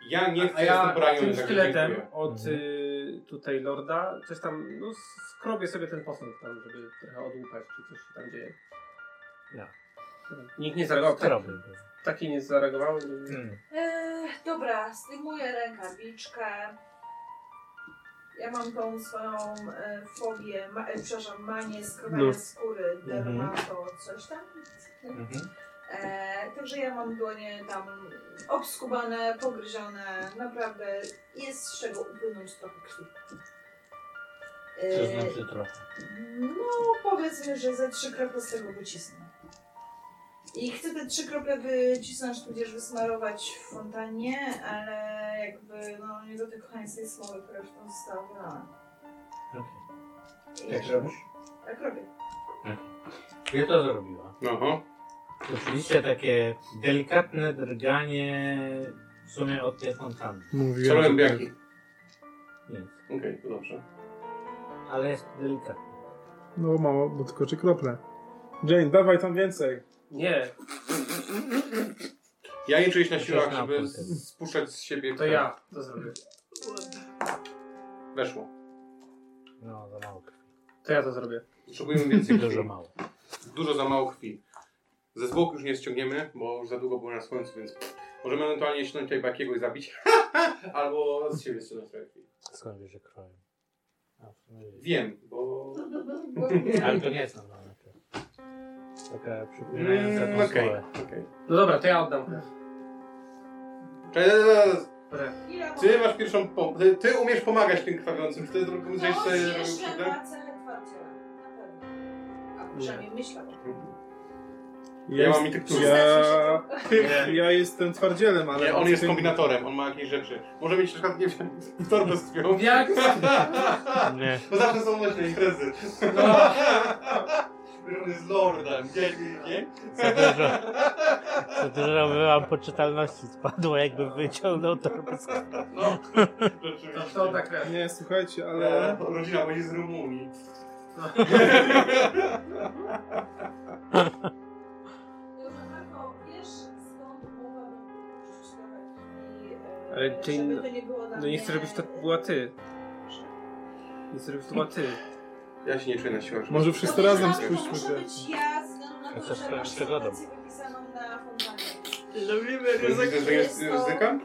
Ja nie chcę A z ja tym branią, tym także sztyletem dziękuję. od Mhm. y, tutaj lorda coś tam, no skrobię sobie ten posąg tam, żeby trochę odłupać, czy coś się tam dzieje. Ja. Nikt nie zareagował, Co tak, robię? taki nie zareagował. Hmm. Eee, dobra, zdejmuję rękawiczkę. Ja mam tą swoją e, fobię, ma, e, przepraszam, manię skrobania No. skóry, Mhm. dermato, coś tam. E, także ja mam dłonie tam obskubane, pogryzione, naprawdę jest z czego upłynąć trochę krwi. E, Co znaczy trochę? no powiedzmy, że ze trzy krople z tego wycisnę. I chcę te trzy krople wycisnąć, tudzież wysmarować w fontannie, ale jakby no, nie do tej kochańskiej słowy, która już tam została wylana. I- Tak robię. Ja to zrobiła. Aha. Oczywiście takie delikatne drganie w sumie od tej fontanny. Mówiłem, Czarłem że tak. bianki. Nie, Okej, to dobrze. ale jest delikatne. No mało, bo tylko trzy krople. Jane, dawaj tam więcej. Nie. Ja nie czuję się na siłach, Zaczynam żeby kontent. spuszczać z siebie. To ja to zrobię. Weszło. No, za mało krwi. To ja to zrobię. Potrzebujemy więcej krwi. Dużo mało. Dużo za mało krwi. Ze zwłok już nie ściągniemy, bo już za długo było na słońcu, więc możemy ewentualnie ściągnąć tutaj bakiego i zabić. Albo z siebie ściągnąć trochę krwi. Skąd wiesz, że kroją? A, w sumie wiem. Wiem, bo... Ale to nie jest normalne. krew. Taka przypominająca Mm, tą Okej, słowę. okej. No dobra, to ja oddam krew. Cześć, cześć, cześć. Ile Ty masz pierwszą pom- ty, ty umiesz pomagać tym krwawiącym, czy ty drugą No, gdzieś sobie robił jeszcze krzywdę? na cele kwarciela. Na pewno. A przynajmniej myślę. Ja mam mitykulę. Ja, Nie. ja jestem twardzielem, ale... Nie, on jest kombinatorem, on ma jakieś rzeczy. Może mieć na przykład, nie wiem, torbę z krwią. Jak? Nie. Bo zawsze są nośne imprezy. On jest lordem, nie, nie, nie. Za dużo, za dużo byłam poczytalności spadło, jakby wyciągnął torbę z No, To, rzeczywiście. to tak- ta krew. Nie, słuchajcie, ale... Ale rodzina będzie z Rumunii. Marko, wiesz skąd mogłabym rzucić nawet i, e, Ale ty- żeby to nie było dla No nie chcę, mnie- żebyś to była ty. Nie chcę, żebyś to była ty. Ja się nie czuję na siłach. Może To wszyscy może razem nawet to spójrzmy Muszę się. być ja, ze względu na Ja to, też że to masz przegadam. sytuację wypisaną na fontannie. Widzę, że jest ryzyka?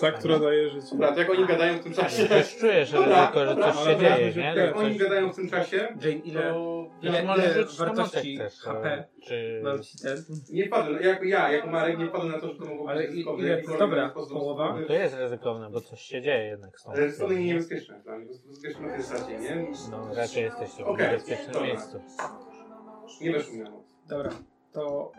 Ta, która daje życie. Dobra, to jak oni gadają w tym czasie? Też czujesz ryzyko, że coś się dzieje, nie? Że Jak oni coś... No, gadają w tym czasie, Jane, ile, to... ile, Możesz ile rzucić na wartości motek też, HP Czy... mam ci ten? Nie wpadłem, jak ja, jako Marek, nie wpadłem na to, że to mogło Ale być i- ryzykowne. ile- Jakikolwiek dobra, sposób- połowa? To jest ryzykowne, bo coś się dzieje jednak z tą Ale są stroną. niebezpieczne dla mnie, po prostu bezpieczne na tej zasadzie, nie? No raczej jesteście w Okej, niebezpiecznym dobra. miejscu. Nie weszło mi na moc. Dobra, to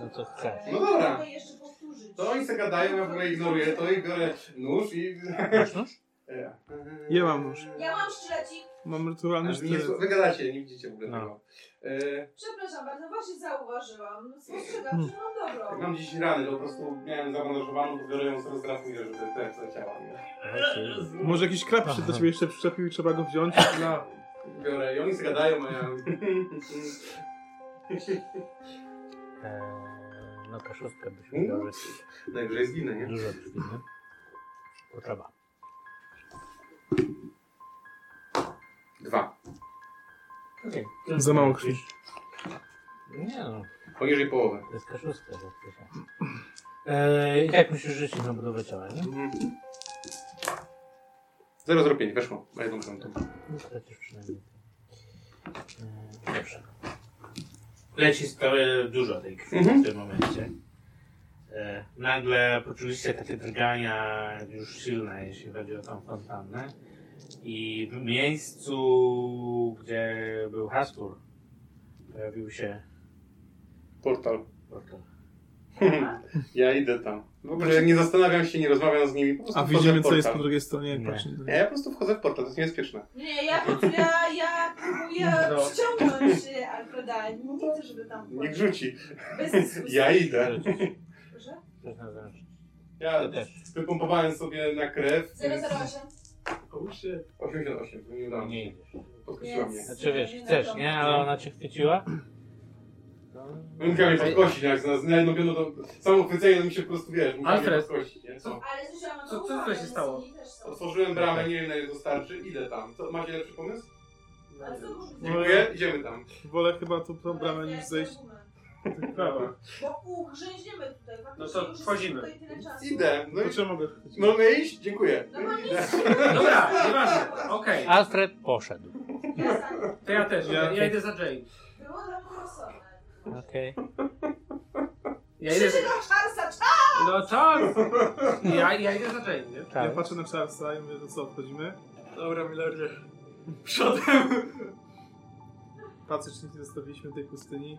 Bardzo No to chcesz. No dobra. Mogę jeszcze powtórzyć. To oni se gadają, ja w ogóle ignoruję to i biorę nóż i... Masz nóż? Ja. Ja mam nóż. Ja mam sztylecik. Mam rytualny Nie, sztylet. Wy gadacie, nie widzicie w ogóle No. tego. E, Przepraszam bardzo, właśnie zauważyłam. Spostrzegam, Mm. że mam jak dobrą. mam dziś rany, to po prostu miałem zabandażowaną, to biorę ją, sobie zdrafuję, żeby ten zleciała. nie? Może jakiś krab się do ciebie jeszcze przyczepił i trzeba go wziąć? no, Biorę i oni se gadają, a ja... Eee, no to szóstkę byśmy miał Najwyżej zginę, nie? Dużo drzwi, nie? Potrzeba. Dwa. Za mało krwi. Nie no, Poniżej połowy. to jest kaszustka. bo przecież- Eee, I tak musisz rzucić na budowę ciała, nie? 0,05, weszło. Ma jedną piątą. No przecież przynajmniej. Eee, Dobrze. Leci sprawę dużo tej krwi Mhm. w tym momencie. E, nagle poczuliście takie drgania już silne, jeśli chodzi o tą fontannę. I w miejscu, gdzie był Hastur, pojawił się Portal. portal. Ja idę tam. W ogóle nie zastanawiam się, nie rozmawiam z nimi. Po prostu A wchodzę widzimy, w co jest po portal. drugiej stronie, jak Nie. patrzymy. Nie, ja po prostu wchodzę w portal, to jest niebezpieczne. Nie, ja, ja, ja próbuję No. ściągnąć e, Alfreda. Nie chcę, żeby tam było. Niech rzuci. Bez dyskusji. Ja idę. Tak. Proszę? Coś na zręczność. Ja To też. wypompowałem sobie na krew. 008? 88, to nie udało mi Nie się. idziesz. Podkreśliła mnie. Yes. Znaczy wiesz, chcesz, nie? Ale ona cię chwyciła. Musiał mnie podkosić, jak na na jedno piętro, no to samo chwycenie mi się po prostu, wiesz, musiał mnie Alfred. podkosić, nie? Co? Ale słyszałam, Co- co no, tutaj się stało? też są. Otworzyłem bramę, nie wiem na ile dostarczy, idę tam. Co, macie lepszy pomysł? Ale co może być? Dziękuję, idziemy tam. Wolę chyba tu tą bramę niż zejść w prawo. Bo ugrzęźniemy tutaj. faktycznie No to już wchodzimy. jest tutaj tyle czasu. Idę. No i To czy mogę wchodzić? możemy iść? Dziękuję. No mam Idę. nic. Dobra, nieważne, okej, Alfred poszedł. Jasne. to ja też, Ja- ja, ja idę za Jane. Było dla mnie osobne. Okej. Ja idę za... Czarsa, No Charles! Ja, ja idę za Jane, nie? Ja patrzę na Charlesa i mówię, to co, wchodzimy? Dobra, milordzie. Przodem. Patrzę, czy nic nie zostawiliśmy w tej pustyni.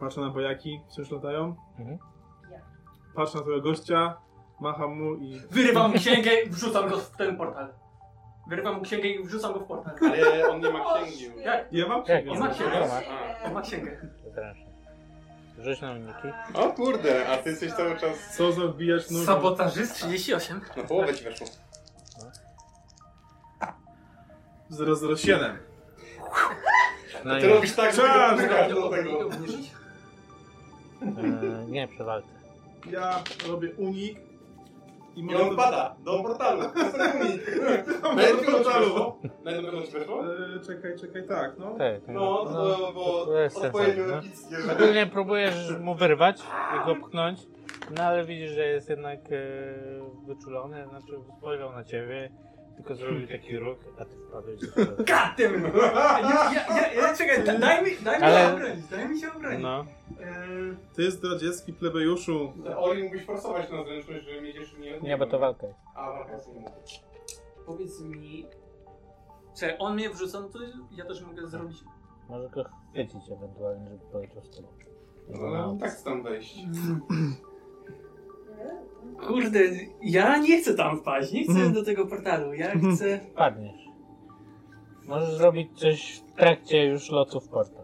Patrzę na bojaki, wciąż latają. Mhm. Patrzę na twojego gościa, macham mu i... Wyrywam księgę i wrzucam go w ten portal. Wyrywam mu księgę i wrzucam go w portal. Ale on nie ma księgi. już. Jak? Ja mam Jak? On ma księgę. Dobra. On ma księgę. Zapraszam. Rzuć na uniki. O kurde, a ty jesteś cały czas... Co za wbijasz nóżem? Sabotażyst 38. Na połowę ci weszło. 007. No Ty nie, robisz tak, że Czas! tego do tego. Obniżyć? e, nie przy walce. Ja robię unik. I on pada do portalu. Do portalu. Na jednym będą ci weszło? E, czekaj, czekaj, tak, no. Tak, No, to, bo to jest odpowiednio sensowne. epickie, że... Ogólnie próbujesz mu wyrwać i go pchnąć, no ale widzisz, że jest jednak e, wyczulony, znaczy spojrzał na ciebie, tylko zrobił taki ruch, a ty wpadłeś do środka. Katem! Ja, ja, ja, ja, czekaj, da, daj mi, daj mi Ale- się obronić, daj mi się obronić. No, Ehm, Ty zdradziecki plebejuszu. Oli mógłbyś forsować na zręczność, że miedziesz nie nie, bo to walka jest. A, no, walka jest inna. powiedz mi... Czy on mnie wrzuca, no to ja też mogę zrobić... Może go chwycić ewentualnie, żeby poleciał z tobą. No. Ale tak chcę tam wejść. Kurde, ja nie chcę tam wpaść, nie chcę Mhm. do tego portalu, ja chcę... Padniesz. Możesz zrobić coś w trakcie już lotu w portal.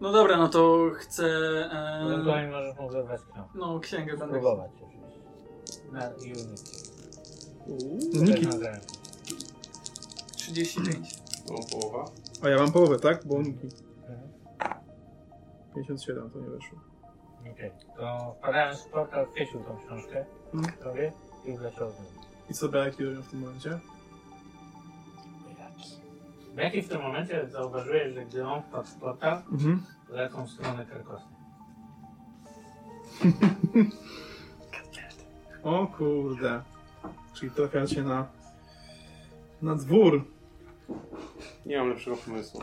No dobra, no to chcę... E, Ewentualnie możesz mu wyrwać krąg. no księgę będę Próbować oczywiście. Na i uniki. Uniki. Też na zręczność. 35. No, połowa. A ja mam połowę, tak? Bo uniki. 57 to nie weszło. Okej. To wpadając w portal, chwycił tą książkę Mhm. sobie i wleciał z nią. I co braki robią w tym momencie? Jaki w tym momencie zauważyłeś, że gdy on wpadł w portal, Mhm. lecą w stronę Krakosy. O kurde. Czyli trafiacie na... Na dwór. Nie mam lepszego pomysłu.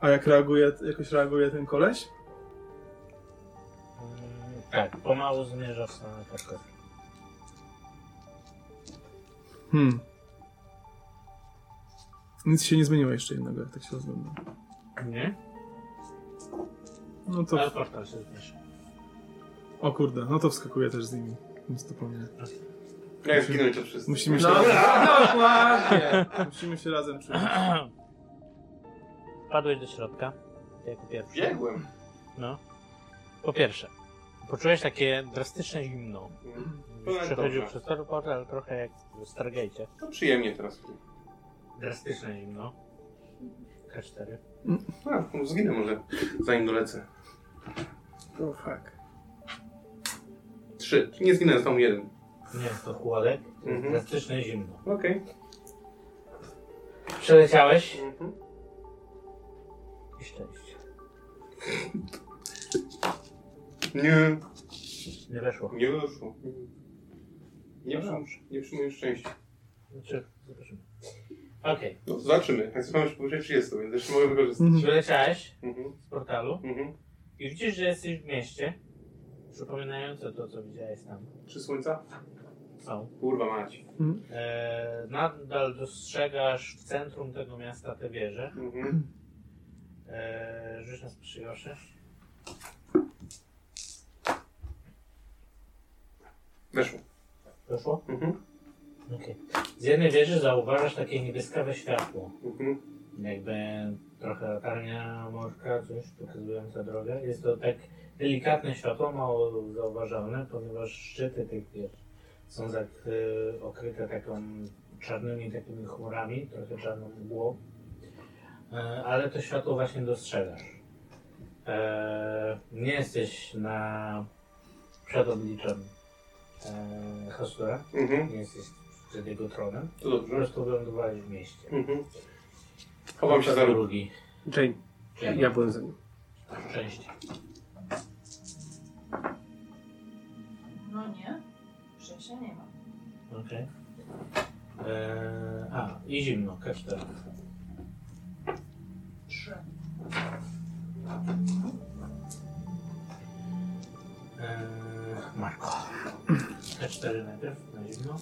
A jak reaguje, jakoś reaguje ten koleś? Mm, tak, pomału zmierza w stronę Krakosy. Hmm. Nic się nie zmieniło jeszcze innego, jak tak się rozgląda. Nie? No Ale to... portal się zmierza. O kurde, no to wskakuje też z nimi. Więc to po mnie. Jak zginąć to wszyscy? Musimy się No, razem... dokładnie! Musimy się razem czuć. Wpadłeś do środka, ty jako pierwszy. Biegłem. No. Po pierwsze, poczułeś takie drastyczne zimno. To jest Przechodził dobrze. przez cały portal, trochę jak w Stargate'cie. To przyjemnie teraz. Drastyczne zimno. K4. A, no zginę może, zanim dolecę. Oh fuck. Trzy. Nie zginę, został mi jeden. Nie jest to chłodek, to jest Mhm. drastyczne zimno. Okej. Przeleciałeś Mhm. i szczęście. Nie. Nie weszło. Nie wyszło. Nie, No przy, nie przyjmuję szczęścia. Znaczy, zobaczymy. Okej. No, zobaczymy. Jak mam już powyżej 30, więc jeszcze mogę wykorzystać. Mhm. Przeleciałeś Mhm. z portalu Mhm. i widzisz, że jesteś w mieście. Przypominające to, co widziałeś tam. Trzy słońca? Są. Kurwa mać. Eee, nadal dostrzegasz w centrum tego miasta te wieże. Mhm. Eee, rzuć nas przyjosze. Weszło. Weszło? Mhm. Okej. Z jednej wieży zauważasz takie niebieskawe światło. Mhm. jakby trochę latarnia morska, coś pokazująca drogę. Jest to tak delikatne światło, mało zauważalne, ponieważ szczyty tych wież są tak e, okryte taką czarnymi takimi chmurami, trochę czarną mgłą. E, ale to światło właśnie dostrzegasz. E, nie jesteś na przed obliczem e, Hasura, Mhm. nie jesteś przed jego tronem, To po dobrze. prostu wylądowałeś w mieście. Mhm. Chowam się za ruch. drugi. Jane, Czyli ja byłem za nim. Szczęście. No nie, szczęścia nie ma. Okej. Eee, a, i zimno, K4. Trzy. Eee, Marko. K4 najpierw, na zimno.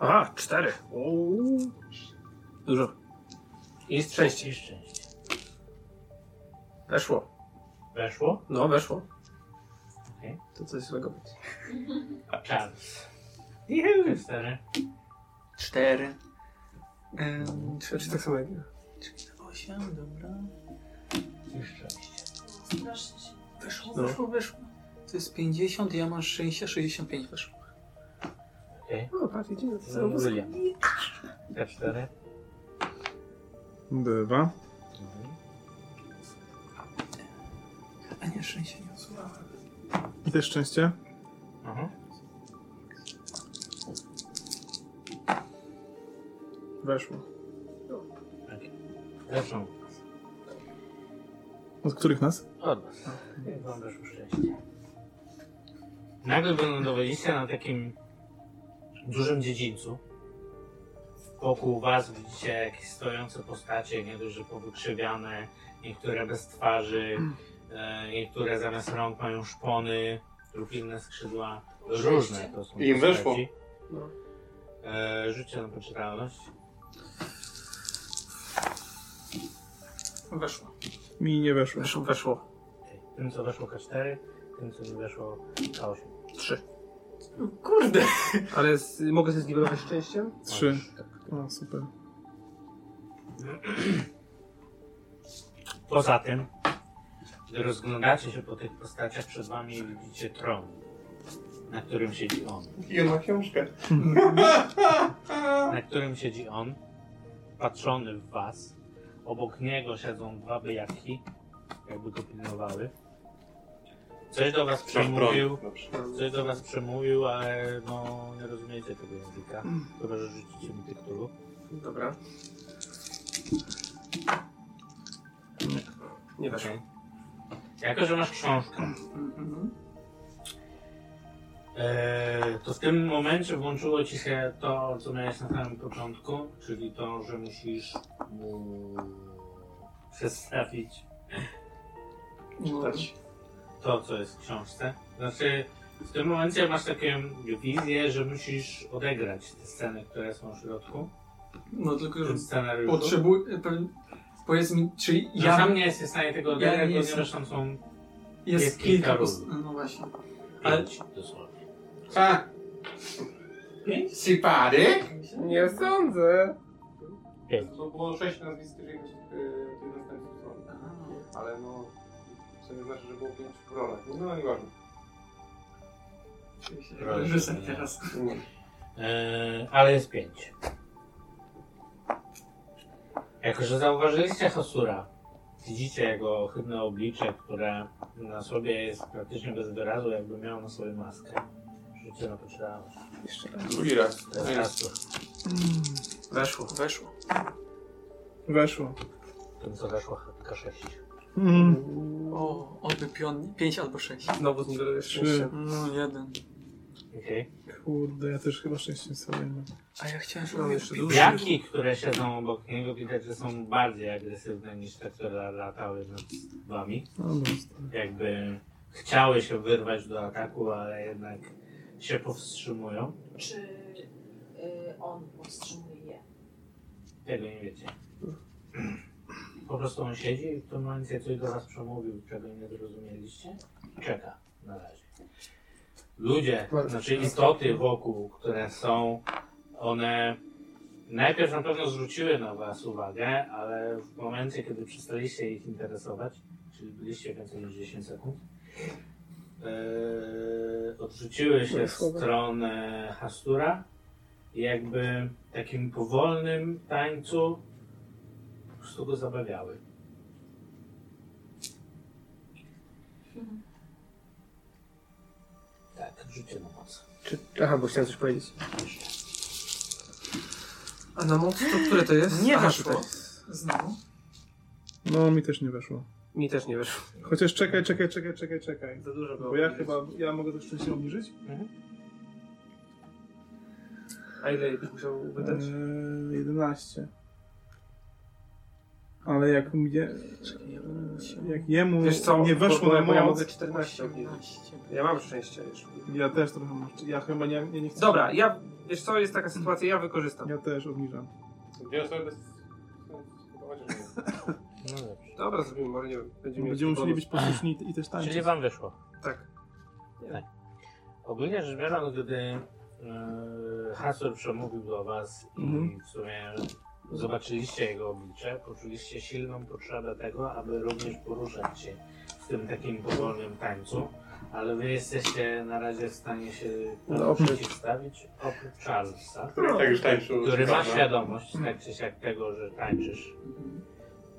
Aha, cztery. Uuu. Dużo. I szczęście. I szczęście. Weszło. Weszło? No, weszło. Okej. To coś złego być. Charles. Juhu, stary. Cztery. Ym, Czy, czy tak samo jak ja? Osiem, dobra. Jeszcze. Strasznie się. Weszło, No. weszło, weszło. To jest 50, ja mam 60, 65 weszło. No, patrz, idziemy do samego William. K4. Dwa. A nie, 6 nie odsuwałem. I też szczęście. Mhm. Aha. Weszło. Zresztą. Od których nas? Od nas. Jak wam weszło szczęście. Nagle wylądowaliście na takim dużym dziedzińcu. Wokół was widzicie jakieś stojące postacie, niektórzy powykrzywiane, niektóre bez twarzy, e, niektóre zamiast rąk mają szpony lub inne skrzydła. Różne to są Im postaci. weszło. No. E, Rzućcie na poczytalność. Weszło. Mi nie weszło. Weszło, weszło. Tym co weszło K4, tym co nie weszło K8. Trzy. Kurde! Ale z, mogę sobie zniwelować szczęściem? Trzy. O, super. Poza tym, gdy rozglądacie się po tych postaciach przed wami, widzicie tron, na którym siedzi on. I on ma książkę. Na którym siedzi on, patrzony w was. Obok niego siedzą dwa byjaki, jakby go pilnowały. Coś do was przemówił, Dobrze. coś do was przemówił, ale no nie rozumiecie tego języka. Chyba, że rzucicie mi tytułu. Dobra. Nie weszło. Jako, że masz książkę, Mhm. Eee, to w tym momencie włączyło ci się to, co miałeś na samym początku, czyli to, że musisz mu przedstawić Czytać. to, co jest w książce. Znaczy, w tym momencie masz taką wizję, że musisz odegrać te sceny, które są w środku. No tylko, W że tym scenariuszu. potrzebuję... pewnie- Powiedz mi, czy No, ja... sam nie jesteś w stanie tego Ja nie odegrać, jestem. ponieważ tam są Jest, jest kilka kilka... ról. post- No właśnie. Ale- pięć dosłownie. A! Pięć? Sipary? Nie sądzę. Bo było sześć nazwisk, jeżeli ktoś tych następców są. Ale no... Co nie znaczy, że było pięć w rolach. No nieważne. Proszę, Rzucę nie. teraz. Nie. Eee, ale jest pięć. Jako, że zauważyliście Hasura, widzicie jego ohydne oblicze, które na sobie jest praktycznie bez wyrazu, jakby miał na sobie maskę. Rzucie na poczytalność. Jeszcze raz. Drugi raz. To jest Hasur. Weszło. Weszło. Weszło. Tym, co weszło K6. Mm. O, oby pion... 5 albo 6. Znowu zniwelujesz Trzy. szczęściem. No, jeden. Okay. Kurde, ja też chyba szczęście sobie mam. A ja chciałem, Mam żeby... jeszcze dużo. Jaki, które siedzą obok niego, widać, że są bardziej agresywne niż te, które latały nad wami. No, no, stary. Jakby chciały się wyrwać do ataku, ale jednak się powstrzymują. Czy y, on powstrzymuje je? Tego nie wiecie. Po prostu on siedzi i w tym momencie coś do was przemówił, czego nie zrozumieliście. i Czeka na razie. Ludzie, znaczy istoty wokół, które są, one najpierw na pewno zwróciły na was uwagę, ale w momencie, kiedy przestaliście ich interesować, czyli byliście więcej niż 10 sekund, yy, odrzuciły się w stronę Hastura i jakby takim powolnym tańcu po prostu go zabawiały. Tak, życie na moc. Czy... Aha, bo chciałem coś powiedzieć. A na moc to które to jest? Nie Aha, weszło. tutaj jest. Znowu. no, mi też nie weszło. Mi też nie weszło. Chociaż czekaj, czekaj, czekaj, czekaj, czekaj. Za dużo było. Bo ja chyba, ja mogę to szczęście obniżyć? A ile byś musiał wydać? Eee, 11. Ale jak mnie, Czekaj, jeden, osiem, jak Mm, jemu Wiesz co, nie bo, weszło bo, na bo ja moc, mogę 14 obniżyć. osiemnaście. Ja mam szczęście jeszcze. ja też trochę mam, ja chyba nie, nie, nie chcę. Dobra, ja... Wiesz co, jest taka sytuacja, ja wykorzystam. Ja też obniżam. Dwie osoby bez... Chociaż nie. No dobrze. Dobra, zrobimy, może nie wiem. Będziemy, Będziemy musieli być posłuszni i też tańczyć. Czyli wam wyszło. Tak. tak. Ogólnie rzecz biorąc, gdy e, Hasur przemówił do was i Mhm. w sumie zobaczyliście jego oblicze, poczuliście silną potrzebę tego, aby również poruszać się w tym takim powolnym tańcu, ale wy jesteście na razie w stanie się temu No, oprócz- przeciwstawić oprócz Charlesa, Który i tak już tańczył, który ma prawda? świadomość tak czy siak tego, że tańczysz.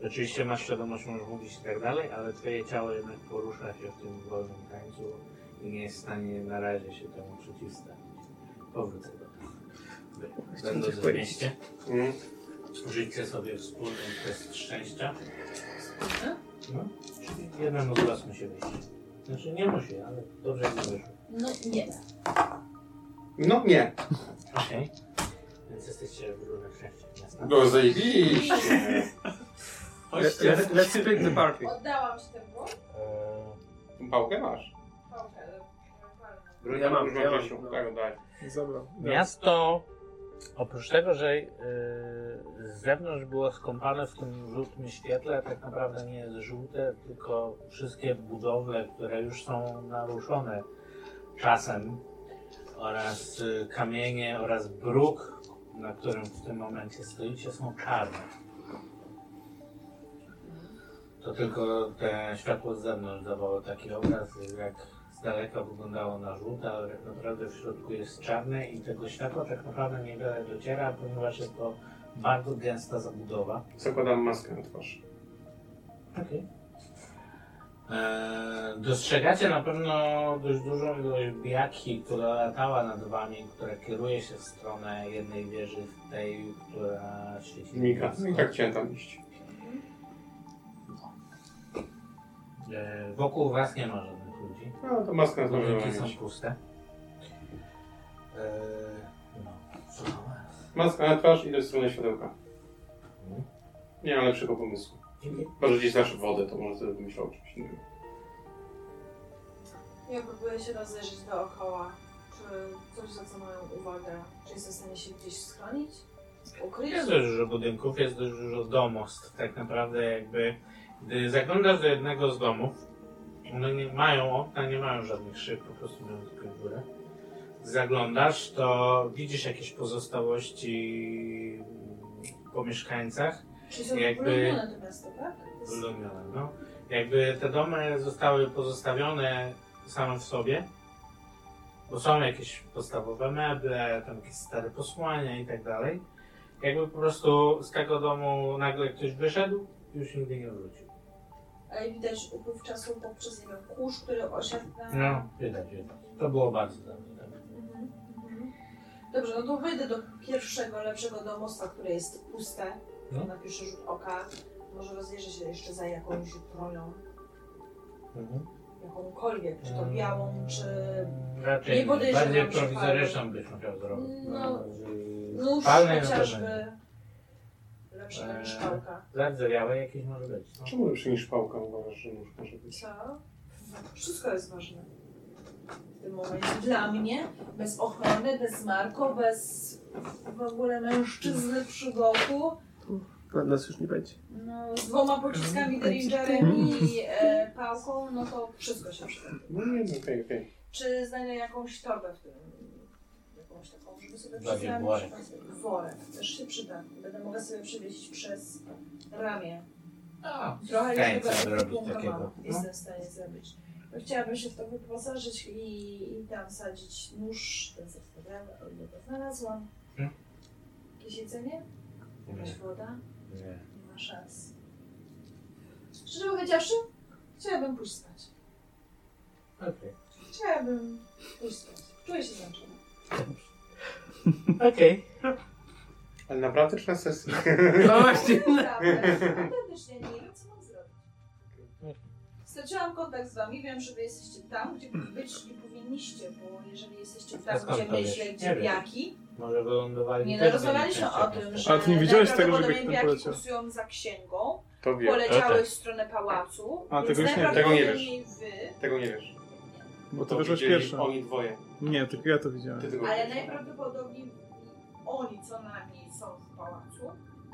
Oczywiście masz świadomość, możesz mówić i tak dalej, ale twoje ciało jednak porusza się w tym wolnym tańcu i nie jest w stanie na razie się temu przeciwstawić. Powrócę do tego. Będąc w mieście, Mm. żyjcie sobie wspólny test szczęścia. No, czyli jednemu z was musi wyjść. Znaczy nie musi, ale dobrze jakby wyszło. No nie. No nie. Okej. Więc jesteście w różnych częściach miasta. No zajebiście. Le- le- Let's split the party. Oddałam się temu. E, Tą pałkę masz? Pałkę. Broń Ja mam, już ja mam, Grzesiu. no. Tak, daj. Zabrał. Miasto, oprócz tego, że yy, z zewnątrz było skąpane w tym żółtym świetle, tak naprawdę nie jest żółte, tylko wszystkie budowle, które już są naruszone czasem oraz y, kamienie oraz bruk, na którym w tym momencie stoicie, są czarne. To tylko te światło z zewnątrz dawało taki obraz, jak z daleka wyglądało na żółte, ale tak naprawdę w środku jest czarne i tego światła tak naprawdę niewiele dociera, ponieważ jest to bardzo gęsta zabudowa. Zakładam maskę na twarz. Okay. Eee, dostrzegacie na pewno dość dużą ilość biaki, która latała nad wami, która kieruje się w stronę jednej wieży, tej, która świeci. Mika. niebiesko. I tak chciałem tam iść. Eee, wokół was nie ma żadnych ludzi. No to maskę na twarz nie Budynki mam są mieć. puste. Eee, no, co tam jest? Maska na twarz i do strony światełka. Mhm. Nie mam lepszego pomysłu. Może gdzieś znasz wodę, to może sobie wymyślał o czymś innym. Ja próbuję się rozejrzeć dookoła. Czy coś zwraca moją uwagę? Czy jestem w stanie się gdzieś schronić? Ukryć? Jest dość dużo budynków, jest dość dużo domostw. Tak naprawdę jakby, gdy zaglądasz do jednego z domów, one nie mają okna, nie mają żadnych szyb, po prostu mają tylko górę. Zaglądasz, to widzisz jakieś pozostałości mm, po mieszkańcach, Czy są jakby- jakby... wypełnione te miasto, tak? Wylumione, no. Jakby te domy zostały pozostawione same w sobie, bo są jakieś podstawowe meble, tam jakieś stare posłania i tak dalej. Jakby po prostu z tego domu nagle ktoś wyszedł i już nigdy nie wrócił. Ale widać upływ czasu poprzez, nie wiem, kurz, który osiadł na... No, widać, widać. To było bardzo tak. dawno temu. Mhm, mhm. Dobrze, no to wejdę do pierwszego, lepszego domostwa, które jest puste. No. Na pierwszy rzut oka. Może rozejrzę się jeszcze za jakąś bronią. Mhm. Jakąkolwiek, czy to Mm. białą, czy... E, Raczej Nie podejrzewam, bardziej że prowizoryczną byś musiał zrobić. No, z- Nóż palnej na pewno. chociażby. Lepszy Eee. niż szpałka. Zardzewiałe jakieś może być. No. Czemu lepszy niż pałka uważasz, że nóż może być? Co? Wszystko jest ważne. W tym momencie. Dla mnie, bez ochrony, bez Marko, bez w ogóle mężczyzny przy boku, Nas już nie będzie. no, z dwoma pociskami deringerem i e, pałką, no to wszystko się przyda. No nie, no okej, okej. Czy znajdę jakąś torbę w tym? Jakąś taką, żeby sobie Bardziej przyznać. worek. Worek. Też się przyda. Będę mogła sobie przewieźć przez ramię. A, Trochę Chęć już chyba zrobić punktowałam. takiego. Jestem w stanie zrobić. No, chciałabym się w to wyposażyć i, i tam sadzić nóż, ten zestawiam, o ile go znalazłam. Mhm. Jakieś jedzenie? Jakaś woda? Nie. Nie ma szans. Szczerze powiedziawszy, chciałabym pójść spać. Okej. Chciałabym pójść spać. Czuję się zmęczona. Okej. Ale naprawdę czy na sesji? No właśnie. Naprawdę, autentycznie nie wiem, co mam zrobić. Straciłam kontakt z wami, wiem, że wy jesteście tam, gdzie być nie powinniście, bo jeżeli jesteście A tam, skąd gdzie to myślę, wiesz? gdzie Nie biaki, Może wylądowali nie też no, rozmawialiśmy byli o częściej tym, miasta. że Ale ty nie widziałeś tego, żeby najprawdopodobniej tam biaki poleciał. kursują za księgą, To wiem. poleciały tak. w stronę pałacu, A, więc tego już nie- najprawdopodobniej wy, Tego nie wiesz. Bo to To wyszłaś widzieli pierwsza. Oni dwoje. Nie, tylko ja to widziałem. Ty tego ale widzisz. najprawdopodobniej oni co najmniej są w pałacu,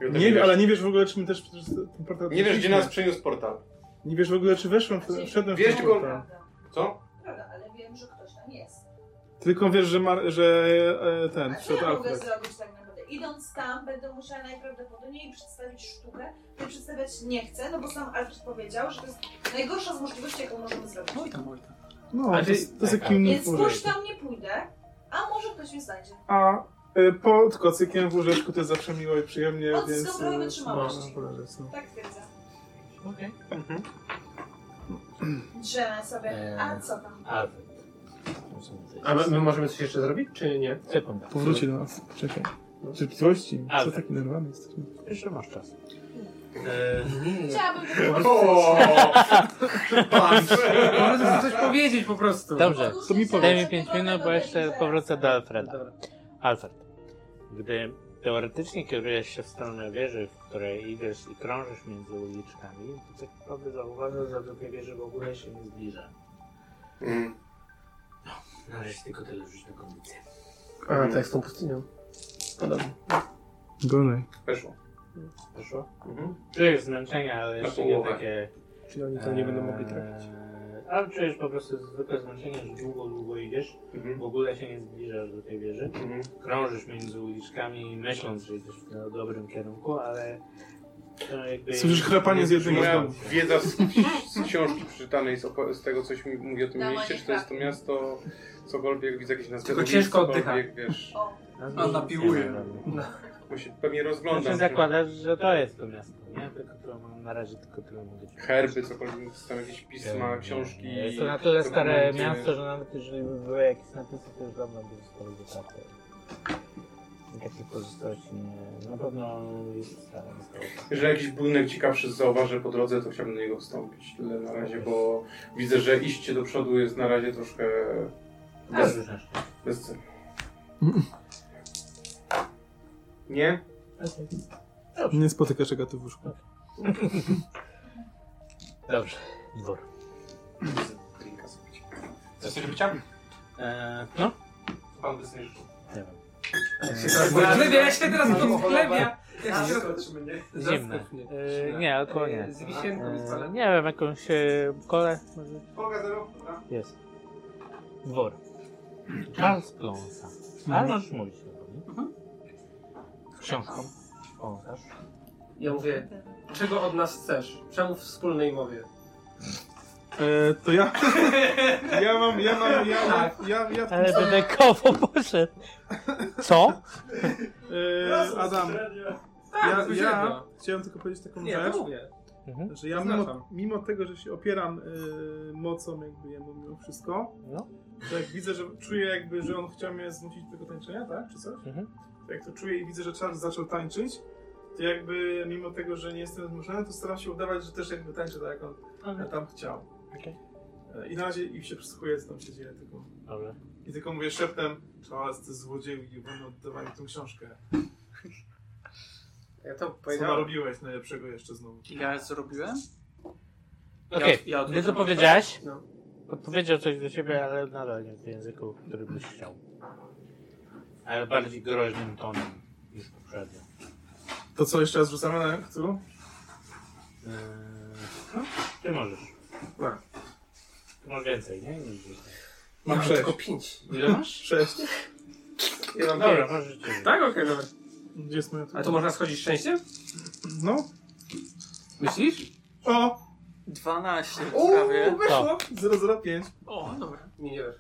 Ja też Nie, wiem, ale nie wiesz w ogóle, czy my też przez ten portal Nie wiesz, gdzie przeszliśmy. nas przyniósł portal. Nie wiesz w ogóle, czy weszłem, No, w- wszedłem w Wiesz, ten tylko- portal. Co? Znaczy, Prawda, ale wiem, że ktoś tam jest. Tylko wiesz, że, Mar- że e, ten, A co przed ja mogę Alfred. zrobić tak naprawdę? Idąc tam, będę musiała najprawdopodobniej przedstawić sztukę, której przedstawiać nie chcę, no bo sam Alfred powiedział, że to jest najgorsza z możliwości, jaką możemy zrobić. Oj tam, oj tam. No, A to, ty- jest- to jest jakim innym Więc porządku. pójść tam nie pójdę, a może ktoś mnie znajdzie. A y, pod kocykiem w łóżeczku to jest zawsze miło i przyjemnie, Odzyskam więc... prawo y, wytrzymałości. można poleżeć, no. Tak twierdzę. Okej. Drzemę sobie, a co tam? Alfred. A my, my możemy coś jeszcze zrobić, czy nie? Sekunda. Powróci do nas, czekaj. Cierpliwości, co Ale- tak. taki nerwany jesteśmy. Jeszcze masz czas. E, Chciałabym tylko O! Patrz! Możemy coś powiedzieć po prostu. Dobrze, to mi daj mi 5 minut, bo jeszcze powrócę do Alfreda. Alfred, gdy teoretycznie kierujesz się w stronę wieży, w której idziesz i krążysz między uliczkami, to tak naprawdę zauważasz, że do tej wieży w ogóle się nie zbliża. Mm. Należy No, tylko tyle rzucić na kondycję. A, tak, z tą pustynią. No dobrze. Gorzej. Weszło. Weszło? Mhm. Czujesz zmęczenie, ale jeszcze nie połowę. takie... Czyli oni tam nie będą mogli eee, trafić. Ale czujesz po prostu zwykłe zmęczenie, że długo, długo idziesz, Mhm. w ogóle się nie zbliżasz do tej wieży. Mhm. krążysz między uliczkami, myśląc, że jesteś w dobrym kierunku, ale no jakby... Słyszysz chrapanie z jednego z Moja domów. wiedza z, z książki przeczytanej, z, oko- z tego coś mi mówi o tym Dawaj, mieście, niech czy to jest to miasto, cokolwiek, widzę jakieś nazwy. Tylko ulic, ciężko oddycha. cokolwiek, wiesz, O, Nazwy A, nic napiłuje. nie ma żadnych. bo się pewnie Znaczy rozglądam. zakładasz, że to jest to miasto, nie? Tylko to mam na razie tylko tyle mogę ci Herby, powiedzieć. cokolwiek, tam jakieś pisma, Eee, książki. Jest to na tyle stare dokumenty. miasto, że nawet jeżeli by były jakieś napisy, to już dawno by zostały wytarte. Takie pozostałości nie... Na pewno jest stare zostało. Jeżeli jakiś budynek ciekawszy zauważę po drodze, to chciałbym do niego wstąpić. Tyle na razie, bo widzę, że iście do przodu jest na razie troszkę Bez bez, różności. bez celu. Nie? Nie spotykasz Agaty w łóżku. Dobrze, dwór. Drinka zrobić. Chcesz coś robić? Eee, no. Pan bez nie życzył. Nie wiem. Chlebia, ja się teraz do chlebia! Ja się teraz... Zimne. Yy, nie, alkohol nie. Z wisienką i z Yy, panem. nie wiem, jakąś yy, kolę może? Polka zero? Dobra. Jest. Dwór. Charles Pląsa. Ale możesz mówić do mnie. Książką. Pląsasz. Ja mówię, czego od nas chcesz? Czemu w wspólnej mowie? E, to ja... ja mam, ja mam, ja mam, ja, ja w tym... Tak. Ale będę koło poszedł. Co? E, Adam, Tak, ja, ja chciałem tylko powiedzieć taką Nie, rzecz. to mówię. Mhm. Że ja Zapraszam. mimo, mimo tego, że się opieram y, mocą jakby jemu mimo wszystko, No. to jak widzę, że czuję jakby, że on chciał mnie zmusić do tego tańczenia, tak? Czy coś? Mhm. To jak to czuję i widzę, że Charles zaczął tańczyć, to jakby mimo tego, że nie jestem zmuszony, to staram się udawać, że też jakby tańczę tak, jak on tam chciał. Okej. E, I na razie i się przysłuchuję, co tam się dzieje tylko. Dobra. I tylko mówię szeptem, Charles, ty złodzieju, i będą oddawali tą książkę. Ja to Co powiedziałem. narobiłeś najlepszego jeszcze znowu. Ja zrobiłem? Okej, ja gdy to powiedziałeś, No. odpowiedział coś do ciebie, ale nadal nie w języku, który byś chciał. Ale bardziej groźnym tonem niż poprzednio. To co, jeszcze raz rzucamy na którą? Eee, no, ty możesz. No. Ty masz więcej, nie? Niż Mam Mam sześć. tylko pięć. Ile masz? Sześć. Ja mam Dobra, pięć. masz życie. Tak, okej, dobra. Gdzie jest moja A to można schodzić szczęściem? No. Myślisz? O! 12 Uuu, prawie. weszło! 005. O, dobra. Mi nie wiesz.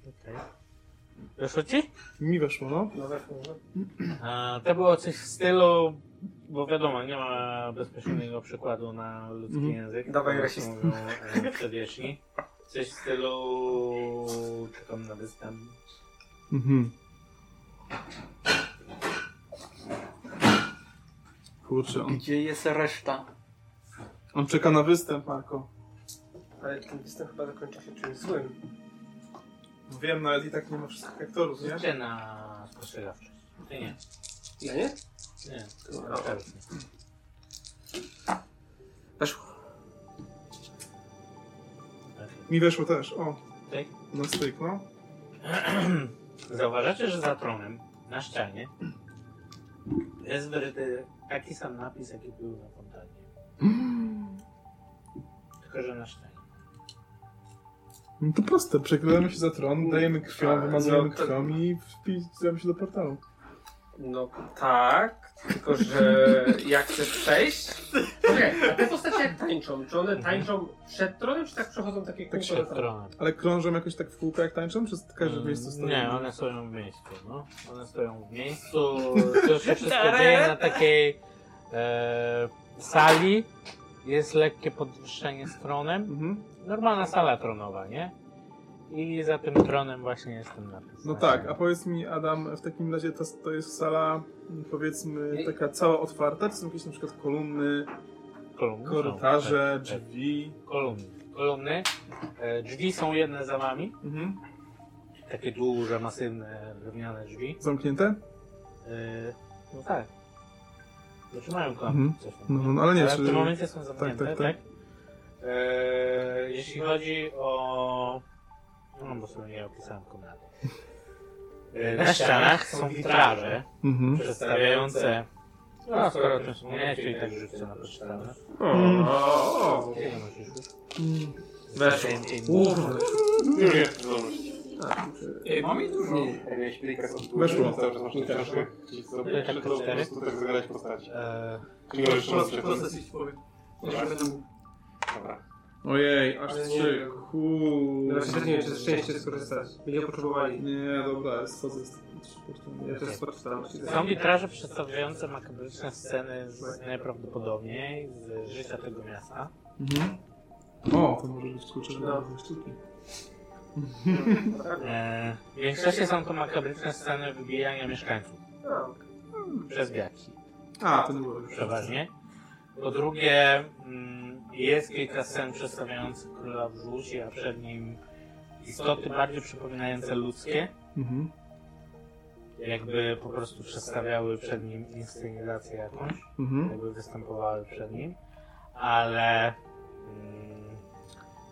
Okej. Weszło ci? Mi weszło, no. No weszło, no. A, to było coś w stylu, bo wiadomo, nie ma bezpośredniego przykładu na ludzki Mhm. język. Dawaj, To rasista. mówią, e, Przedwieczni. Coś w stylu... Czekam na występ. Mhm. Kurczę, on, Gdzie jest reszta? on czeka na występ, Marko. Ale ten występ chyba zakończy się czymś złym. Wiem, nawet i tak nie ma wszystkich aktorów, nie? Rzucę na spostrzegawczość. Ty nie. Ja nie? Nie. No. Weszło. Mi weszło też, o. Tyk. Na styk, no. Zauważacie, że za tronem na ścianie jest wyryty Taki sam napis, jaki był na fontannie. Tylko, że na szczęście. No to proste, przekrywamy się za tron, dajemy krwią, Ale wymazujemy no to- krwią i wpisujemy się do portalu. No tak, tylko że jak chcesz przejść... Okej, a te postacie jak tańczą? Czy one tańczą przed tronem, czy tak przechodzą takie Tak kółko się na Tronem. Ale krążą jakoś tak w kółko jak tańczą, czy każde Mm, miejsce stoi? Nie, one stoją w miejscu, no. One stoją w miejscu, to się wszystko dzieje na takiej e, sali. Jest lekkie podwyższenie z tronem. Mhm. Normalna sala tronowa, nie? I za tym tronem właśnie jest ten napis. No tak, a powiedz mi Adam, w takim razie to, to jest sala mm, powiedzmy taka cała otwarta, czy są jakieś na przykład kolumny, Kolumny są, korytarze, tak, tak. drzwi? Kolumny. Kolumny. E, drzwi są jedne za wami. Mhm. Takie duże, masywne, drewniane drzwi. Zamknięte? E, no tak. Zatrzymają klamkę, Mhm. coś tam. No, no ale nie, Ale w czy... tym momencie są zamknięte, tak, tak? tak. Eee, jeśli chodzi o... No, bo sobie nie opisałem komnat. Eee, na ścianach są witraże Mhm. przedstawiające... No, skoro o tym wspomniałeś, to i tak rzucę na podstawę. Mm. O, Ile musisz rzucić? Weszło. Kurde. Już jest zdolność. Tak. Y, Mam i dużo. Jak miałeś playkę z odbyłem, Weszło. cały czas masz te książkę. Ci sobie, Tak, czy to po cztery. prostu tak zagrać postaci. Eee, Czy nie możesz Proste, rozgrzać? proste ci powiem. Jeszcze będę mógł. Dobra. Ojej, aż Ale nie trzy, wiem. Kurde. Teraz nie wiem, czy ze szczęście skorzystać. Będziemy potrzebowali. Nie, dobra, schodzę z z portalu. Ja też skorzystam. Są witraże przedstawiające makabryczne sceny z najprawdopodobniej z życia tego miasta. Mhm. O, to może być kurczę, No. no. sztuki. Eee, w większości są to makabryczne sceny wybijania mieszkańców przez wiaki. A, to nie było już. przeważnie. Po drugie, mm, jest kilka scen przedstawiających króla w żółci, a przed nim istoty bardziej przypominające ludzkie, Mhm. jakby po prostu przedstawiały przed nim inscenizację jakąś, Mhm. jakby występowały przed nim, ale mm,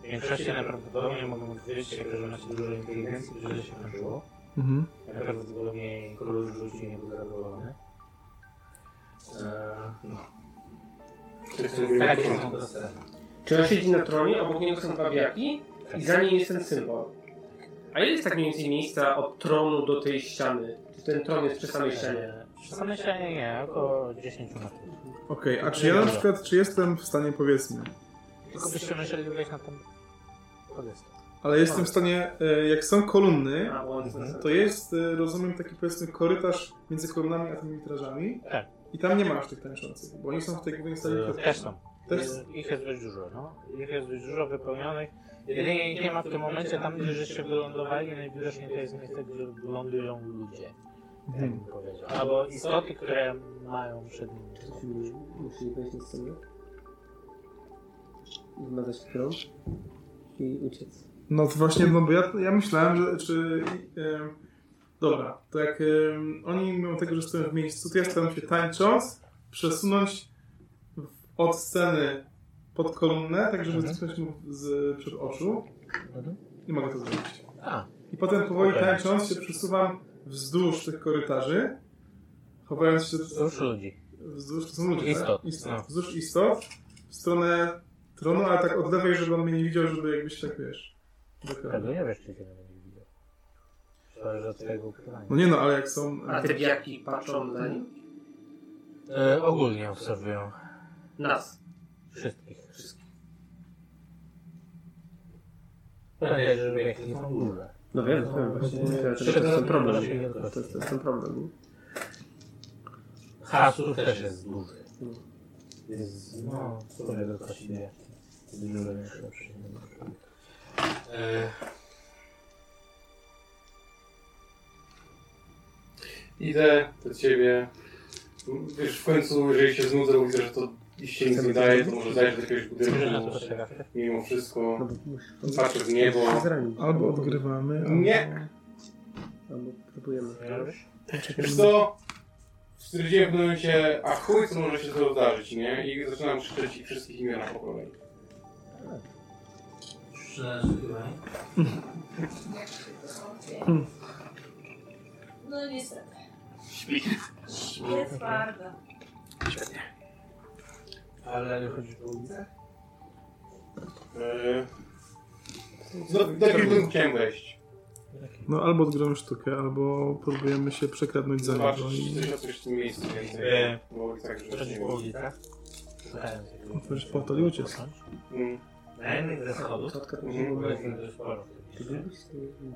w większości najprawdopodobniej mogą dowiedzieć się, że macie dużo inteligencji, że się kończyło. Mhm. Najprawdopodobniej król w żółci nie był zadowolony. Eee, Tak. Takie są to sceny. Czy on siedzi na tronie, obok niego są dwa biaki i za nim jest ten symbol. A ile jest tak mniej więcej miejsca od tronu do tej ściany? Czy ten tron jest przy samej ścianie? Przy samej ścianie nie, około 10 metrów. Okej, a czy ja na przykład, czy jestem w stanie, powiedzmy, Tylko byście musieli wejść na ten podest. ale jestem w stanie, e, jak są kolumny, A, bo on jest na samym- to jest, e, rozumiem, taki powiedzmy korytarz między kolumnami a tymi witrażami. Tak. E, I tam nie ma już tych tańczących, bo oni są w tej głównej sali. tylko- Też są. Też Jest- Ich jest dość dużo, no. Ich jest dość dużo wypełnionych. Jedynie ich nie ma w tym momencie tam, gdzie żeście wylądowali, najwidoczniej to jest miejsce, gdzie lądują ludzie, jak Mhm. bym powiedział. Albo istoty, które mają przed nimi. Musi wejść na scenę. Zmazać tron. I uciec. No to właśnie, no bo ja, ja myślałem, że czy... E, dobra, to jak e, oni mimo tego, że stoją w miejscu, to ja staram się tańcząc przesunąć w, od sceny pod kolumnę, tak żeby Mhm. wycisnąć mu z przed oczu Mhm. i mogę to zrobić. A. No I potem powoli Okej. tańcząc się przesuwam wzdłuż tych korytarzy, chowając się Wzdłuż ludzi. wzdłuż, to są ludzie, Istot, tak? Istot. no. Wzdłuż istot, w stronę tronu, ale tak od lewej, żeby on mnie nie widział, żeby jakbyś tak, wiesz... dokładnie. Tego nie wiesz, czy cię nie będzie widział. Zależy od twojego ukrywania. No nie no, ale jak są... A te biaki patrzą na nim? E, ogólnie obserwują Nas. wszystkich. Wszystkich. Prawie, żeby jak nie są duże. No wiem, wiem, właśnie. To jest ten problem. To jest to jest ten problem. Hasur też jest duży. Jest, no, to wielkości wie. Dużo większe przyjemność. E, Idę do ciebie. Wiesz, w końcu, jeżeli się znudzę, bo widzę, że to się nic nie daje, to może zajrzę do jakiegoś Dużo na to budynku. potrzeba. Mimo No wszystko patrzę w niebo. Zranić. Albo odgrywamy, albo... Nie. Albo próbujemy. Wiesz co? Stwierdziłem w pewnym momencie, a chuj, co może się to zdarzyć, nie? I zaczynam krzyczeć ich wszystkich imiona po kolei. No niestety. Śpi. Śpi twardo. Świetnie. Ale nie chodzi po ulicach? Do, Eee, no, do jakiego budynku chciałem wejść? No albo odgramy sztukę, albo próbujemy się przekradnąć za niego Zobaczyć, i... czy coś o coś w tym miejscu więcej. Eee, Bo ulicach już Chodzi nie po było. ulicach? Szukałem Możesz po to i uciec. Mm. Na jednych ze schodów Mhm. obecnie dość sporo.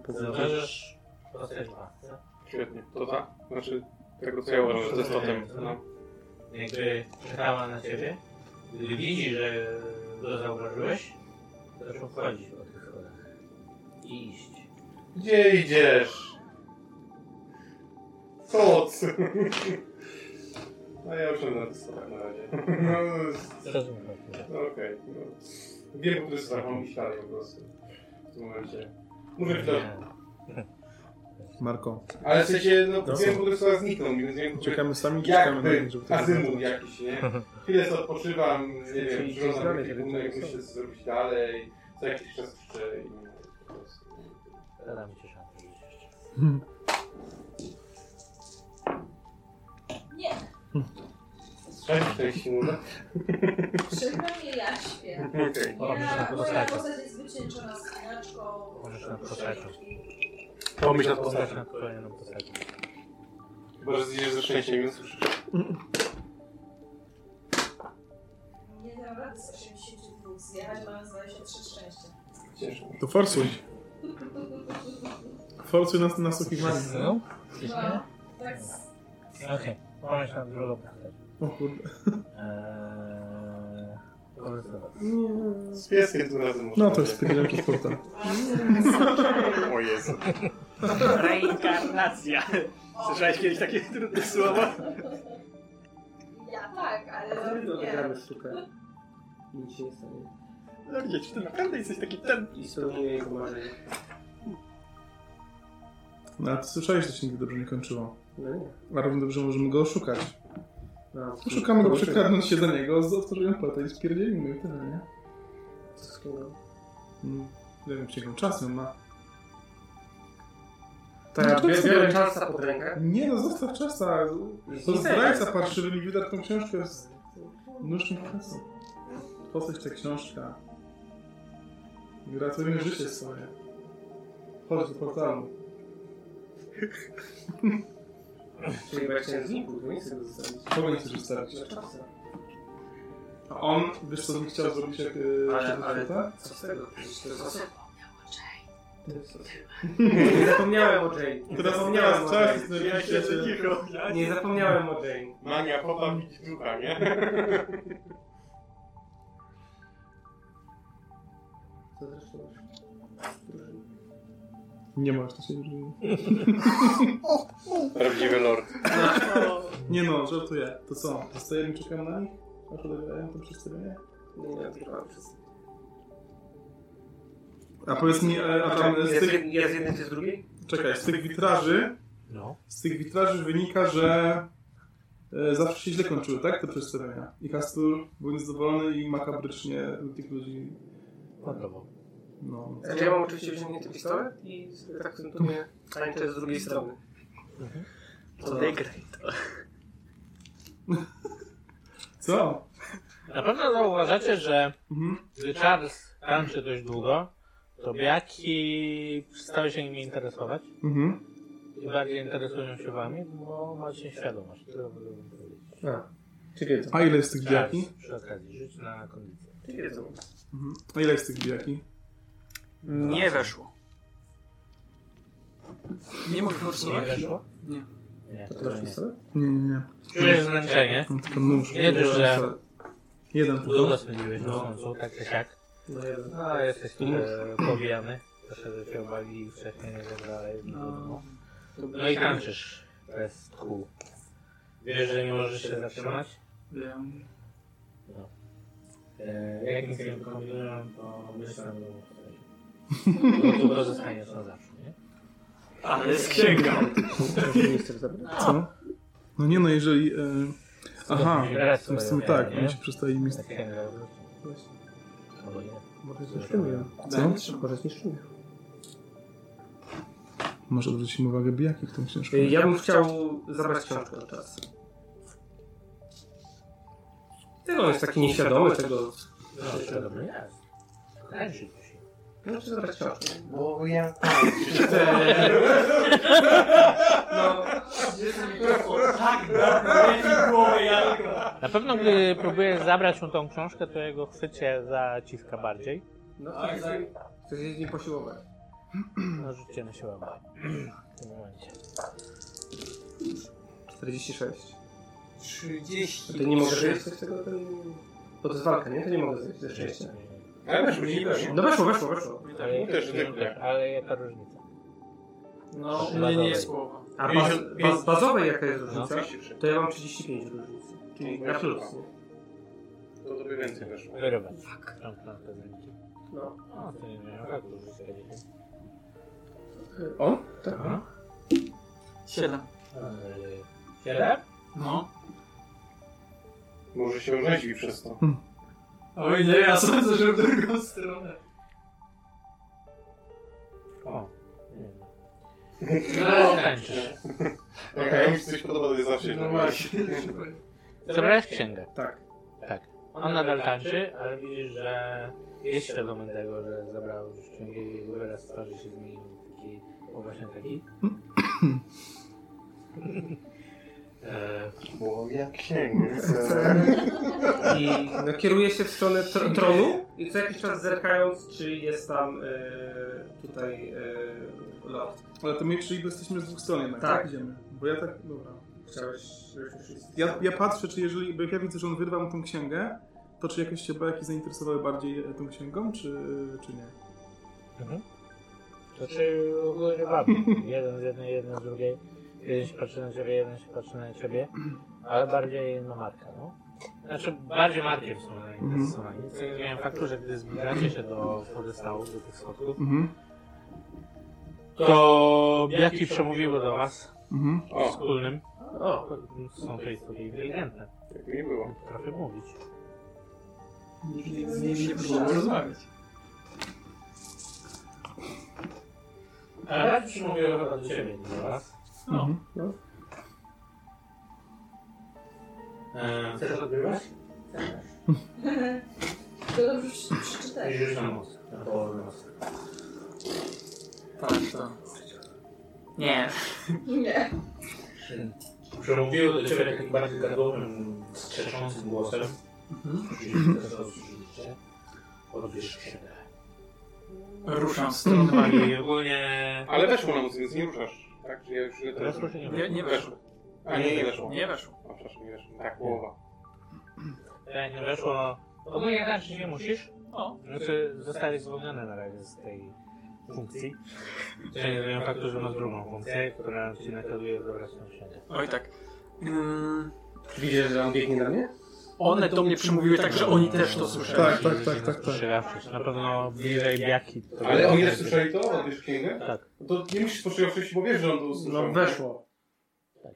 Zauważysz postać w masce. Świetnie. To ta? Znaczy, tego co ja uważam, że ze stotem. No. Jakby czekała na ciebie. Gdy widzi, że go zauważyłeś, zaczął wchodzić po tych schodach. I iść. Gdzie idziesz? Koc! No ja już mam narysować na razie. No, Rozumiem. no okej. no. Wiem, który strach mam iść dalej po prostu. W tym momencie. Mówię chwilę. Marko, Ale w sensie, no, No. wiem, który strach zniknął, więc wiem, który... czekamy sami czy czekamy na Jakby nich, żeby to azymut jakiś, nie? Chwilę sobie odpoczywam, nie wiem, przyglądam się gumę, jak muszę zrobić dalej. Co jakiś czas jeszcze i... po prostu. Zadam ci szansę gdzieś jeszcze. Nie, Strzelisz tej simule? przykro mnie, ja śpię. Okej. Ja, moja postać jest wycieńczona z znaczką. Możesz na postaciu. Pomyśl nad Postać postacią. na kolejną postacią. Chyba, że zjedziesz ze szczęściem i usłyszysz. Nie dam rady z 82 zjechać, mam 23 szczęścia. Ciężko. To forsuj. Forsuj nas na sukiwanie. No. No, tak z... Okej, pomyśl na drugą postać. O kurde. Eee, korzystać. Z pieskiem tu razem można No to już być. spędziłem przez portal. O Jezu. Reinkarnacja. Słyszałeś kiedyś takie trudne słowa? Ja tak, ale Zrobimy nie. odgramy sztukę. I Nic się nie stanie. Lordzie, czy ty naprawdę jesteś taki ten? I spełnię jego marzenie. No ale ty słyszałeś, że się nigdy dobrze nie kończyło. No nie. A równie dobrze możemy go oszukać. No, Szukamy go, to szukam. przekradnąć się do niego, otworzymy portal i spierdzielimy i tyle, nie? Wszystko, no. Mm, Nie wiem, czy jaką czas on ma. Tak, ja No, to biorę, co? biorę Charlesa pod rękę. Nie no, zostaw czasa. To Nie, zdrajca parszywy mi wyda tą książkę z mnóstwem czasu. Po coś ta książka. I Ratujmy życie swoje. Chodź do portalu. Czyli jak się znikł, to nie chcę go zostawić. Kogo nie chcesz ustawić? Charlesa. A on, wiesz co bym chciał zrobić jak... Yy, Ale, ale co z tego? Przecież to jest osoba. To jest osoba. Nie zapomniałem o Jane. Nie Teraz zapomniałem miałem o czas, Jane. no ja się... Cicho. Nie zapomniałem o Jane. Mania, popa widzi ducha, nie? Co zresztą masz? Nie masz, to się nie dzieje. Prawdziwy lord. Nie no, żartuję. To co? Zostajemy i czekam na nich? Aż odejdę to przedstawienie? Nie, nie, to przez... A powiedz mi, e, a tam z Ja z tych... jednej, ja z jednej, ty z drugiej? Czekaj, z tych witraży... No. Z tych witraży wynika, że e, zawsze się źle kończyły, tak? Te przedstawienia. I Kastur był niezadowolony i makabrycznie tych ludzi... Podobał. No. Znaczy ja mam oczywiście wyciągnięty pistolet i sobie tak tu mnie tańczę z drugiej strony. Odegraj to. Co? Na pewno zauważacie, że Mhm. gdy Charles tańczy dość długo, to biaki przestały się nimi interesować Mhm. i bardziej interesują się wami, bo macie świadomość. Tyle bym powiedzieć. A, czy wiedzą? A ile jest tych bijaki? Charles, przy okazji, rzuć na kondycję. Czy wiedzą? Mhm. A ile jest tych bijaki? Nie weszło. Nie mogę Nie forsować. weszło? Nie. Nie, To to też nie. pistolet? Nie, nie, nie. Czujesz zmęczenie. Mam tylko nóż. Nie dość, że- Jeden Długo tylko. spędziłeś na sącu, tak czy siak. No jeden. No, jesteś tu e, pobijany. Proszę, że cię obali i wcześniej nie tak dalej. No, No i tańczysz bez kół. Wiesz, że nie możesz się zatrzymać? No. Wiem. E, Jak nic nie wykombinują, to myślę, że No, wtedy. Bo tu korzystaniesz na zawsze, nie? Ale z księgą. Nie chcesz zabrać? Co? No nie no, jeżeli... E... Aha, Teraz w sumie sobie, tak, nie? oni się przestali mi... Tak jak robisz. Właśnie. Albo nie. Może zniszczymy Co? ją. Może zniszczymy. Może zwrócić im uwagę Y, bijaki w tym książce. Ja bym chciał zabrać książkę na czas. No, jest taki nieświadomy tego. No, świadomy jest. Leży. No, czy zabrać książkę. Bo ja... No, tak, tak, głowę jajko. Na pewno, gdy próbujesz zabrać mu tą książkę, to jego chwycie zaciska bardziej. No, tak, tak. Chcesz jeździć nim posiłować. No, rzućcie na siłę woli. W tym momencie. 46. 30. To ty nie możesz jeść coś tego? ten- Bo to jest walka, nie? To nie mogę zjeść ze szczęścia. Ale weszło, nie weszło. No weszło, weszło, weszło. Ale, Mu też zwykle. ale jaka różnica? No, u mnie nie jest połowa. A baz, baz, bazowej jaka jest No. różnica? To ja mam 35 różnicy. Czyli na plus. To tobie więcej weszło. Wyrobę. Fuck. Tam na te zęki. No. O, to nie miałem tak dużo zęki. O? Tak. Siedem. Eee, Siedem? No. Może się orzeźwi przez to. Oj nie, ja sądzę, że w drugą stronę. O. Nie. No, Tańczysz. Jak okay. mi się coś podoba, to jest zawsze tak no źle. właśnie. Zabrałeś księgę. Tak. Tak. On nadal tańczy, ale widzisz, że jest świadomy tego, że zabrał już księgę i jego wyraz twarzy się zmienił w taki, o właśnie taki. Eee, Bo ja księgę. I No, kieruje się w stronę tr- tronu i co jakiś czas zerkając, czy jest tam e, tutaj e, lord. Ale to my czyli jesteśmy z dwóch stron jednak, Tak. tak? Idziemy. Bo ja tak, dobra. Chciałeś... żebyśmy szli z- Ja, ja patrzę, czy jeżeli, bo jak ja widzę, że on wyrwał mu tą księgę, to czy jakieś się bajki zainteresowały bardziej e, tą księgą, czy, e, czy nie? To czy urywamy? Jeden z jednej, jeden z drugiej. Jeden się patrzy na ciebie, jeden się patrzy na ciebie. Ale bardziej na Marka, no. Znaczy, bardziej Markiem są zainteresowani. Mm-hmm. Miałem faktu, że gdy zbliżacie się do podestałów, do tych schodków, Mhm. to jaki przemówiło do was Mhm. o. O, wspólnym? O, są to istoty inteligentne. tak mi było. Trafię mówić. Nigdy z nimi nie próbował rozmawiać. Ale przemówiło chyba do ciebie, nie do was. No. Eee, Chcesz odbywać? To dobrze że przeczytałeś. Rzuć na most. Na połowę mostu. Patrz to. Nie. Nie. Przemówił do ciebie takim bardziej Mhm. gadowym, strzeszącym głosem. Oczywiście teraz odsłuchajcie. Odbierz księgę. Ruszam w stronę Marii. I ogólnie... Ale weszło nam, więc nie ruszasz. Tak, czy ja już źle to Teraz rozumiem? proszę Nie, nie wiem. nie weszło. A nie, nie weszło. Nie weszło. A przepraszam, nie weszło. Tak, połowa. Jak nie weszło... Ogólnie tańczyć nie musisz. O. Znaczy, zostałeś zwolniony na razie z tej funkcji. Ja nie wiem faktu, że masz drugą funkcję, która ci nakazuje zabrać tą księgę. Oj tak. Ym, Widzisz, że on biegnie na mnie? Mm. one do mnie przemówiły tak, że oni też to słyszeli. Tak, tak, tak, tak, tak. Słyszawszy, na pewno bliżej biaki. to- Ale oni też słyszeli to? Odbierz księgę? Tak. No To nie musisz spoczywać wcześniej, bo wiesz, że on to usłyszał. No weszło. Tak.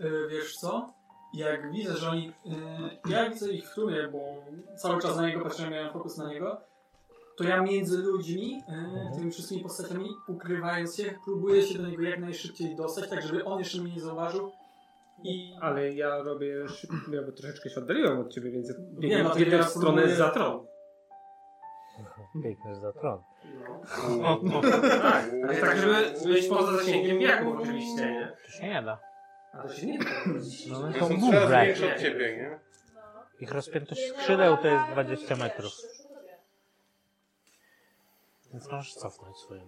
Y, wiesz co? Jak widzę, że oni. y, ja widzę ich w tłumie, bo cały czas na niego patrzyłem, miałem fokus na niego. To ja między ludźmi, Mhm. y, tymi wszystkimi postaciami, ukrywając się, próbuję się do niego jak najszybciej dostać, tak żeby on jeszcze mnie nie zauważył. I. Ale ja robię szybko, ja bo troszeczkę się oddaliłem od ciebie, więc Wiem, biegnę, a to biegnę no, ja w stronę próbuję- za tron. Biegniesz za tron. no. No, Tak, ale tak, żeby być poza zasięgiem jaków oczywiście, nie? To się nie da. A to się nie da. No, no tak, Ja to są move trzy razy right. większe od ciebie, nie? No. Ich rozpiętość skrzydeł to jest 20 metrów. Więc możesz cofnąć swoją.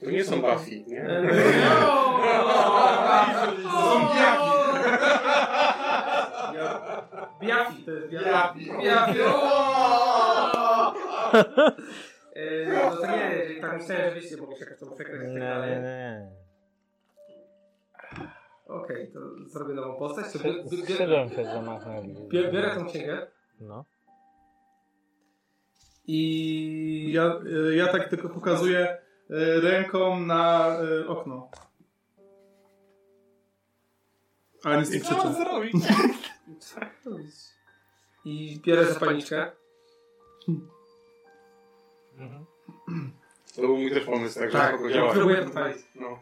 To nie są Buffy, nie? E, No! Biafi to jest Ja- biafi. Biafi, Eee, No to nie, jeżeli tak myślałem, że wiecie, bo się jakaś tam sekret i tak dalej. nie. Okej, to zrobię nową postać, to biorę, Skrzy- Skrzydłem się zamachnęli. biorę tą księgę. No. I Ja, e, ja tak tylko pokazuję e, ręką na e, okno. Ale nic nie krzyczę. zrobić? I bierę zapalniczkę. To był mój też pomysł, także Tak, spoko, ja działa. próbuję podpalić. No.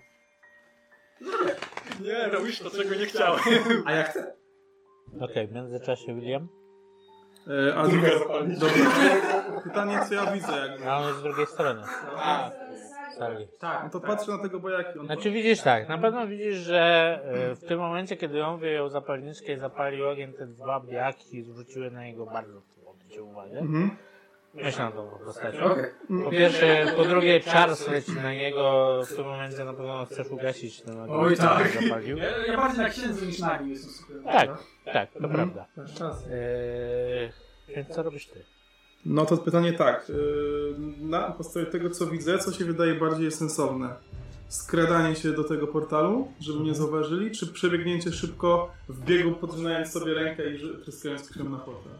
Nie, robisz to, czego nie chciałem. A ja chcę. Okej, w międzyczasie William. E, a Druga druga- zapalniczka. Dobra. Pytanie, co ja widzę. Jak... No, on jest z drugiej strony. A. Sali. Tak, no to patrzę na tego bojaki. On Znaczy widzisz tak, na pewno widzisz, że e, w tym momencie, kiedy on wyjął zapalniczkę i zapalił ogień, te dwa biaki zwróciły na niego bardzo odbicie uwagę. Mhm. Myślę na tą postacią. Okej. Po pierwsze, po drugie czar leci na niego, w tym momencie na pewno chcesz ugasić ten ogień, Oj który tak. zapalił. Ja, ja bardziej na księdzu niż na nim jestem skupiony. Tak, prawda? tak, to Mhm. prawda. Masz czas. E, więc co robisz ty? No to pytanie tak. y, Na podstawie tego, co widzę, co się wydaje bardziej sensowne? Skradanie się do tego portalu, żeby mnie zauważyli, czy przebiegnięcie szybko w biegu, podrzynając sobie rękę i ży- tryskając krem na portal?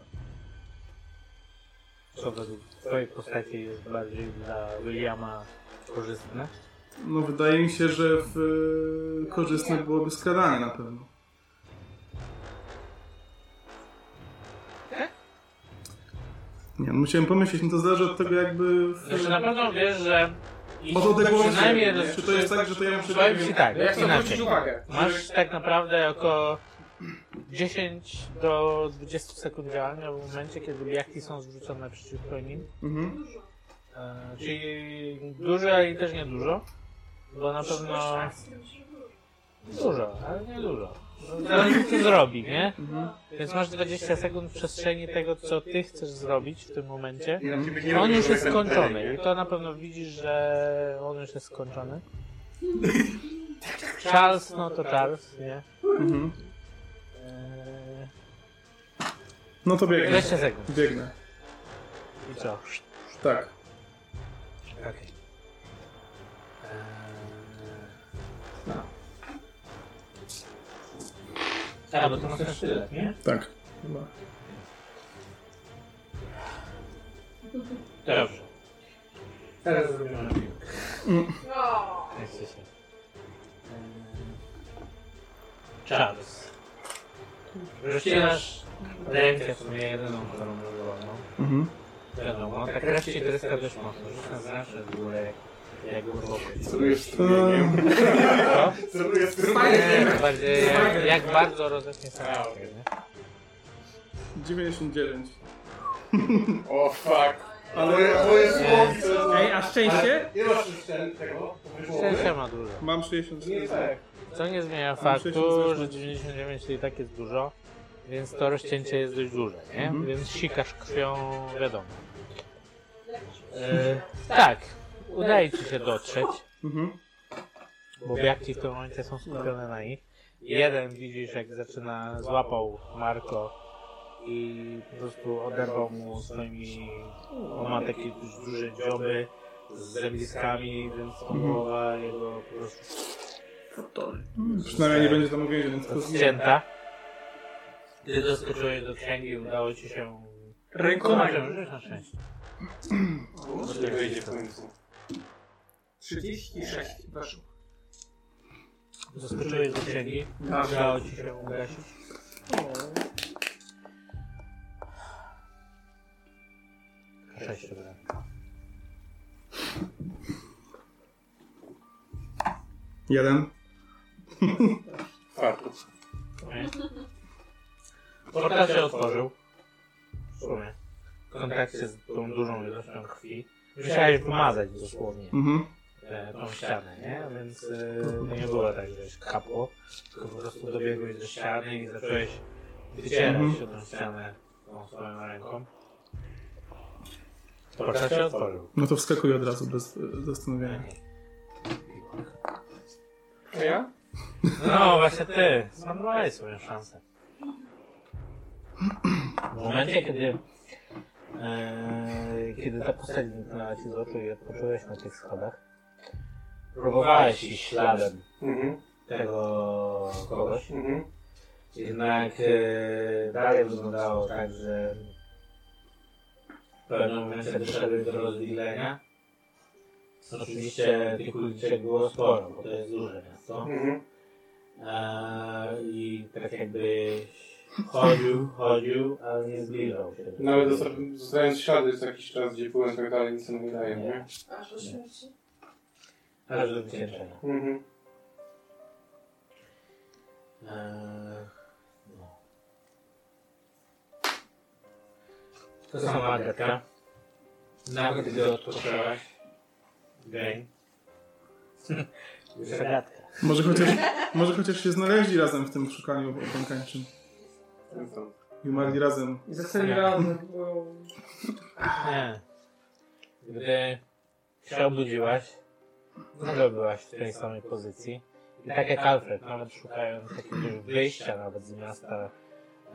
Co według twojej postaci jest bardziej dla Williama korzystne? No wydaje mi się, że w, y, korzystne byłoby skradanie na pewno. E? Nie, no musiałem pomyśleć, no to zależy od tego jakby... W... Znaczy na pewno wiesz, że i tak Bo to odległości, przynajmniej nie? Czy to jest tak, że to ja muszę- Powiem ci tak, Ja chcę zwrócić inaczej. uwagę. Masz tak naprawdę około 10 do 20 sekund działania w momencie, kiedy biaki są zwrócone przeciwko nim. Mhm. E, czyli dużo, ale i też niedużo. Bo na pewno... No. Dużo, ale nie dużo. Zależy co zrobi, nie? Więc masz 20 sekund w przestrzeni tego, co ty chcesz zrobić w tym momencie. Inaczej by nie I on robił już jest ten skończony. trening, I nie? to na pewno widzisz, że on już jest skończony. Charles, no to Charles, nie? Mhm. No to biegnę. 20 sekund. Biegnę. I co? Tak. Okej. Eee, A, bo to masz też sztylet, nie? Tak. Chyba. Dobrze. Teraz zrobimy na piłkę. Mm. No. No. Jesteś. Eee, Charles. Rzuciłaś rękę w sumie jedyną, którą używano. Mhm. Wiadomo, tak raz ci tryska dość mocno. Rzuca zawsze w górę, jak głęboko. Celujesz strumieniem. Co? Celujesz Nie, strumieniem. E, bardziej jak, jak bardzo roześnie samochód. 99. O oh, fuck. Ale- moje, moje Nie. słowo. to- Ej, a szczęście? Ale Ile masz szczęście tego? Szczęścia ma dużo. Mam 64. Nie tak. Co nie zmienia Mam faktu, 60 że 99 to i tak jest dużo, więc to rozcięcie jest dość duże, nie? Mhm. Więc sikasz krwią, wiadomo. E, tak, udaje ci się dotrzeć, Mhm. bo biaki w tym momencie są skupione na nich. Jeden widzisz, jak zaczyna, złapał Marko i po prostu oderwał mu swoimi, on ma takie dość duże dzioby z zębiskami, więc on Mhm. głowa jego po prostu No, Przynajmniej nie będzie tam uwięziony. tylko- Zdjęta. Gdy doskoczyłeś do księgi, udało ci się. Rękoma. Rzuć na szczęście. Nie wyjdzie w końcu. 36 weszło. Doskoczyłeś do księgi, Tak. udało ci się ugasić. Sześć dobra. Jeden. Fartu. Portal się otworzył. W sumie. W kontakcie z tą dużą ilością krwi. Musiałeś wymazać dosłownie Mhm. e, tą ścianę, nie? Więc e, nie było tak, że się kapło, tylko po prostu dobiegłeś do ściany i zacząłeś wycierać się tą ścianę tą swoją ręką. Portal się otworzył. No to wskakuję od razu bez e, zastanowienia. A ja? No właśnie ty, zmarnowałeś swoją szansę. W momencie, kiedy, e, kiedy ta postać zniknęła ci z oczu i odpocząłeś na tych schodach, próbowałeś iść śladem Mhm. tego kogoś, Mhm. jednak e, dalej wyglądało tak, że w pewnym momencie doszedłeś do rozwilenia. Oczywiście tych uliczek było sporo, bo to jest duże miasto. Mhm. Eee, I tak jakby chodził, chodził, ale nie zbliżał się. Nawet zosta- zostając ślady co jakiś czas, gdzie byłem i tak dalej, nic nie wydaje, nie? Aż do śmierci. Aż do wycieńczenia. Mhm. Eee, no. To sama Agatka. Nawet gdy odpoczęłaś. Dzień. Zagadka. Może chociaż, może chociaż się znaleźli razem w tym szukaniu opękańczym. I umarli razem. I zostali razem, bo... Nie. Gdy się obudziłaś, nadal byłaś w tej samej pozycji. I tak jak Alfred, nawet szukając jakiegoś wyjścia nawet z miasta,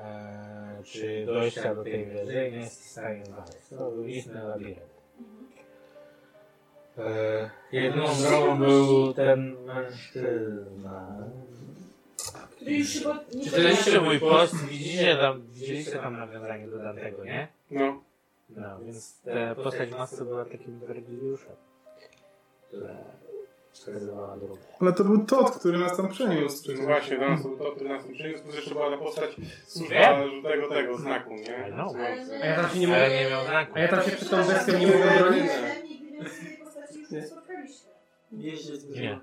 e, czy dojścia do tej wieży, nie jest w stanie znaleźć. To był istny labirynt. E, jedną drogą był ten mężczyzna. Który już się pod... nie Czytaliście mój post, widzicie tam, widzieliście tam nawiązanie do Dantego, nie? No. No, więc ta postać w masce była takim werdyliuszem, która wskazywała drogę. Ale to był Todd, który nas tam przeniósł. No właśnie, to nas, to, który nas nie przyniósł, to jeszcze była ta postać służba Wiem. żółtego tego znaku, nie? No. Słońce. A ja tam się nie Ale mogę... nie miał znaku. A ja tam się przed tą bestią nie mogę bronić. Nigdy tej postaci już nie spotkaliśmy. Jeździec Nie.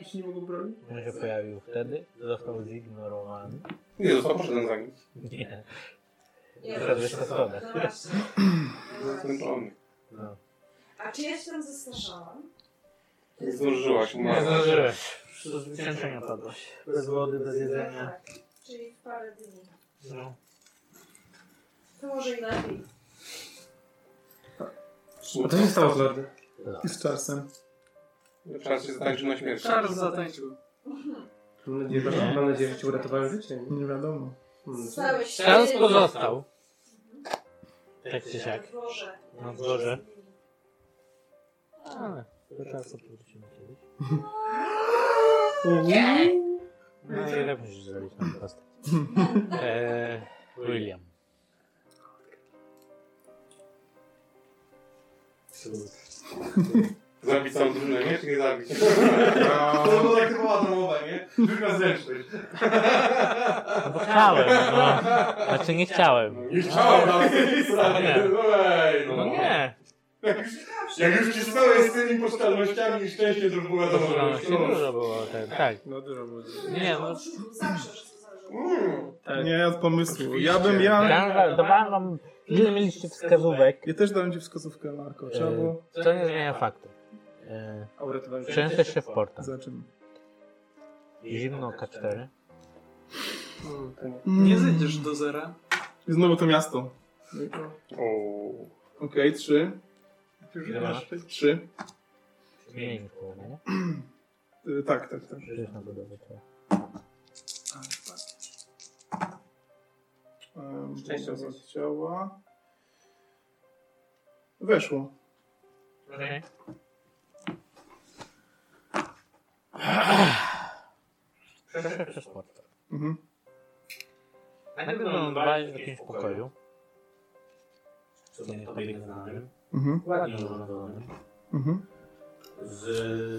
Już się nie mogą bronić. On się pojawił wtedy, został zignorowany. Nie, został poszedłem za nim. Nie. Nie, Został już. wystosowane. No właśnie. No właśnie. Zastąpiony. No. A czy ja się tam zestarzałam? Nie zdążyłaś, Nie umarłaś. zdążyłeś. Z wycieńczenia padłeś. Bez wody, bez jedzenia. Tak, czyli w parę dni. No. To może i lepiej. A to się stało z Lordem. I z Charlesem. Czas się zatańczył na śmierć. Charles zatańczył. Mam nadzieję, że- Nie. mam nadzieję, że ci uratowałem życie. nie? Nie wiadomo. Zostałeś Szans ty- pozostał. Tak czy Na siak. dworze. Na dworze. Ale do czasu powrócimy kiedyś. No i ile musisz zrobić na postać? Eee, William. Zabić całą drużynę, nie? Czy nie zabić? No, to tak typowa domowa, nie? Już na zręczność. No bo chciałem, no. Znaczy nie chciałem. No, Nie chciałem na tej Nie. sprawie. No, Ej, No nie. Jak już cisnąłeś z tymi pocztalnościami i szczęście, to już była dobra. Dużo, dużo było ten, tak. No dużo było. Nie, no. Zawsze, że to zależy. Mm. Tak. Nie, od pomysłu. Ja bym, ja... Dawałem dawałem wam, ile mieliście wskazówek, Ja też dałem ci wskazówkę, Marko. Trzeba było... e, to nie zmienia faktu. E, A uratowałem życie. Częstesz się w portach. Za czym? Zimno K4. Mm, tak. Nie zejdziesz do zera. I znowu to miasto. O. Okej, trzy. Ile masz? Trzy. Zmienić połowę, nie? Y, tak, tak, tak. Rzuć na budowę tak. to. Um, Szczęście ciała. Weszło. Okej. Przeszedł przez portal. Mhm. Najpierw lądowałeś w jakimś pokoju. W sumie tobie nieznanym. Mhm. Ładnie urządzonym. Mhm. Z,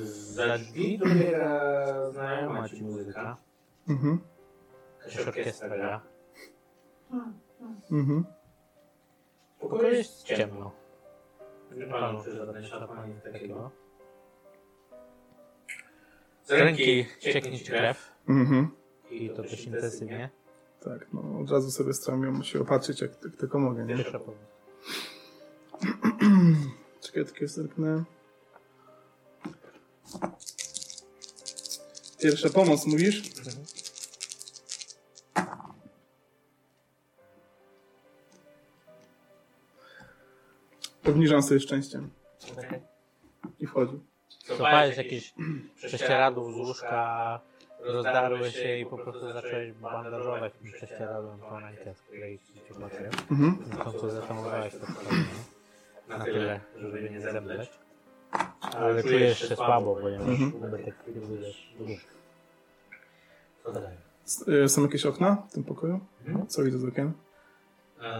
za drzwi dobiera znajoma ci muzyka. Mhm. Jakaś orkiestra gra. Mhm. W pokoju jest ciemno. Nie palą się żadne światła, nic takiego. Z ręki cieknie ci krew. Mhm. I to dość intensywnie. Tak, no od razu sobie staram się opatrzyć, jak, jak tylko mogę, nie? Pierwsza pomoc. Czekaj, tylko zerknę. Pierwsza pomoc, mówisz? Mhm. Obniżam sobie szczęściem. I wchodzi. Złapałeś jakieś prześcieradło z łóżka, rozdarłeś się i po prostu zacząłeś bandażować tym prześcieradłem tą rękę, z której ci się umarł. Mhm. Na końcu zatamowałeś to spalenie. Na tyle, żeby tak nie zemdleć. Ale czujesz się słabo, ponieważ Mhm. ubytek budujesz duży. Co dalej? S- y, Są jakieś okna w tym pokoju? Mhm. Co widzę z okien? Eee,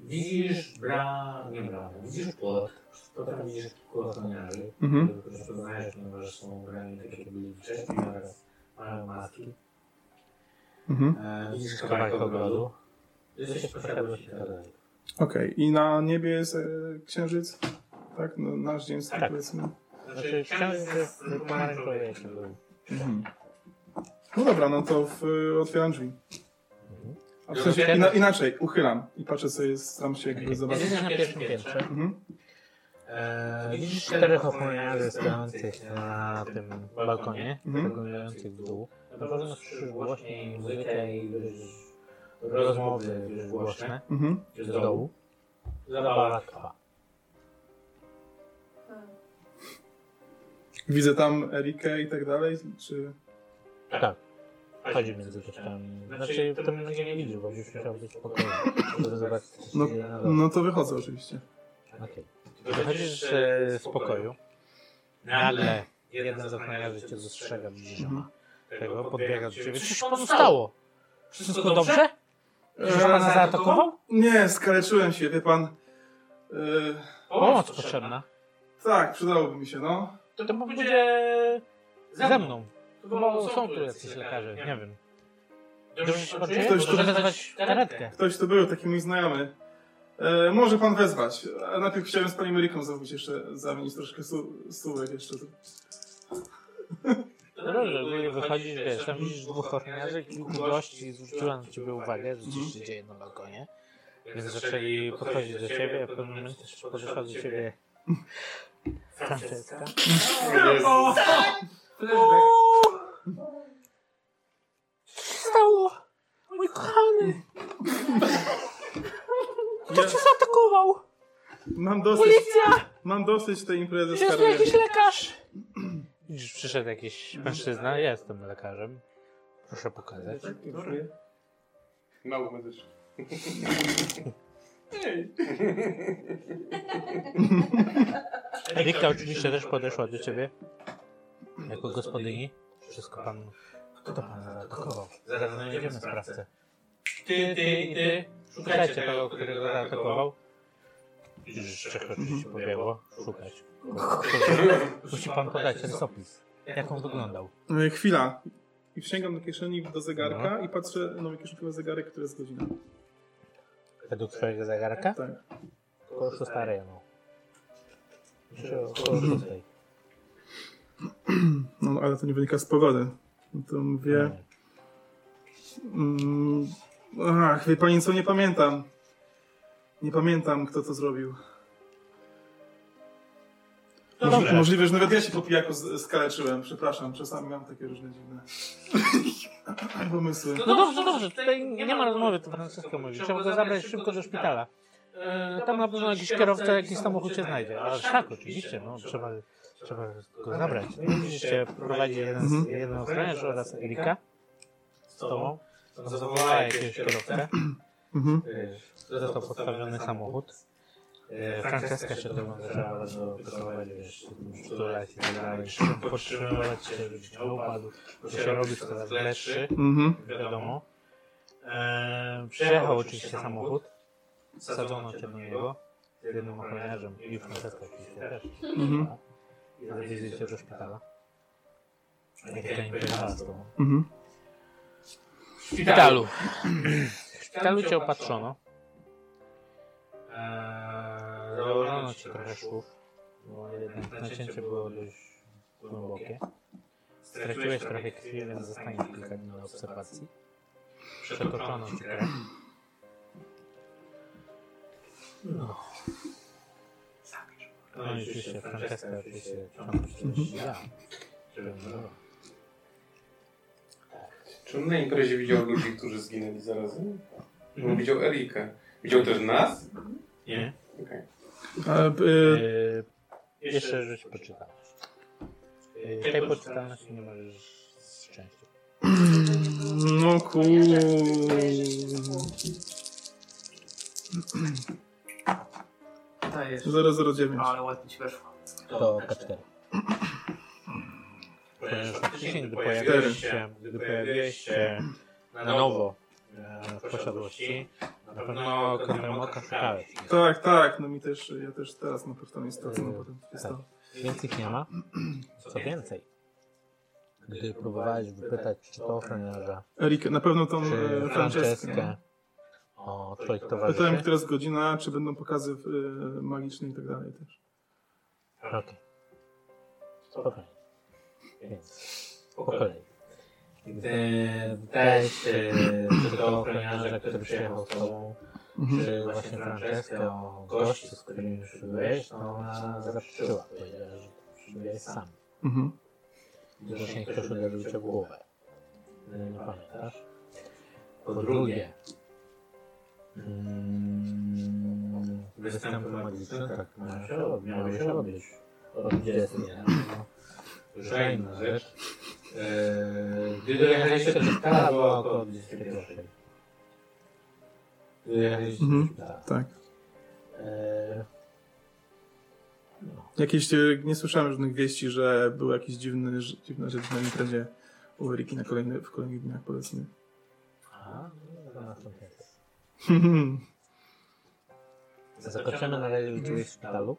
Widzisz bra... nie bramę, widzisz płot. Potem widzisz kilku ochroniarzy, Mhm. których rozpoznajesz, ponieważ są ubrani tak jak byli wcześniej oraz mają maski. Mhm. Eee, Widzisz kawałek ogrodu. Jesteś w tak. Znaczy, posiadłości dalej. Okej, i na niebie jest e, księżyc? Tak, no, nasz dzień, Tak. powiedzmy. Znaczy książę jest pomarańczowy jaki był. Mhm. No dobra, no to w, otwieram drzwi. e, A w sensie, ina, inaczej, uchylam i patrzę, co jest tam się jakby zobaczyć. Jesteś na pierwszym piętrze. Mhm. Eee, Widzisz czterech ochroniarzy stojących na tym balkonie, Mhm. Mhm. spoglądających w dół. Na pewno słyszysz głośniej muzykę i wiesz, rozmowy wiesz, głośne Mhm. z dołu. Zabawa trwa. Widzę tam Erikę i tak dalej, czy... Tak. Chodzi między drzwiami. Znaczy, to mnie nie widział, bo już musiał być w pokoju, żeby zobaczyć, co się No, dzieje na dole. no to wychodzę oczywiście. Okej. Wychodzisz e, z pokoju. Nagle jeden z ochroniarzy cię dostrzega, widzisz, że ma tego, podbiega do ciebie. Coś panu stało? Wszystko dobrze? Czy pana zaatakował? E, Nie, skaleczyłem się, wie pan. E, Pomoc potrzebna. tak, przydałoby mi się, no. To to będzie ze mną. Bo są tu jacyś lekarze, nie wiem. Dobrze się pan czuje? Ktoś tu- Może wezwać karetkę. Ktoś to był, taki mój znajomy. E, może pan wezwać. A najpierw chciałem z panią Eryką zrobić jeszcze, zamienić troszkę stu, stółek jeszcze. Dobrze, gdy wychodzisz, wiesz, tam widzisz dwóch ochroniarzy, kilku gości zwróciła na ciebie uwagę, że coś się dzieje na balkonie. Więc zaczęli podchodzić do ciebie, a w pewnym momencie też podeszła do ciebie Francesca. O! Stało! Mój kochany! Kto cię zaatakował? Mam dosyć, Policja! mam dosyć tej imprezy z Jest tu karierą. jakiś lekarz! Widzisz, przyszedł jakiś mężczyzna, ja jestem lekarzem. Proszę pokazać. Mało medyczny. Rika oczywiście też podeszła do ciebie. Jako gospodyni. Wszystko pan... Kto to pan zaatakował? Zaraz znajdziemy sprawcę. Ty, ty i ty. Szukajcie tego, którego zaatakował. Widzisz, że trzech oczywiście pobiegło. Szukać. Musi pan podać rysopis. Jak on wyglądał? E, Chwila. I wsięgam do kieszeni do zegarka i patrzę, no w kieszeni ma zegarek, który jest godzina. Według twojego zegarka? Tak. Około 6 rano. Znaczy około 6. No ale to nie wynika z pogody. No To mówię... Mm, ach, wie pani co, nie pamiętam. Nie pamiętam, kto to zrobił. Dobrze. Możliwe, że nawet ja się po pijaku z- skaleczyłem. Przepraszam, czasami mam takie różne dziwne pomysły. No dobrze, dobrze, tutaj nie ma rozmowy, to Francesco mówi. Trzeba go zabrać szybko do szpitala. E, Tam na pewno jakiś kierowca, jakiś samochód się znajdzie. Ale tak, oczywiście, no trzeba, trzeba go zabrać. No i Widzicie, prowadzi jeden, z- Mhm. jeden ochroniarz oraz Erika z tobą. On Zawołała jakiegoś kierowcę. Mhm. E, Został podstawiony samochód. E, Franceska się do mnie zaczęła do wychowywać, wiesz, przytulać i tak dalej. Podtrzymywać się, żebyś nie upadł. To się robi coraz lepszy, Mhm. wiadomo. E, przyjechał oczywiście samochód. Sadzono cię do niego z jednym ochroniarzem i tak, Franceska oczywiście też. Mhm. I zawieźli cię do szpitala. Erika nie pojechała z tobą. Mhm. W szpitalu. W szpitalu cię opatrzono. Eee, założono ci trochę szwów, bo jednak nacięcie było dość głębokie. Straciłeś trochę krwi, więc zostaniesz kilka dni na obserwacji. Przetoczono ci krew. No. No i oczywiście Francesca oczywiście ciągle się siedziała. No. Czy on na imprezie widział ludzi, którzy zginęli zarazem? Mhm. No, widział Erikę. Widział też nas? Nie. Okej. A, y, Eee, jeszcze rzecz poczytałeś. Eee, Tej poczytalności nie możesz z szczęściem. no ku... Dajesz. 009. Ale ładnie ci weszło. To K4. Ponieważ faktycznie, gdy pojawiłeś się, gdy pojawiłeś się na nowo e, w posiadłości, na pewno kątem oka szukałeś. Tak, tak, no mi też, ja też teraz na pewno jest tacy, no potem jest Tak. to. Więc ich nie ma. Co więcej, gdy próbowałeś wypytać, czy to ochroniarza, Erikę, na pewno tą czy e, Franceskę Franceskę. o twoich Pytałem, towarzyszy, która jest godzina, czy będą pokazy e, magiczne i tak dalej też. Okej. Spokojnie. Więc po kolei. Gdy dałeś e, czy do ochroniarza, który przyjechał z tobą, Mhm. czy właśnie Franceskę o gości, z którymi przybyłeś, to ona zaprzeczyła. Powiedziała, że przybyłeś sam. Mhm. Zresztą ktoś uderzył cię w głowę. E, Nie pamiętasz? Po drugie, mm, występy magiczne, tak, mają się, od- miały się odbyć. Od 21. Żajna rzecz. Eee, Gdy dojechaliście do szpitala, było około 21. Gdy dojechaliście do Mhm, szpitala. tak. Eee, Jakieś, e, nie słyszałem żadnych wieści, że był jakiś dziwny, ż- dziwna rzecz na imprezie u Eriki na kolejny, w kolejnych dniach, powiedzmy. A, no, to następnie. Zakończony na razie życzyłeś w szpitalu.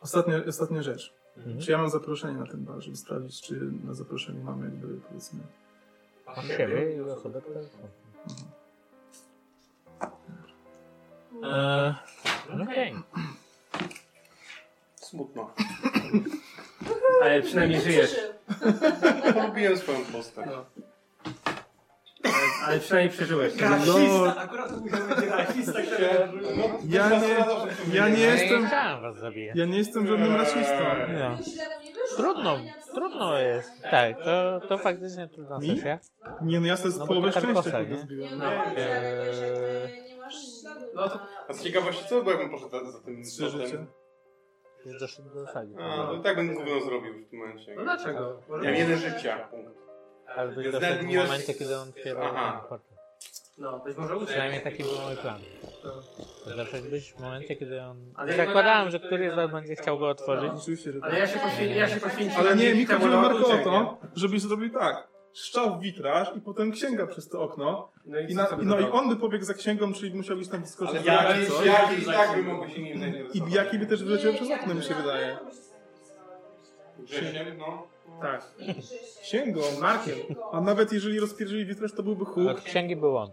Ostatnia, ostatnia rzecz. Mhm. Czy ja mam zaproszenie na ten bar, żeby sprawdzić, czy na zaproszenie mamy jakby, powiedzmy... Masz siebie i osobę, która jest Eee, Okej. Smutno. Ale przynajmniej żyjesz. Robiłem swoją postać. No. Ale przynajmniej przeżyłeś. No, Rasista, akurat No, Ja nie, ja nie Ja nie jestem... chciałem was zabijać. Ja nie jestem żadnym Eee. rasistą. No. Trudno, trudno jest. Tak, to, to faktycznie trudna Mi? sesja. Nie, no ja sobie z No bo połowę to szczęścia Karkosa, kurde nie? zbiłem. No. No to... A z ciekawości co byłbym poszedł za, za No. tym Trzy potem? życia. Jest doszedł do sali. A, no i tak bym gówno zrobił w tym momencie. No dlaczego? Ja jeden życia. Ale byś Jest doszedł w na- nie- momencie, kiedy on otwierał Aha. portę. No, być może uciekł. Przynajmniej taki był mój plan. Doszedłbyś w momencie, kiedy on... Ale ja- Zakładałem, że któryś z was będzie chciał go otworzyć. Ale ja się poświęciłem. Ja się poświęciłem Ale nie, mi temu chodziło lordu, Marko o czy nie? to, żebyś zrobił tak. Szczał w witraż i potem księga przez to okno. No i I co na, sobie no i dawało? on by pobiegł za księgą, czyli musiał iść tam skoczyć. Ale w ja- razie ja- coś. ja- i tak by mogły się nim zainteresować. I jaki by też wyleciał przez okno, mi się wydaje. Grzesiem, no. Tak. Księgą. Markiem. A nawet jeżeli rozpierdzieli witraż, to byłby huk. Tak. Od księgi był on.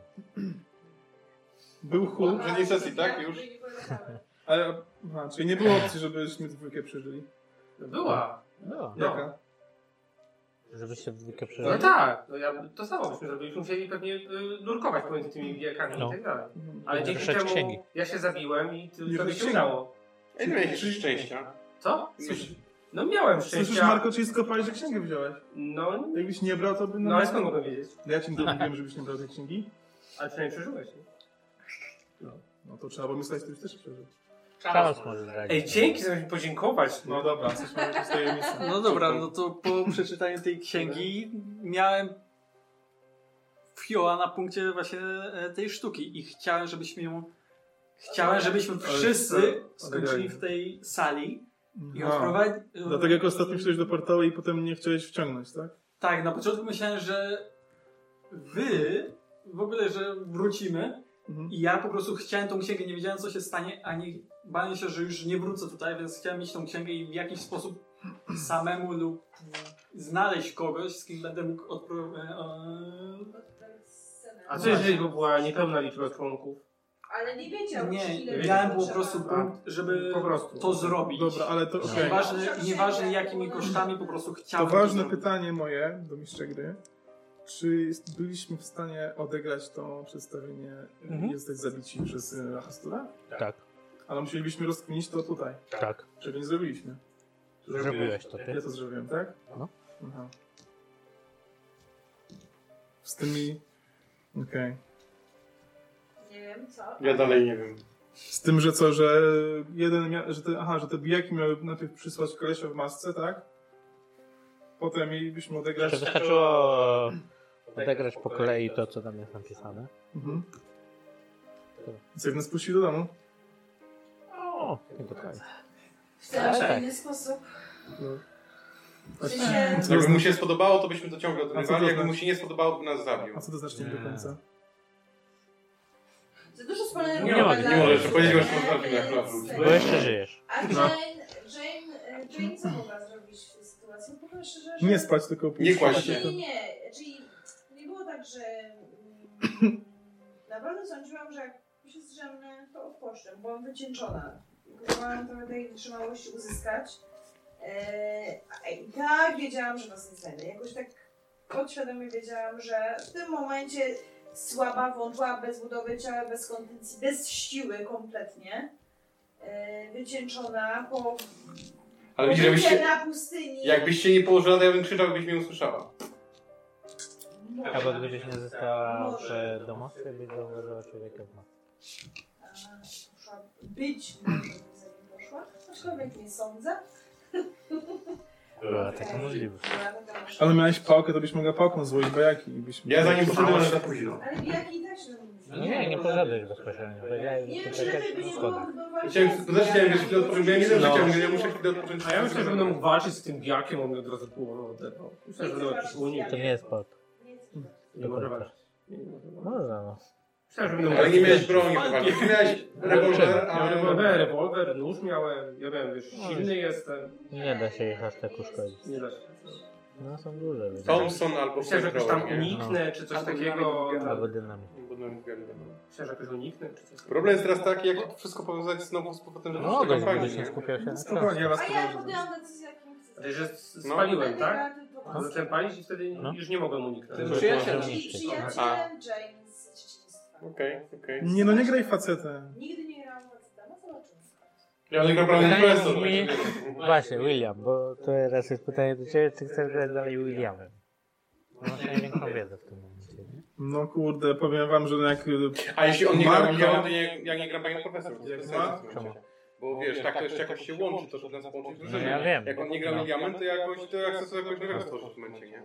Był huk. Że nie sesji, tak? Już? Ale, aha, czyli nie było opcji, żebyśmy dwójkę przeżyli. Była. No. Była. Jaka? Żebyście w dwójkę przeżyli. No tak, no ja, to samo byśmy zrobili. Musieli pewnie y, nurkować pomiędzy tymi wielkami No. i tak dalej. Mhm. Ale Żeby dzięki szukać temu księgi. ja się zabiłem i ty, Nie tobie się wyciągnął. udało. Ej, no miałeś szczęścia. Co? No miałem szczęścia. Słyszysz, Marko, czyli skopałeś, że księgę wziąłeś? No. Jakbyś nie brał, to by... No, ale skąd mogłem wiedzieć? Ja ci to mówiłem, żebyś nie brał tej księgi. Ale przynajmniej przeżyłeś. nie? No to trzeba pomyśleć, że też przeżył. Chaos może zdradzić. Ej, dzięki, zamiast mi podziękować. No dobra, coś mamy tu z tajemnicą. No dobra, no to po przeczytaniu tej księgi miałem fioła na punkcie właśnie e, tej sztuki i chciałem, żebyśmy ją chciałem, żebyśmy Ale- wszyscy skończyli ale- w tej sali i No. odprowadzi... Dlatego jak ostatnio wszedłeś do portalu i potem nie chciałeś wciągnąć, tak? Tak, na początku myślałem, że wy w ogóle, że wrócimy Mhm. i ja po prostu chciałem tą księgę, nie wiedziałem co się stanie, ani bałem się, że już nie wrócę tutaj, więc chciałem mieć tą księgę i w jakiś sposób samemu lub znaleźć kogoś, z kim będę mógł e, odprowadzić. A co jeżeli by była niepełna liczba członków? Ale nie wiedział, Nie, ile miałem było po prostu trzeba. punkt, żeby to zrobić. Tak, Dobra, ale to okej. Nieważne, nieważne jakimi kosztami, po prostu To chciałem ważne zrobić. pytanie moje do mistrza gry. Czy jest, byliśmy w stanie odegrać to przedstawienie Mhm. i zostać zabici przez e, Hastura? Tak. Ale musielibyśmy rozkminić to tutaj. Tak. Czego nie zrobiliśmy. Zrobiłeś to ty. Ja to zrobiłem, tak? No. Aha. Z tymi... Okej. Nie wiem, co. Ja dalej nie wiem. Z tym, że co, że jeden mia- że te, aha, że te bijaki miały najpierw przysłać kolesia w masce, tak? Potem mielibyśmy odegrać... Czy wystarczyło odegrać po kolei to, co tam jest napisane? Mhm. Więc jak nas puścili do domu? O, nie do końca. W ten Tak. czy inny sposób. No. W sensie- Jakby mu się spodobało, to byśmy dociągnęli do A co to rywali. Jakby mu znaczy? się nie spodobało, to by nas zabił. A co to znaczy nie do końca? Za dużo spoilerów. Nie mogę, nie możesz powiedzieć, że można Więc- wygrać. Bo jeszcze żyjesz. A No. Jane, Jane, e, Jane co mogła zrobić w tej sytuacji? Bo powiem szczerze, że... Nie spać, tylko Nie kłaść się. Nie, nie, nie. Czyli nie było tak, że... mm, Naprawdę sądziłam, że jak się zdrzemnę, to odpocznę. Byłam wycieńczona. Próbowałam trochę tej wytrzymałości E, uzyskać. Eee, a i tak wiedziałam, że was nie znajdę. Jakoś tak podświadomie wiedziałam, że w tym momencie słaba, wątła, bez budowy ciała, bez kondycji, bez siły kompletnie, yy, wycieńczona po Ale widzisz, jakbyś się, na pustyni. jakbyś się nie położyła, to ja bym krzyczał, byś mnie usłyszała. Albo gdybyś nie została Może. przy domostwie, byś zauważyła człowieka w nocy. A, muszła być, zanim poszła, aczkolwiek nie sądzę. E, Była taka możliwość. Ale miałeś pałkę, to byś mogła pałką złoić bajaki. i Byś... Ja za nim poszedłem, ale za późno. Ale jak i tak się mówi. No nie, nie pożadłeś bezpośrednio. Powiedziałeś, Nie że wiem, czy lepiej by nie poczekać na było schodach. chyba Chciałem, to też chciałem wiesz, chwilę odpocząć, bo ja nie wiem, że No. chciałem, mówię, ja muszę chwilę odpocząć. No. A ja myślę, że będę mógł walczyć z tym biakiem, on mnie od razu połowę oderwał. Myślę, że będę jakiś unik. To nie jest pod. Nie może walczyć. Można no. Myślę, że będę Ale nie miałeś walczyć. broni, chłopaki. Ty miałeś rewolwer, Miałem ale... rewolwer, rewolwer, nóż miałem, ja wiem, wiesz, No, silny jestem. Nie da się ich aż tak uszkodzić. Nie da się. No są duże. więc- Thompson albo Myślę, że jakoś tam Flamethrower, nie? No. uniknę, czy coś Albo takiego. dynamit. Albo dynamit. Myślę, że jakoś uniknę, czy coś takiego. Problem jest teraz taki, jak wszystko powiązać znowu z powrotem, że No, to gość, kampanii, gdybyś nie nie? skupiał się na Spokojnie, ja was A ja położę. podjęłam decyzję, jakim chcę. Ale że s- No. spaliłem, tak? No. Zacząłem palić i wtedy No. już nie mogłem uniknąć. Tym przyjacielem. I niszczyć. przyjacielem James z dzieciństwa. Okej, okej. Nie no, nie graj facetem. Nigdy nie grałam faceta, no zobaczymy. Ja nie gram prawdę Pytanie profesor. brzmi- Właśnie, William, bo to teraz jest pytanie do ciebie, czy chcesz grać dalej Williamem? No, Masz największą wiedzę w tym momencie, nie? No kurde, powiem wam, że no jak... y, A jeśli on nie gra Marko- Williamem, to nie, ja nie gram panią profesor. To jest Jak ma? sens w tym momencie. Bo wiesz, tak to jeszcze jakoś się łączy, to żeby nas łączyć No ja wiem. Jak on nie gra No. Williamem, to jakoś, to jak chcę sobie jakoś nowego stworzyć w tym momencie, nie?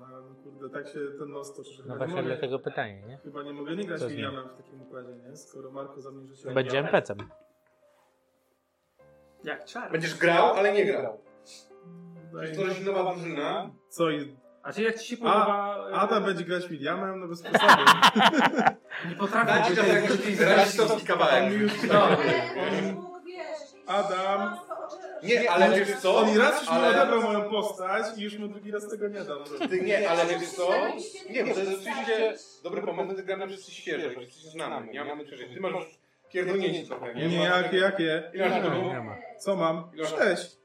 No, no kurde, tak się ten nos toczy, że No chyba nie właśnie mogę- dlatego pytanie, nie? Chyba nie mogę nie grać Co z nim? Williamem w takim układzie, nie? Skoro Marko zamierza się... Będzie NPC-em. Jak czar. Będziesz grał, ale nie grał. Daj- Stworzy się nowa drużyna. Co i... A czy jak ci się podoba... e, Adam będzie grać Williamem, no bez przesady. Nie potrafię... Dajcie Będzie- czas jakiś rasistowski kawałek. No. Ale już mógł, wiesz, jakieś Adam. szanse, Nie, ale wiesz co? On i raz już mi Ale- odebrał moją postać i już mu drugi raz tego nie dam. Ty nie, ale wiesz co? Nie, bo to jest oczywiście dobry pomysł, wtedy gramy wszyscy świeżo, że wszyscy się znamy, nie mamy przeżyć. Ty masz już pierdolnięcie trochę, nie? Nie, jakie, jakie? Ile masz No, tego? nie ma. Co mam? Ile masz- Sześć.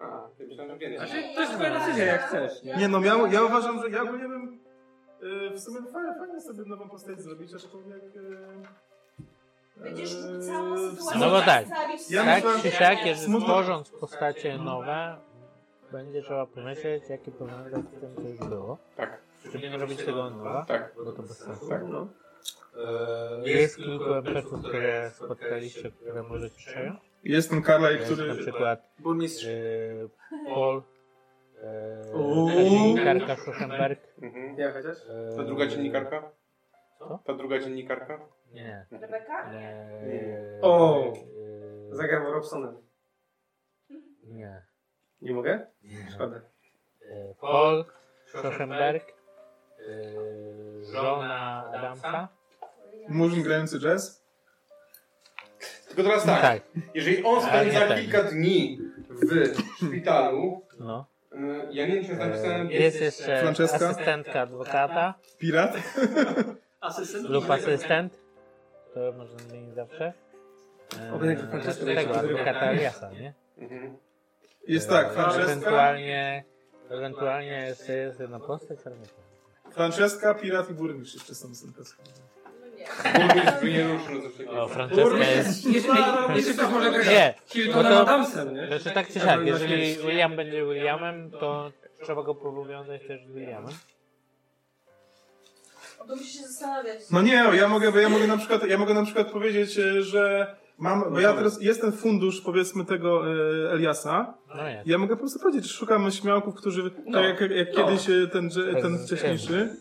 A, ty myślałem, że więcej. Znaczy, to jest No twoja decyzja, jak chcesz, nie? Nie no, ja, ja uważam, że ja ogólnie bym... y, W sumie fajnie, fajnie sobie nową postać zrobić, aczkolwiek... y, Będziesz y, mógł całą w sytuację sumie- No bo tak. przedstawić Ja tak myślałem- czy siak, jeżeli Smutno- tworząc postacie nowe, będzie trzeba pomyśleć, jakie powiązania z tym, co już było. Tak. Żeby nie robić tego od nowa, Tak. bo to bez sensu. Tak. No. Eee, Jest kilku NPC-ów, które spotkaliście, które możecie przejąć. Jest ten Karlaj, Jest na który... przykład Burmistrz. eee, Paul, Uuu. eee, dziennikarka Schoenberg. Mhm. Ja chociaż? eee, Ta druga dziennikarka? Co? Ta druga dziennikarka? Nie. Rebeka? Eee, O! eee, Zagram Robsonem. Nie. Nie mogę? Nie. Szkoda. Eee, Paul, Schoenberg, eee, żona Adamsa. Murzyn grający jazz? Tylko teraz No tak, jeżeli on spędza kilka dni w szpitalu, No. y, ja nie wiem, czy jest napisane... Eee, Jest jeszcze Franceska? asystentka adwokata Pirat? Asystent? lub asystent. To można zmienić zawsze. Eee, Oby taki Franceska Tego będzie adwokata Eliasa, nie? Mhm. Jest Eee, tak, Franceska, Ewentualnie, ewentualnie jeszcze jest jedna postać, ale nie pamiętam. Franceska, Pirat i Burmistrz jeszcze są z NPC. No nie. Burmistrz by nie ruszył ze O, wszystkiego. Franceska jest... No, Jeśli ktoś może grać Nie, Hiltona No to- Adamsem, nie? Znaczy tak czy siak, jeżeli William będzie Williamem, to trzeba go powiązać też z Williamem. No To musisz się zastanawiać. No nie, ja mogę, bo ja mogę na przykład, ja mogę na przykład powiedzieć, e, że mam, bo ja teraz, jest ten fundusz powiedzmy tego e, Eliasa. No nie. Ja mogę po prostu powiedzieć, że szukam śmiałków, którzy, No. tak jak, jak No. kiedyś e, ten, dże- ten Z- wcześniejszy.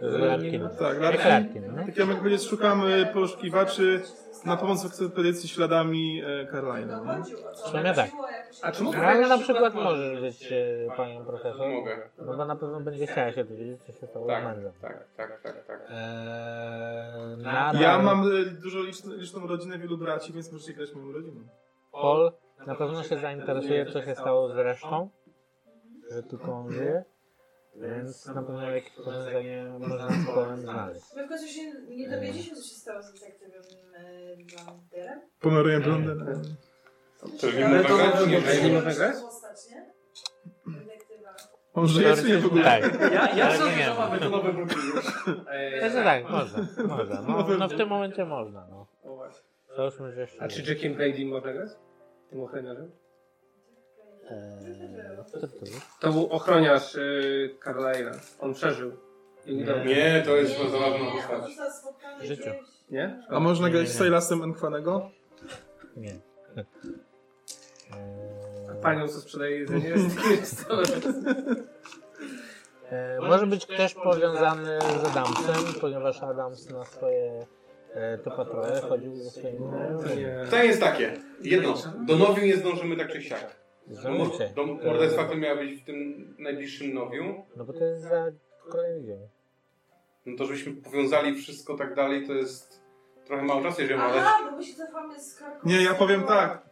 Ale... Z Larkinem. Tak, Jak Larkin. Larkin, no. No. Tak ja mogę powiedzieć, szukam e, poszukiwaczy na pomoc w ekspedycji śladami e, Carolina. No nie? chodziło, co? W sumie tak. Chodziło, jak się- A Znaczy, czy mógł- no, Ale na przykład możesz być e, panią profesor, Mogę. no bo na pewno będzie chciała się dowiedzieć, co się stało z Tak, mężem. tak, tak, tak, tak. Eee, nadal Ja mam e, dużo liczną, liczną rodzinę, wielu braci, więc możecie grać moją rodziną. Paul na pewno się zainteresuje, co się stało z resztą, że tylko on żyje, więc na pewno jakieś powiązanie można z Paulem znaleźć. My w końcu się nie dowiedzieliśmy, co się stało z detektywem e, Banderem. Pomeruję no. blondynę. Czyli Ale mogę to grać? dobrze, Nie bo wiem. nie mogę grać? Postać, nie? Detektywa. On żyje czy nie w ogóle? Tak. Ja, ja Ale sądzę, nie że ma. mamy to nowe Brooklyn już. Znaczy tak, można, można. No, no w tym momencie można, no. O właśnie. Załóżmy, że Znaczy, jeszcze... A czy Jackiem Brady można grać? Tym ochroniarzem? Eee, kto to był? To był ochroniarz yy, Carlisle'a. On przeżył. I udało się. Nie, to jest za zabawna Nie, postać. on został spotkany Życiu. gdzieś. Nie? A można Tak. Nie, grać nie. z Silasem Enkwanego? Nie. Panią, co sprzedaje jedzenie z E, Może być też powiązany z Adamsem, ponieważ Adams na swoje e, to patrole chodził ze swoimi znajomymi. Pytanie jest takie. Jedno. Do Nowiu nie zdążymy tak czy siak. Zdążycie. Do morderstwa, które miało być w tym najbliższym Nowiu. No bo to jest za kolejny dzień. No to żebyśmy powiązali wszystko tak dalej, to jest trochę mało czasu, jeżeli mamy Aha, bo my się cofamy z Krakowa. Nie, ja powiem tak.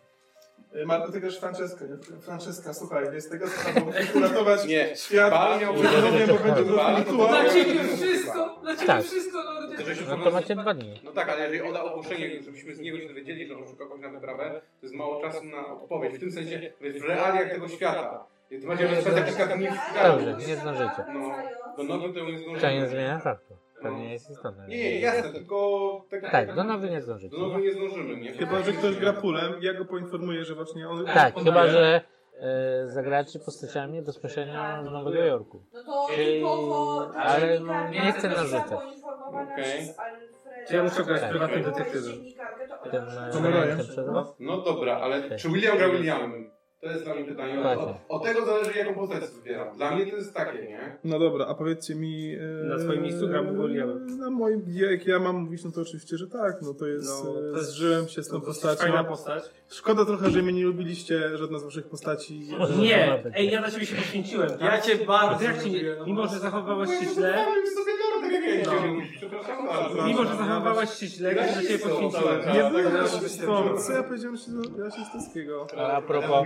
Y, Marta, ty grasz Franceskę. nie? Franceska, słuchaj, wiesz, tego trzeba było uratować Nie. świat. Bal miał być- Rozumiem, bo będzie Bal- konfliktualny. Dla ciebie Wszystko, dla ciebie Tak. wszystko, no, To, żebyśmy No to powiązali- macie dwa dni. No tak, ale jeżeli oda ogłoszenie, żebyśmy z niego się dowiedzieli, że on szuka kogoś na wyprawę, to jest mało czasu na odpowiedź. W tym sensie, w realiach tego świata. I To będzie na kilka dni w Dobrze, nie zdążycie. No, do nowy to nie zdążymy. To nie zmienia faktu. To nie jest istotne. Nie, nie, jasne, No, tylko... Tak, do nowy nie zdążycie. Do nowy nie zdążymy, nie? Chyba, że ktoś gra pulem, ja go poinformuję, że właśnie on... Tak, no, chyba że e, zagracie postaciami bezpośrednio z Nowego Jorku. No to Czyli- nikogo... ale dziennikarka nie chcę została narzucać. poinformowana Okej. przez Alfreda. Czy ja muszę grać Tak. prywatnym Byłaś detektywem? dziennikarką, to ona Tym, rzuciła. e, Co my robisz? tym przez was. No dobra, Tak. ale czy William gra Williamem? To jest dla mnie pytanie. O, o, od tego zależy, jaką postać wybieram. Dla mnie to jest takie, nie? No dobra, a powiedzcie mi... e, Na swoim miejscu gram Williamem. Na moim, jak ja mam mówić, no to oczywiście, że tak, no to jest... No, to e, jest- Zżyłem się z tą postacią. Fajna postać. Szkoda trochę, że mnie nie lubiliście, żadna z waszych postaci. Nie! Ej, ja na ciebie się poświęciłem. tak? Ja cię bardzo Jak ci nie, lubię, no. mimo, że zachowywałeś się źle, Zostawiam sobie lordę, jak ja cię lubię. Przepraszam bardzo. mimo, że zachowywałaś się źle, ja się na ciebie poświęciłem. Nie tak, było tak, nas tak, z tak, tą. tak. Co ja powiedziałem, że ja się z Tyskiego. Ale a propos,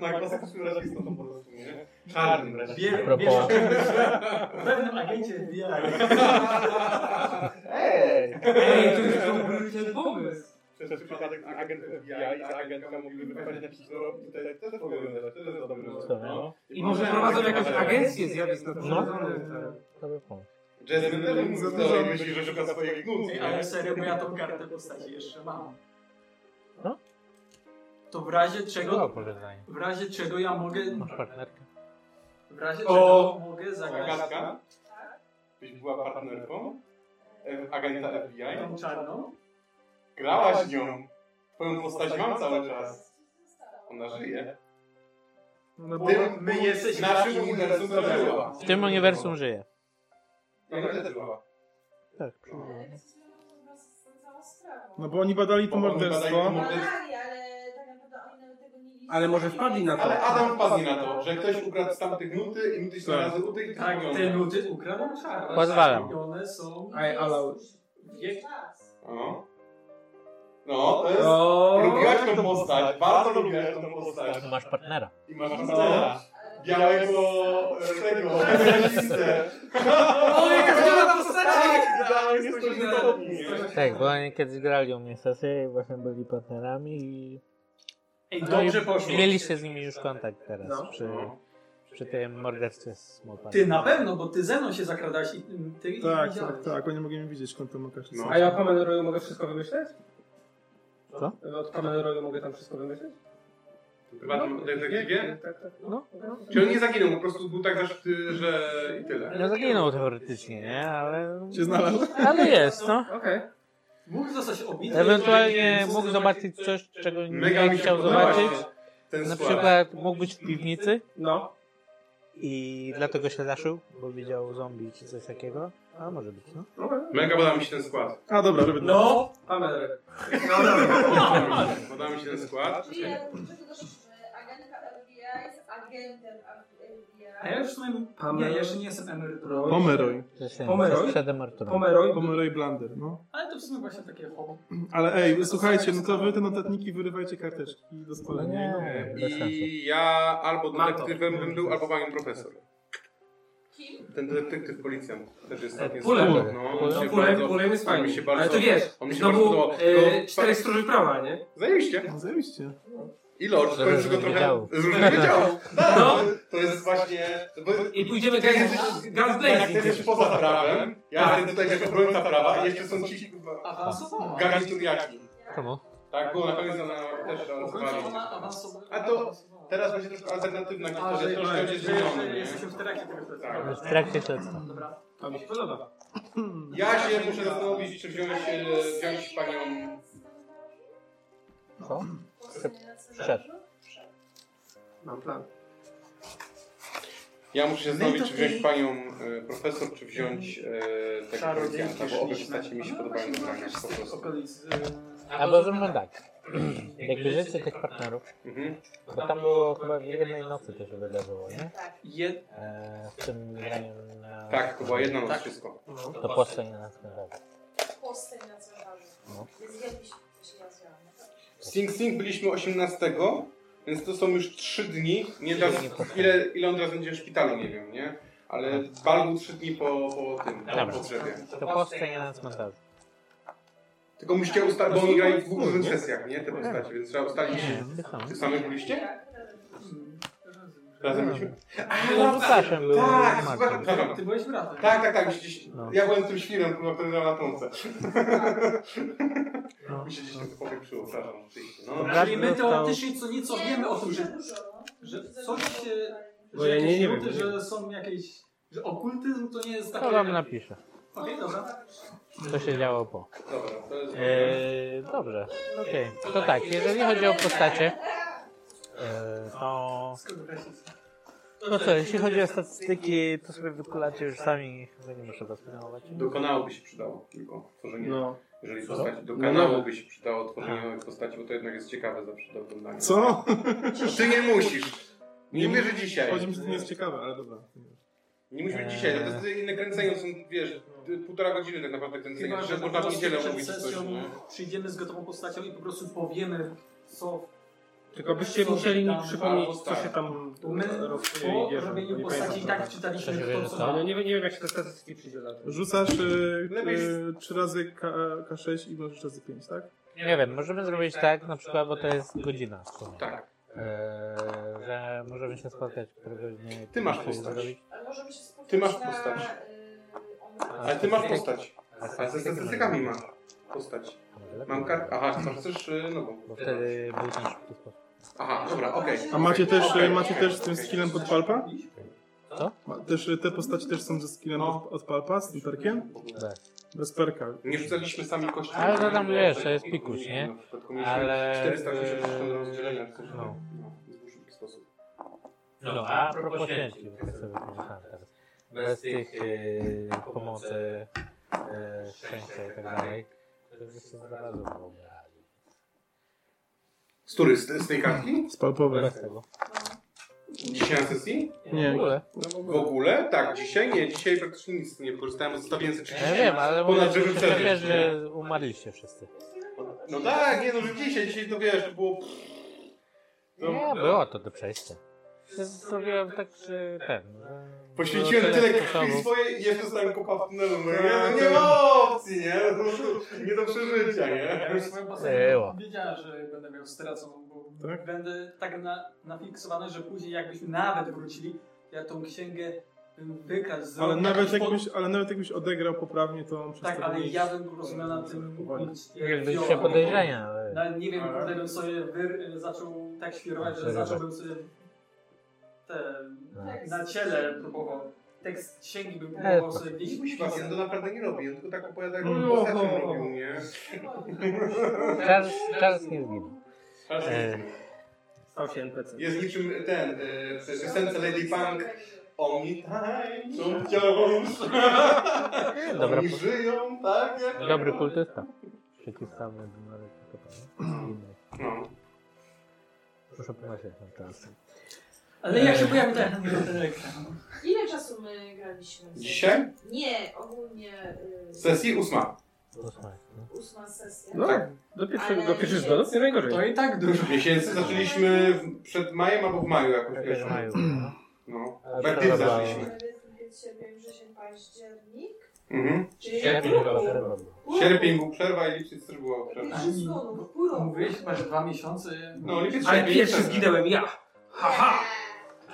Na klasycznym rasistą po prostu, nie? Czarnym Wie- rasistą. A propos- wiesz, o czym myślę? W pewnym agencie FBI. Ej! Ej, to jest dobry ten pomysł. Przez przypadek agent FBI i ta agentka mogliby wypaść na pistolet. To jest powiązane, to jest dobry Co No. miało? I może prowadzą jakąś agencję zjawisk naturalnych. Dobry pomysł. Jasmine też mówi to i myśli, że szuka swoich nut, Ej, nie? ale serio, bo ja tą kartę postaci jeszcze mam. No. To w razie Było czego, pożegnanie. w razie czego ja mogę, Masz partnerkę? w razie O! czego mogę zagrać Agatka? Byś była partnerką? e, Agenta FBI? tą czarną? Grałaś nią. Twoją postać mam cały czas. Ona żyje. No bo- Bo my jesteśmy Naszym uniwersum to była. W tym uniwersum żyje. Ona też była. Tak. Ale to jest związane z całą sprawą. No bo oni badali to Bo oni badali to morderstwo. mor- Badali, ale tak naprawdę oni nawet tego nie widzieli. Ale może wpadli na to. Ale Adam wpadł na to, że ktoś ukradł z tamtych nuty i nuty się Tak. znalazły u tych i Tak, tych te ludy ukradł czarne. Pozwalam. I one są... Ej, ale... Wiek- No. No, to jest... Ooooo! Lubiłaś tą postać, Tak, bardzo lubiłaś tą postać. Tak, Masz partnera. I masz mastera. Białego... e, tego... rasistę. O, jaka zmiana postaci! Tak, idealnie jesteśmy podobni, nie? Tak, bo oni kiedyś grali u mnie sesję i właśnie byli partnerami i... Ej, No i dobrze poszło. Mieliście z nimi już kontakt teraz No. przy, przy tym morderstwie z Mopana. Ty na pewno, bo ty ze mną się zakradałeś i mm, ty ich Tak, widziałeś. tak, tak, oni mogli mnie widzieć kątem oka. No. A ja o Kamen Royu mogę wszystko wymyśleć? Co? Od Kamen Royu mogę tam wszystko wymyśleć? Prywatnym detektywie? Tak, tak. No. Czy on nie zaginął, po prostu był tak zaszczyty, że i tyle. No zaginął teoretycznie, nie? Ale... Się znalazł? Ale jest, no. Okej. Mógł zostać obity. Ewentualnie mógł zobaczyć coś, czego Mega nie mi się chciał podoba zobaczyć. właśnie Ten Na skład. przykład mógł być w piwnicy No. i dlatego się zaszył, bo widział zombie czy coś takiego. A może być, no. Mega podoba mi się ten skład. A dobra, robię no. No, Kamen Royu. Podoba mi się ten skład. Czyli ja do tego doszło, że agentka FBI jest agentem FBI. a ja już w sumie... Nie, ja jeszcze nie jestem emeryturą. Pomeroy. Zresztą Pomerol? jest przed Arturem. Pomeroj. Pomeroy Blander, no. Ale to w sumie właśnie takie hobby. Ale ej, słuchajcie, no to wy te notatniki wyrywajcie karteczki do spalenia. No No nie. Bez sensu. I ja albo detektywem bym był, albo panią profesor. Kim? Ten detektyw policjant też jest całkiem E, Pulem. spoko, No, on No, się Pulem, bardzo- pulem jest on mi fajny. się bardzo- Ale to wiesz, on mi się to bardzo był podobał. e, To- czterech stróży prawa, nie? Zajebiście. No zajebiście. I Lord, to Żeby już z go różnych trochę działów. z różnych wydziałów. No. To jest właśnie... I pójdziemy Guns- Guns Blazing. Tak, ty jesteś poza prawem, ja Tak. jestem tutaj jako obrońca prawa i jeszcze są ci kurwa awansowała. garnituriaki. Czemu? Tak, było na koniec ona też awansowała. A to teraz będzie troszkę alternatywna A, historia, że, troszkę że, będzie że, że zmieniona. jesteśmy w trakcie tego śledztwa. Tak. W trakcie śledztwa. Dobra. To mi się podoba. Ja się muszę zastanowić, czy wziąć, e, wziąć panią... Co? Przed. Mam plan. Tak, Ja muszę się My zastanowić, czy tutaj- wziąć panią e, profesor, czy wziąć e, tego Czarodziejki policjanta, bo obie szliśmy. postacie mi się No, podobają właśnie do była grania, po też z tych prostu. Yy, okolic, e, Albo zróbmy tak. Jak bierzecie tych partnerów, Mhm. bo tam było chyba w jednej nocy to się wydarzyło, nie? Jed... E, z tym graniem na... Tak, to była jedna noc, wszystko. no. To płaszczenie na cmentarzu. Postę na cmentarzu. No. Zjedliśmy, to się ja zjadłam. W Sing Sing byliśmy 18, więc to są już 3 dni. Nie teraz, ile, ile on teraz będzie w szpitalu, nie wiem, nie? Ale bal był 3 dni po, po tym, po, po drzewie. To płaszczenie na cmentarzu. Tylko musicie ustalić, bo oni grali w dwóch różnych sesjach, nie? Te postacie, więc trzeba ustalić. Tych samych byliście? Razem byliśmy? No, no z Łukaszem był, Tak, z z Markiem. Łukaszem. Ty byłeś bratem. Tak, tak, tak. Musieliście, No. Ja byłem tym świrem, który który grał na trąbce. No. Mi się gdzieś tam popieprzyło, przepraszam. No. Czyli my teoretycznie co nieco no, wiemy o tym, że, że coś się... Bo że ja nie- jakieś nie wiem, luty, nie wiem. Że są jakieś... Że okultyzm to nie jest takie... To wam napiszę. No, Okej, dobra. Co się działo po. Dobra, to jest Eee, dobrze, okej. To tak, jeżeli chodzi o postacie, eee, to... No co, jeśli chodzi o statystyki, to sobie wykulacie już sami, chyba nie muszę was pilnować. Do kanału by się przydało tylko tworzenie. No. Jeżeli Co? postać, do No, kanału no. by się przydało tworzenie nowych postaci, bo to jednak jest ciekawe zawsze do oglądania. Co? Ty nie musisz. Nie mówię, że dzisiaj. Chodzi mi, że to nie jest ciekawe, ale dobra. Nie musi być dzisiaj, to jest inne kręcenie, są, wiesz, półtora godziny tak naprawdę kręcenia, Chyba, że że po można w prostu niedzielę przed mówić coś, sesją nie? przyjdziemy z gotową postacią i po prostu powiemy, co... Tylko byście co musieli się mi tam- przypomnieć, albo co się tak. tam My rozkryje po i bierze. robieniu Nie postaci pamiętam i tak teraz. znaczy. czytaliśmy Szczerze to, co tam. No nie wiem, nie wiem jak się te statystyki przydziela. Rzucasz e, Lepiej e, 3 razy K, K6 i możesz razy 5, tak? Nie wiem, możemy zrobić tak, na przykład, bo to jest godzina. w sumie. Tak. Eee, że możemy się spotkać któregoś dnia. i Ty masz coś postać. zrobić. Ale możemy się spotkać Ty masz na, postać. y, Ale ty masz postać. Ale ze statystykami ma postać. Mam kartę. Aha, to chcesz y, nową. Bo wtedy był ten szybki sposób. Aha, dobra, okej. A macie też, e, Okej. macie też z tym skillem pod palpa? Co? Ma, też, e, te postaci też są ze skillem od, od palpa, z tym perkiem? Tak. Bez perka. Nie rzucaliśmy sami kości. No, Ale to tam wiesz, to jest pikuś, nie? Ale... Ale. 480 do rozdzielenia. eee, No. No. w dłuższy sposób. No, a propos cięci, bo tak sobie pomyślałem teraz. Bez tych yy, pomocy, yy, szczęścia i tak dalej, to byście się znalazło w ogóle. Z której? Z, z tej kartki? Z palpowej. Bez tego. Dzisiaj na sesji? Nie. W ogóle? No, w W ogóle? Tak, dzisiaj nie. Dzisiaj praktycznie nic nie korzystałem. Zostawiłem sobie 30 Ja wiem, ale mówię, ponad że żywym się wiesz, celem. nie? że umarliście wszyscy. No tak, nie no, że dzisiaj, dzisiaj to wiesz, to było... No, Nie, było to do przejścia. Ja Zrobiłem tak, że ten. no, że Poświęciłem było tyle tyle krwi sposobów. swojej i jeszcze stałem kopa w tunelu. No nie, no nie ma opcji, nie? No, nie do przeżycia, nie? Ja już swoją Było. postawę wiedziałem, że będę miał straconą, bo będę tak na, nafiksowany, że później jakbyśmy nawet wrócili, ja tą księgę bym wykradł, Ale zrobił nawet, jakiś pod- jakbyś, ale nawet jakbyś odegrał poprawnie, to on przez Tak, to Eee, ale nie- ja bym po prostu miał na tym... Jakby się podejrzenia, ale- Nawet nie wiem, kurde, bym sobie wy, zaczął tak świrować, że Wyrywać. zacząłbym sobie te, No. na ciele Tak. próbował. Tekst księgi bym E, próbował to- sobie Nie gdzieś kusiłem, ja no to naprawdę nie robię, on tylko tak opowiada, jak Mm. on postacią robił, nie? Tak. Charles, Charles nie zginął. Charles nie E, zginął. Stał się NPC. Jest niczym ten, e, w piosence Lady Punk. Oni tańczą wciąż. Dobra, Oni po- żyją tak jak... Dobry kultysta. Przeciwstawny do Maryki No. Proszę pomyśleć na czas. Ale jak się pojawi ten? ten, ten ekran? Ile czasu my graliśmy? Dzisiaj? Nie, ogólnie... y, Sesji ósma. Ósma sesja. No, Tak. do pierwszego- Ale do pierwszych zgonów nie najgorzej. To i tak dużo. Miesięcy zaczęliśmy w, przed majem albo w maju jakoś Jakoś pierwszy. w maju, No. Ale Werdykt przerwa- zaczęliśmy. Wtedy, Kiedy się wiem, że się październik. Mhm. Sierpień chyba przerwa Sierpień był przerwa i lipiec też była przerwa. Wszystko, no, pół roku. Mówiłeś chyba, że dwa miesiące. No, lipiec, Ale sierpień, pierwszy przerwa. zginęłem ja. Haha!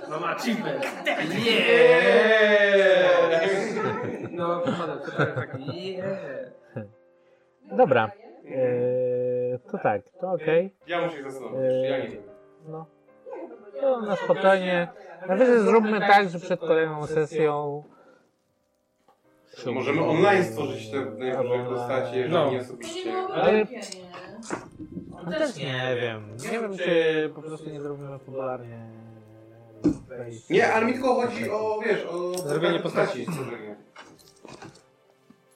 No, Mam achievement. Yes! No, przypadek, przypadek taki. Yeah. Dobra. Eee, to tak, to okej. Ja muszę się zastanowić, ja nie wiem. No. No, na spokojnie. Najwyżej No zróbmy tak, że przed kolejną sesją. Możemy online stworzyć te najważniejsze postacie, jeżeli eee, No. nie osobiście. Ale No, też nie wiem. Nie wiem, czy po prostu nie zrobimy popularnie. wejść. Nie, ale mi tylko chodzi o, wiesz, o... Zrobienie postaci. stworzenie.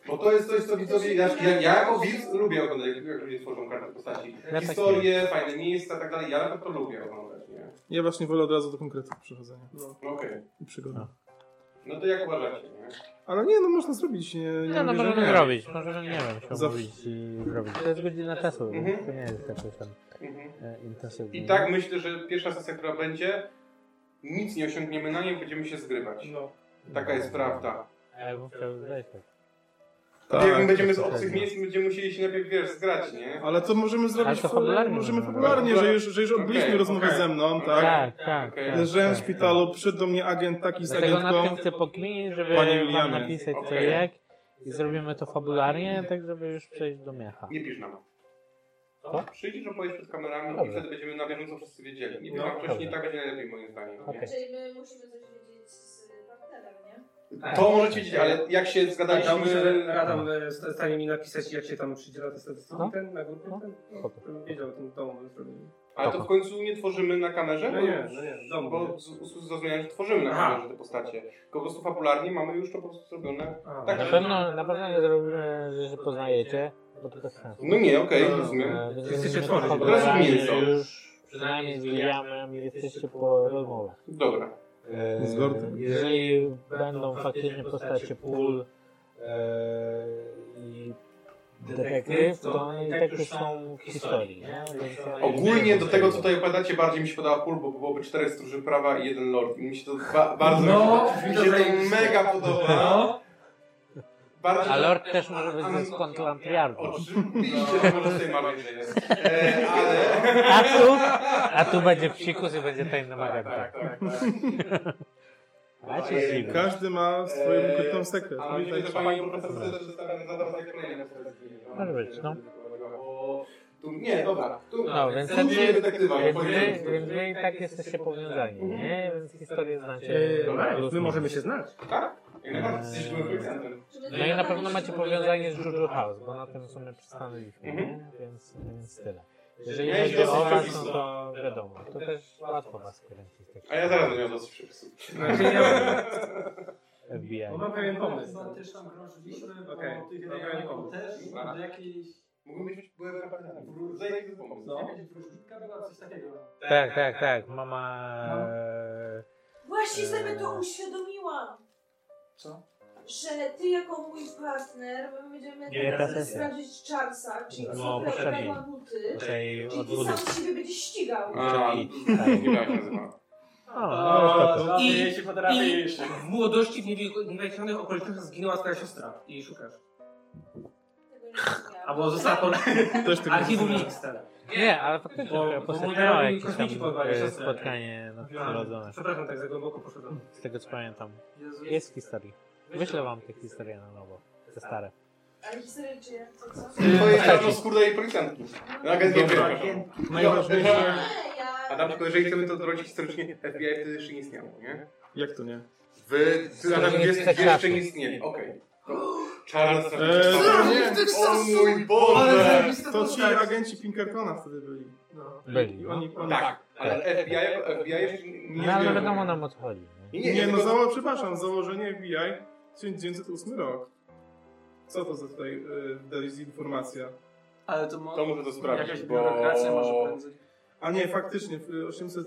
Bo to jest coś, co widzowie, ja, ja, ja jako widz lubię oglądać, jak jak ludzie tworzą karty postaci. Ja tak Historie, fajne miejsca, tak dalej, ja na pewno to lubię oglądać, nie? Ja właśnie wolę od razu do konkretów przechodzenia. No okej. I przygody. No to jak uważacie, nie? Ale nie, no można zrobić. Nie, nie No, no mówię, że możemy nie. zrobić, możemy, nie wiem, się Zawsze. umówić i zrobić. To jest godzina czasu, Mhm. to nie jest jakoś tam Mhm. e, intensywnie. I tak myślę, że pierwsza sesja, która będzie, nic nie osiągniemy na niej, będziemy się zgrywać. Taka jest prawda. A ja bym chciał zejść tak. Tak. Jak my będziemy z obcych miejsc, będziemy musieli się najpierw, wiesz, zgrać, nie? Ale to możemy zrobić to fa- fabularnie możemy możemy fabularnie, robić. że już, że już odbyliśmy Okej, rozmowę okej. ze mną, Okej. tak? Tak, tak, tak, Leżałem w tak, szpitalu, przyszedł do mnie agent taki z Dlatego na agentką. tym chcę pokminić, żeby Panie wam Julianie. napisać co Okej. jak i zrobimy to fabularnie, tak żeby już przejść do miecha. Nie pisz nam. Tak? Co? Przyjdziesz, opowiesz przed kamerami Dobrze. i wtedy będziemy na bieżąco wszyscy wiedzieli. Nie No, no, dobrze. wcześniej tak będzie najlepiej moim zdaniem. nie? Okej. Czyli my musimy coś wiedzieć z partnerem, nie? Tak. To możecie wiedzieć, ale jak się Adam, zgadaliśmy... Adam e, sta- stanie mi napisać, jak się tam przydziela te statystyki No. ten, na grupie ten. No, Spoko. żebym wiedział o tym domu. Ale to w końcu nie tworzymy na kamerze? No Bo- nie, no nie, w domu, Bo nie. z- z- zrozumiałem, że tworzymy na Aha. kamerze te postacie. Tylko Po prostu fabularnie mamy już to po prostu zrobione. A. Tak, Na że- pewno, na pewno nie zrobimy, że się poznajecie, bo to bez sensu. No nie, okej, E, rozumiem. więc Jesteście zrobimy to tworzyć. fabularnie, Rozumiem to. Już przynajmniej z Williamem jesteście po rozmowach. Dobra. E, Z Lordem. Jeżeli będą faktycznie postacie pól e, i detektyw, to one i tak już są w historii. nie? Więc ja- Ogólnie do tego, co tutaj opowiadacie, bardziej mi się podoba pól, bo byłoby cztery stróży prawa i jeden lord. I mi się to ba- bardzo... No, mi się to zajebiście. mega podoba. No. Bardzo A Lord też może być A- a- ze skontlantriardu. Oczywiście, to może sobie mam jest. E, ale... A tu, a tu będzie psikus i będzie tajny Tak, magenta. tak, tak. tak. Macie siły. Każdy ma swoją Eee, ukrytą sekret. A mi się Pamiętajcie. to pani profesor przedstawia zadał zaklejenie. Może być, no. Bo tu, nie, dobra. Tu, No, więc tu wtedy, nie detektywa, nie więc wy, powiedzmy. więc wy i tak jesteście powiązani, nie? Więc historię znacie. Eee, dobra, plus No. my minus. możemy się znać. Tak? Jak najbardziej jesteśmy producentem. No i na pewno macie powiązanie z Juju House, bo na tym w sumie przystanęliśmy, Mhm. nie? Więc, więc tyle. Jeżeli Ja się chodzi o dosyć was, no przepisy. to wiadomo, to też łatwo was kręcić. tak. A ja zaraz będę miał dosyć przepisów. No, FBI. Bo mam pewien pomysł. Tam też tam krążyliśmy, bo Okej, okay. tych no, pewnie rejonów pomysł. też Aha. do jakiejś... Mógłbyś być byłem naprawdę zajęty pomysł. No. No. Jakaś wróżbitka była, coś takiego. Tak, tak, tak, mama... e, Właśnie Eee. sobie to uświadomiłam, Co? że ty jako mój partner my będziemy Nie, ta teraz sesja. sprawdzić Charlesa, czyli No, osobę, która poprzedniej. kradła buty, Tej czyli od ty wody. sam siebie będziesz ścigał. A, tak, nie wiem jak się nazywa. O, O, no, spoko. I- I, się I potrafisz. w młodości w niewi- niewyjaśnionych okolicznościach zginęła twoja siostra i jej szukasz. Tego nie zrozumiałam. Albo została pod Też tego archiwum nie X. Nie, ale faktycznie Bo- bo, bo postać mój miała znajomy jakieś tam kosmici porwali e, siostrę. spotkanie nadprzyrodzone, Przepraszam, tak za głęboko poszedłem. z tego co pamiętam. Jezu. Jest w historii. Wyślę wam te historie na nowo, te stare. Ale historię czy jak to co? To jest czarno skórne i policjantki. No, agent nie Dobra. wiem, no. Najważniejsze. Nie, ja... A tam tylko jeżeli chcemy to odrodzić historycznie, FBI wtedy jeszcze nie istniało, nie? Jak to nie? W latach Jeszcze 20 nie jeszcze nie istnieli, okej. Czarno Eee, O mój Boże! To ci znaczy? agenci Pinkertona wtedy byli. No. Byli, I no. oni, oni... Tak, ale FBI, jako FBI jeszcze nie No ale istniało. wiadomo nam o co chodzi. nie? Nie, Nie, nie, no tylko- zało, przepraszam, założenie FBI 1908 rok. Co to za tutaj y, dezinformacja? Ale to, mo- To muszę to sprawdzić, Jakaś bo- biurokracja może prędzej. A nie, faktycznie, w y, 800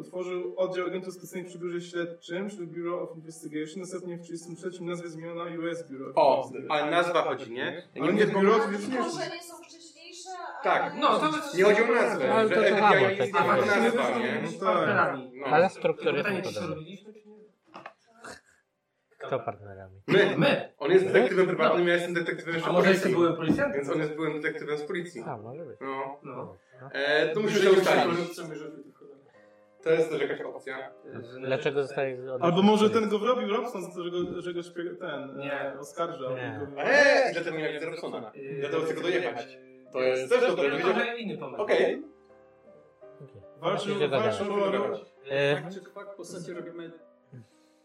utworzył oddział agentów specjalnych przy biurze śledczym, czyli Bureau of Investigation, następnie w 1933 nazwę zmieniono na US Bureau. of O, Investigation. ale nazwa chodzi, nie? Ja Ale nie wiem, biuro, Może wiesz, korzenie są wcześniejsze, a... Tak, no, to jest- Nie chodzi o nazwę, Ale że to FBI samo, nie tak. istniała A, nazwa, właśnie, nie? to jest- tak. No. Ale struktury Pytanie, są czy to podobne. robiliśmy, czy nie? Kto partnerami? My, my. On jest My? detektywem prywatnym, No. ja jestem detektywem jeszcze A może policji. jestem byłym policjantem? Więc on jest byłym detektywem z policji. A, może być. No. No. E, to musimy się ustalić. tak- To jest też jakaś opcja. Dlaczego zostaje Albo może ten go wrobił Robson, że go, że go śpie... ten e, oskarżał. Nie. Eee, dlatego nie miałem Robsona. Dlatego chcę go dojechać. To jest też dobre. to będzie- trochę inny pomysł. Okej. Walczył- Właśnie się zgadzamy. walczył- E, Tak czy kwak, postacie robimy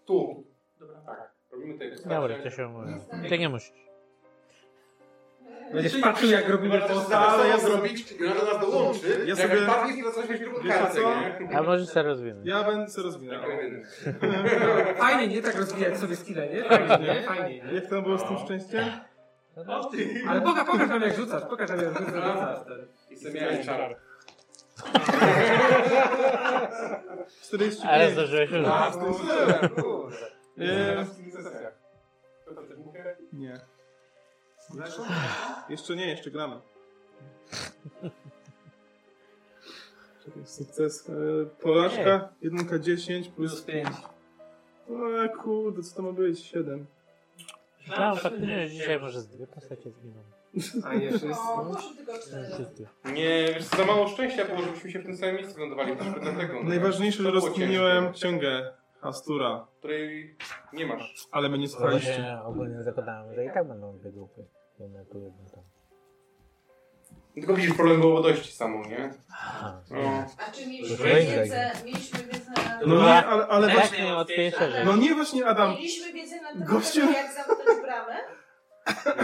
Tu. Dobra. Tak. Robimy tutaj Dobra, to się mówi. Ty nie musisz. Czyli to. Ale Ale ja ja sobie- zrobić, i ona do nas dołączy. Ja Ja sobie- sobie... Patrz, i zaczyna się drugą Wiecie kartę, co? nie? A może się rozwinąć. Ja będę sobie rozwijał. Fajnie, nie? Tak rozwijać sobie skille, nie? Fajnie, nie? Fajnie, nie? Jak tam było z tym szczęściem? Ale Boga, pokaż nam jak rzucasz, pokaż nam jak rzucasz. I sobie miałem czar. 45. Ale zdążyłeś już. A, zdążyłem, kurde. Nie. Nie. Jeszcze nie, jeszcze gramy. Czekaj, Sukces. e, Porażka, 1K10 plus 5. O kurde, co to ma być? 7. No, faktycznie dzisiaj może z dwie postacie zginą. A nie, No, poszło tylko cztery. Wszyscy. Nie, wiesz, za mało szczęścia było, żebyśmy się w tym samym miejscu lądowali. Troszkę dlatego. no. Najważniejsze, że To było rozkminiłem księgę Astura, ciężkie, Której nie masz. ale No my nie słuchaliście. Ogólnie, ogólnie zakładałem, że i tak będą dwie grupy. Jedna tu, jedna tam. Tylko widzisz, problem było dojść samą, nie? No. A czy Dużo mieliśmy więcej. wiedzę, mieliśmy wiedzę na... No nie, ale, ale Tak, właśnie... najłatwiejsze rzeczy. No nie, właśnie Adam. Mieliśmy wiedzę na temat Gościu- tego, jak zamknąć bramę?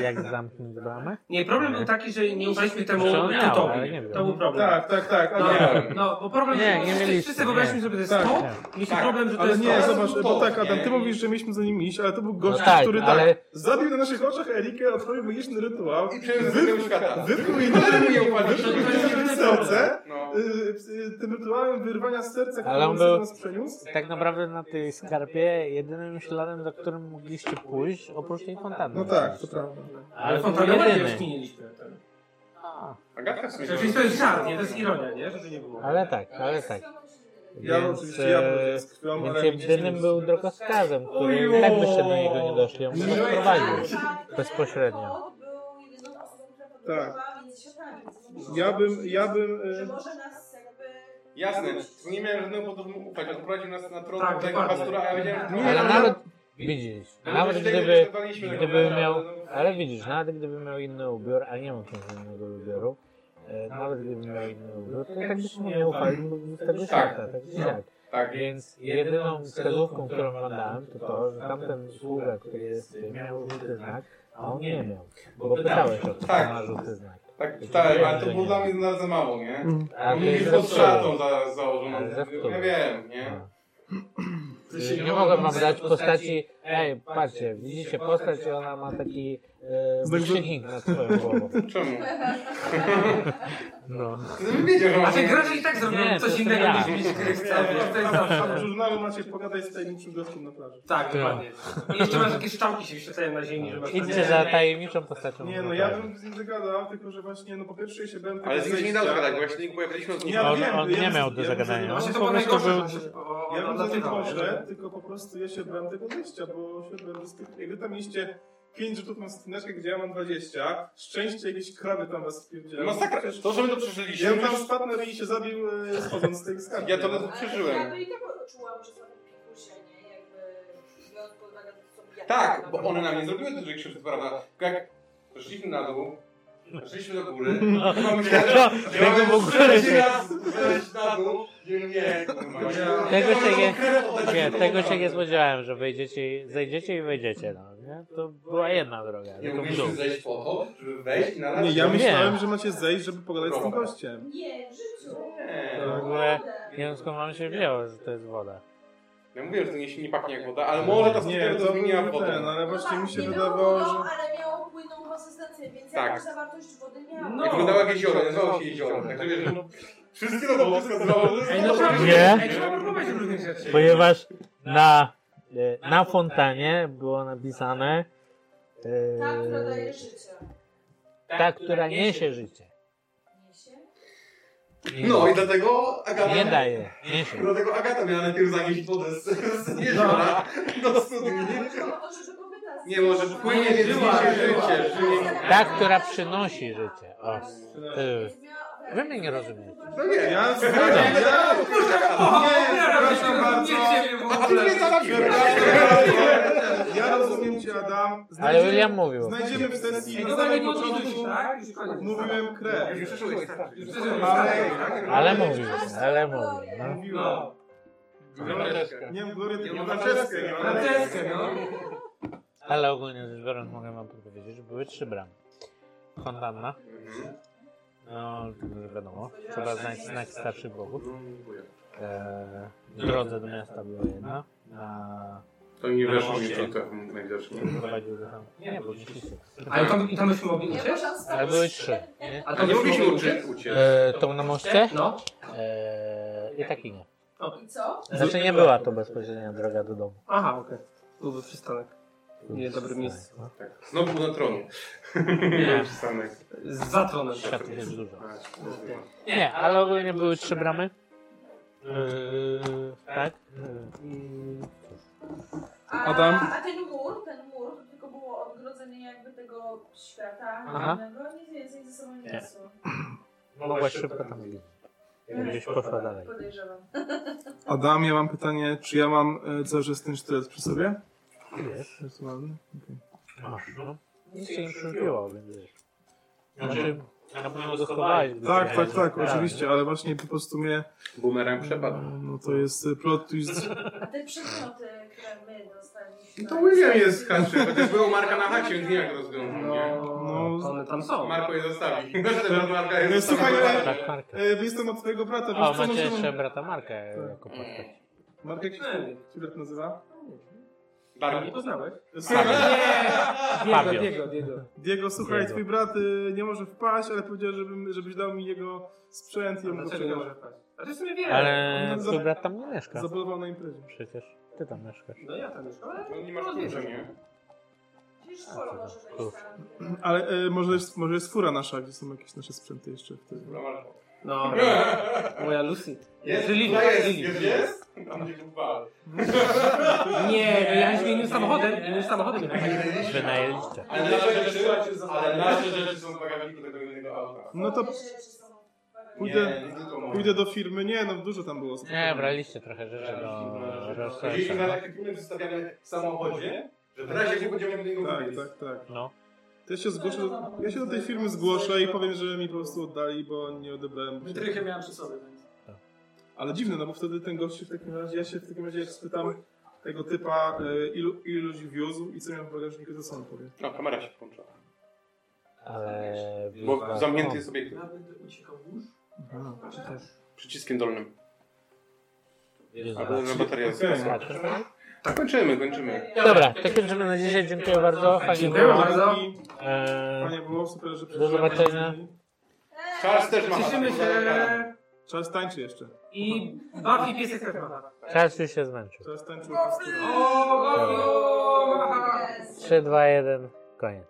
Jak zamknąć bramę? Nie, problem był taki, że nie ubraliśmy temu Zresztą miał, ale tytowi. nie wiem. To był problem. Tak, tak, tak. No, Adam. no, bo problem Nie, nie mieliście, wszyscy, wszyscy wyobraźmy nie. sobie, że to Tak. jest to. Mieliśmy problem, że to Ale jest nie, to. zobacz, bo tak, Adam, ty nie. mówisz, że mieliśmy za nim iść, ale to był gość, No tak, który tak ale- zabił na naszych oczach Erikę, odprawił magiczny rytuał, I przejął ze tego świata. wypluł jej Któremu nie upadł? wypluł jej serce, No. y, y, tym rytuałem wyrwania z serca, który Ale on nas- był- nas przeniósł. Tak naprawdę na tej skarpie jedynym śladem, za którym mogliście pójść, oprócz tej fontanny. No tak, to prawda. Ale to był Fontanowanie jedyny. już minęliśmy. ten. A, Agatka w sumie. Czyli to jest żart, nie? To jest ironia, nie? Żeby nie było. Ale tak, ale tak. Ja Więc, oczywiście ja byłem e, z krwią, Więc ale jedynym był drogowskazem, który i tak byście do niego nie doszli, on Że go prowadził tak, bezpośrednio. Kot był jedyną osobą, która Tak. podróżowała między światami. Ja bym, ja bym... Że y, może nas jakby... Jasne, nie miałem żadnego powodu mu ufać. Odprowadził nas na tron Tak, tego dokładnie. pastora, a ja wiedziałem... Nie, Ale ale- nawet, widzisz, nawet Ale- gdyby, Ale- gdyby Ale- miał, no. ale widzisz, nawet gdyby miał inny ubiór, a nie ma tam innego ubioru, e, nawet gdyby miał inny ubiór, to i tak byśmy nie ufali mu z tego świata, tak czy siak. Tak, Więc jedyną wskazówką, którą wam dałem, to to, że tamten sługa, który jest, miał żółty znak, a on nie miał. Bo pytałeś o to, Tak. tak. ma żółty znak. tak, tak, ale to było dla mnie za- za mało, nie? Mm. A Bo mi ty jest pod szatą zepsułeś. za- założoną. Ale No. zepsułeś. Ja wiem, nie? A. Y, Nie mogłem wam dać postaci, ej, patrzcie, widzicie postać i ona ma taki e, Znak- wykrzyknik nad swoją głową. Czemu? No. Gdybym wiedział, że A ty mam- grasz i tak Nie, zrobiłem to coś jestem innego ja. niż mieć gry w całym. To jest A w zawsze. żurnalu macie pogadać z tajemniczym gościem na plaży. Tak, Ty. dokładnie. I jeszcze masz jakieś szczałki się wyświetlają na ziemi, że masz... Idźcie za tajemniczą postacią. Nie no, ja bym z nim zagadał, tylko że właśnie, no po pierwsze się będę... Ale z nimi nie dało tak, zejścia. gadać, właśnie pojechaliśmy od nich. Ja On- wiem, on ja nie bym- miał do ja bym zagadania. za- Właśnie to ja bym było za- najgorsze, że się Ja bym za tym poszedł, że... tylko po prostu ja się bałem tego wyjścia, bo się bałem z tych... Jak wy tam mieliście 5 rzutów na skrzyneczkę, gdzie ja mam 20, szczęście jakieś krawy tam was spierdziały. Masakra, to, że my to przeżyliśmy, Ja bym tam spadł na ryj i się zabił e, schodząc z tej skarby. Ja to ledwo- Ale Przeżyłem. Ja by i tak czułam, że są pikusie, nie? Jakby... biorąc pod uwagę to, co ja- Tak, bo one nam nie zrobiły dużej krzywdy, co prawda. Tylko jak poszliśmy na dół, poszliśmy do góry, mamy Tego- tego w ogóle nie- Wejść na dół, nie, nie, kurwa. nie. Tego się nie, oddać nie, do tego domu. się nie spodziewałem, że wyjdziecie, i- zejdziecie i wejdziecie, no, nie? To była jedna droga, Nie tylko w dół. umieliśmy zejść po to, żeby wejść i na raz... Nie, ja Nie. myślałem, że macie zejść, żeby pogadać z tym Dobra. gościem. Nie, w życiu. Nie. To w ogóle nie wiem skąd wam się wzięło, że to jest woda. Ja mówiłem, że to nie, się nie pachnie jak woda, ale może ta Nie, skórka to to zmieniła był wodę. ten, ale właśnie tak, mi się nie wydawało, było, że... wodą, ale miało płynną konsystencję, więc Tak. No. jakaś zawartość wody miała. Jak wyglądało jak jezioro, nazywało się jezioro. Także wiesz, no, wszystkie to było wskazywało, że... Ej, no trzeba- Nie. Ej, trzeba próbować różnych rzeczy. Ponieważ na, e, na fontanie było napisane e, Ta, Tak, która daje życie. ta, która niesie życie. Niesie? No i dlatego Agata... Nie daje. Nie się. Dlatego Agata miała najpierw zanieść wodę z, z jeziora do studni. Nie może, płynie Nie, żyła, żyła, życie, żyje. Ta, która przynosi życie. O. Ty. Wy mnie nie rozumiecie. No nie, ja zgadzam. Nie, przepraszam bardzo. A ty mnie zabiłeś. Ja rozumiem cię, Adam. Ale William mówił. Znajdziemy w sesji Ej, na no samym dobra, nie początku. odrzuć, tak? Już koniec. Mówiłem krew. Już przeszłeś, tak. Już przeszłeś. tak? Ale- Ale mówił, ale mówił. No. Nie wiem, Glorię, tylko Franceskę. Franceskę, no. Ale ogólnie rzecz biorąc mogę wam powiedzieć, że były trzy bramy. Fontanna. No, wiadomo, trzeba znać znak starszych bogów. E, w drodze do miasta była jedna. Na... To nie na weszło moście. mi to najwidoczniej. Prowadził do tam. Nie, bo gdzieś jest. Ale tam- i tam byśmy mogli uciec? Ale były trzy. Nie? A tam nie mogliśmy uciec? E, tą na moście? No. E, I tak i nie. I co? Znaczy nie była to bezpośrednia droga do domu. Aha, okej. Byłby przystanek. Nie, dobre miejsce. No, Znowu był na tronie. Nie. Przystanek. Za tronem. Światów jest dużo. A, Okej. Nie, ale ogólnie były trzy bramy. Yy, tak? Yy, A, Adam? a ten mur, ten mur, to tylko było odgrodzenie jakby tego świata Aha. innego, nic więcej ze sobą nie Nie. niosło. Mogłaś szybko tam iść. Gdzieś poszła dalej. Podejrzewam. Adam, ja mam pytanie, czy ja mam e, cały czas ten sztylet przy sobie? Wiesz. Rytualny? Okej. Masz, no. Nic się nie przybiło, więc wiesz. Znaczy, na pewno go schowałeś. gdy Tak, tak, przyjechałeś. tak, oczywiście, ale właśnie po prostu mnie... Bumerang przepadł. No to jest e, plot twist. A te przedmioty, które my dostaliśmy... No To William jest skarczy, chociaż był Marka na chacie, więc nie jak rozwiązał. No, One tam są. Marko je zostawi. Zresztą Marka No, jest Słuchaj, sama- Tak, Marka. e, e, jestem od twojego brata, O, więc co no, Tak. macie możemy... jeszcze brata Markę jako postać. Marek, jak się twój brat nazywa? E, Barbie. Nie poznałeś? Fabio. Diego, Diego, Diego. Diego, słuchaj, Diego. twój brat y, nie może wpaść, ale powiedział, żebym, żebyś dał mi jego sprzęt i ja mu go Dlaczego nie przekażę. może wpaść? A ty w sumie wiesz. Ale On twój za- brat tam nie mieszka. Zabolował na imprezie. Przecież ty tam mieszkasz. No ja tam mieszkam, ale... No nie masz klucza, nie? Przecież szkoła może być Kurczę. tam. Ale e, może, jest, może jest fura nasza, gdzie są jakieś nasze sprzęty jeszcze wtedy. No, moja Lucy. Jest, Lili, jest, jest, Lili. jest, jest? Tam gdzie był bal. Nie, no ja nie innym samochodem, innym samochodem. Wynajęliście. Ale nasze rzeczy, ale nasze rzeczy są w bagażniku tego innego auta. No to Nie, pójdę, nie tylko moje. pójdę do firmy. Nie, no dużo tam było. Nie, braliście trochę rzeczy No, do Chodziliśmy na rozszerzenia. takie filmy wystawiane w samochodzie, że w razie nie będziemy do niego Tak, mówić. tak, tak. No. To ja się zgłoszę, do, ja się do tej firmy zgłoszę i powiem, że mi po prostu oddali, bo nie odebrałem. Wytrychy miałem przy sobie, więc... Ale dziwne, no bo wtedy ten gość się w takim razie, ja się w takim razie spytam tego typa, y, ilu, ilu ludzi wiózł i co miał w bagażniku, to co on powie. No, kamera się włącza. Ale... no, Bo zamknięty No. jest obiekt Ja będę uciekał już. przyciskiem dolnym. Jezu, Albo na bateria jest. Okej. Tak, kończymy, kończymy. Dobra, to kończymy na dzisiaj. Dziękuję bardzo. Fajnie Dziękuję było. bardzo. Eee, Fajnie było, super, że Do zobaczenia. Czas też ma. Cieszymy się Czas tańczy jeszcze. i... Baw i piesek też ma. Czas już się zmęczył. Czas tańczy po prostu. Jest. 3, 2, 1, koniec.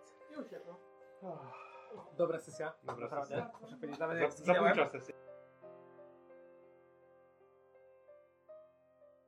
Dobra sesja. Dobra, Naprawdę. Muszę powiedzieć, nawet Za- Za pół czasu.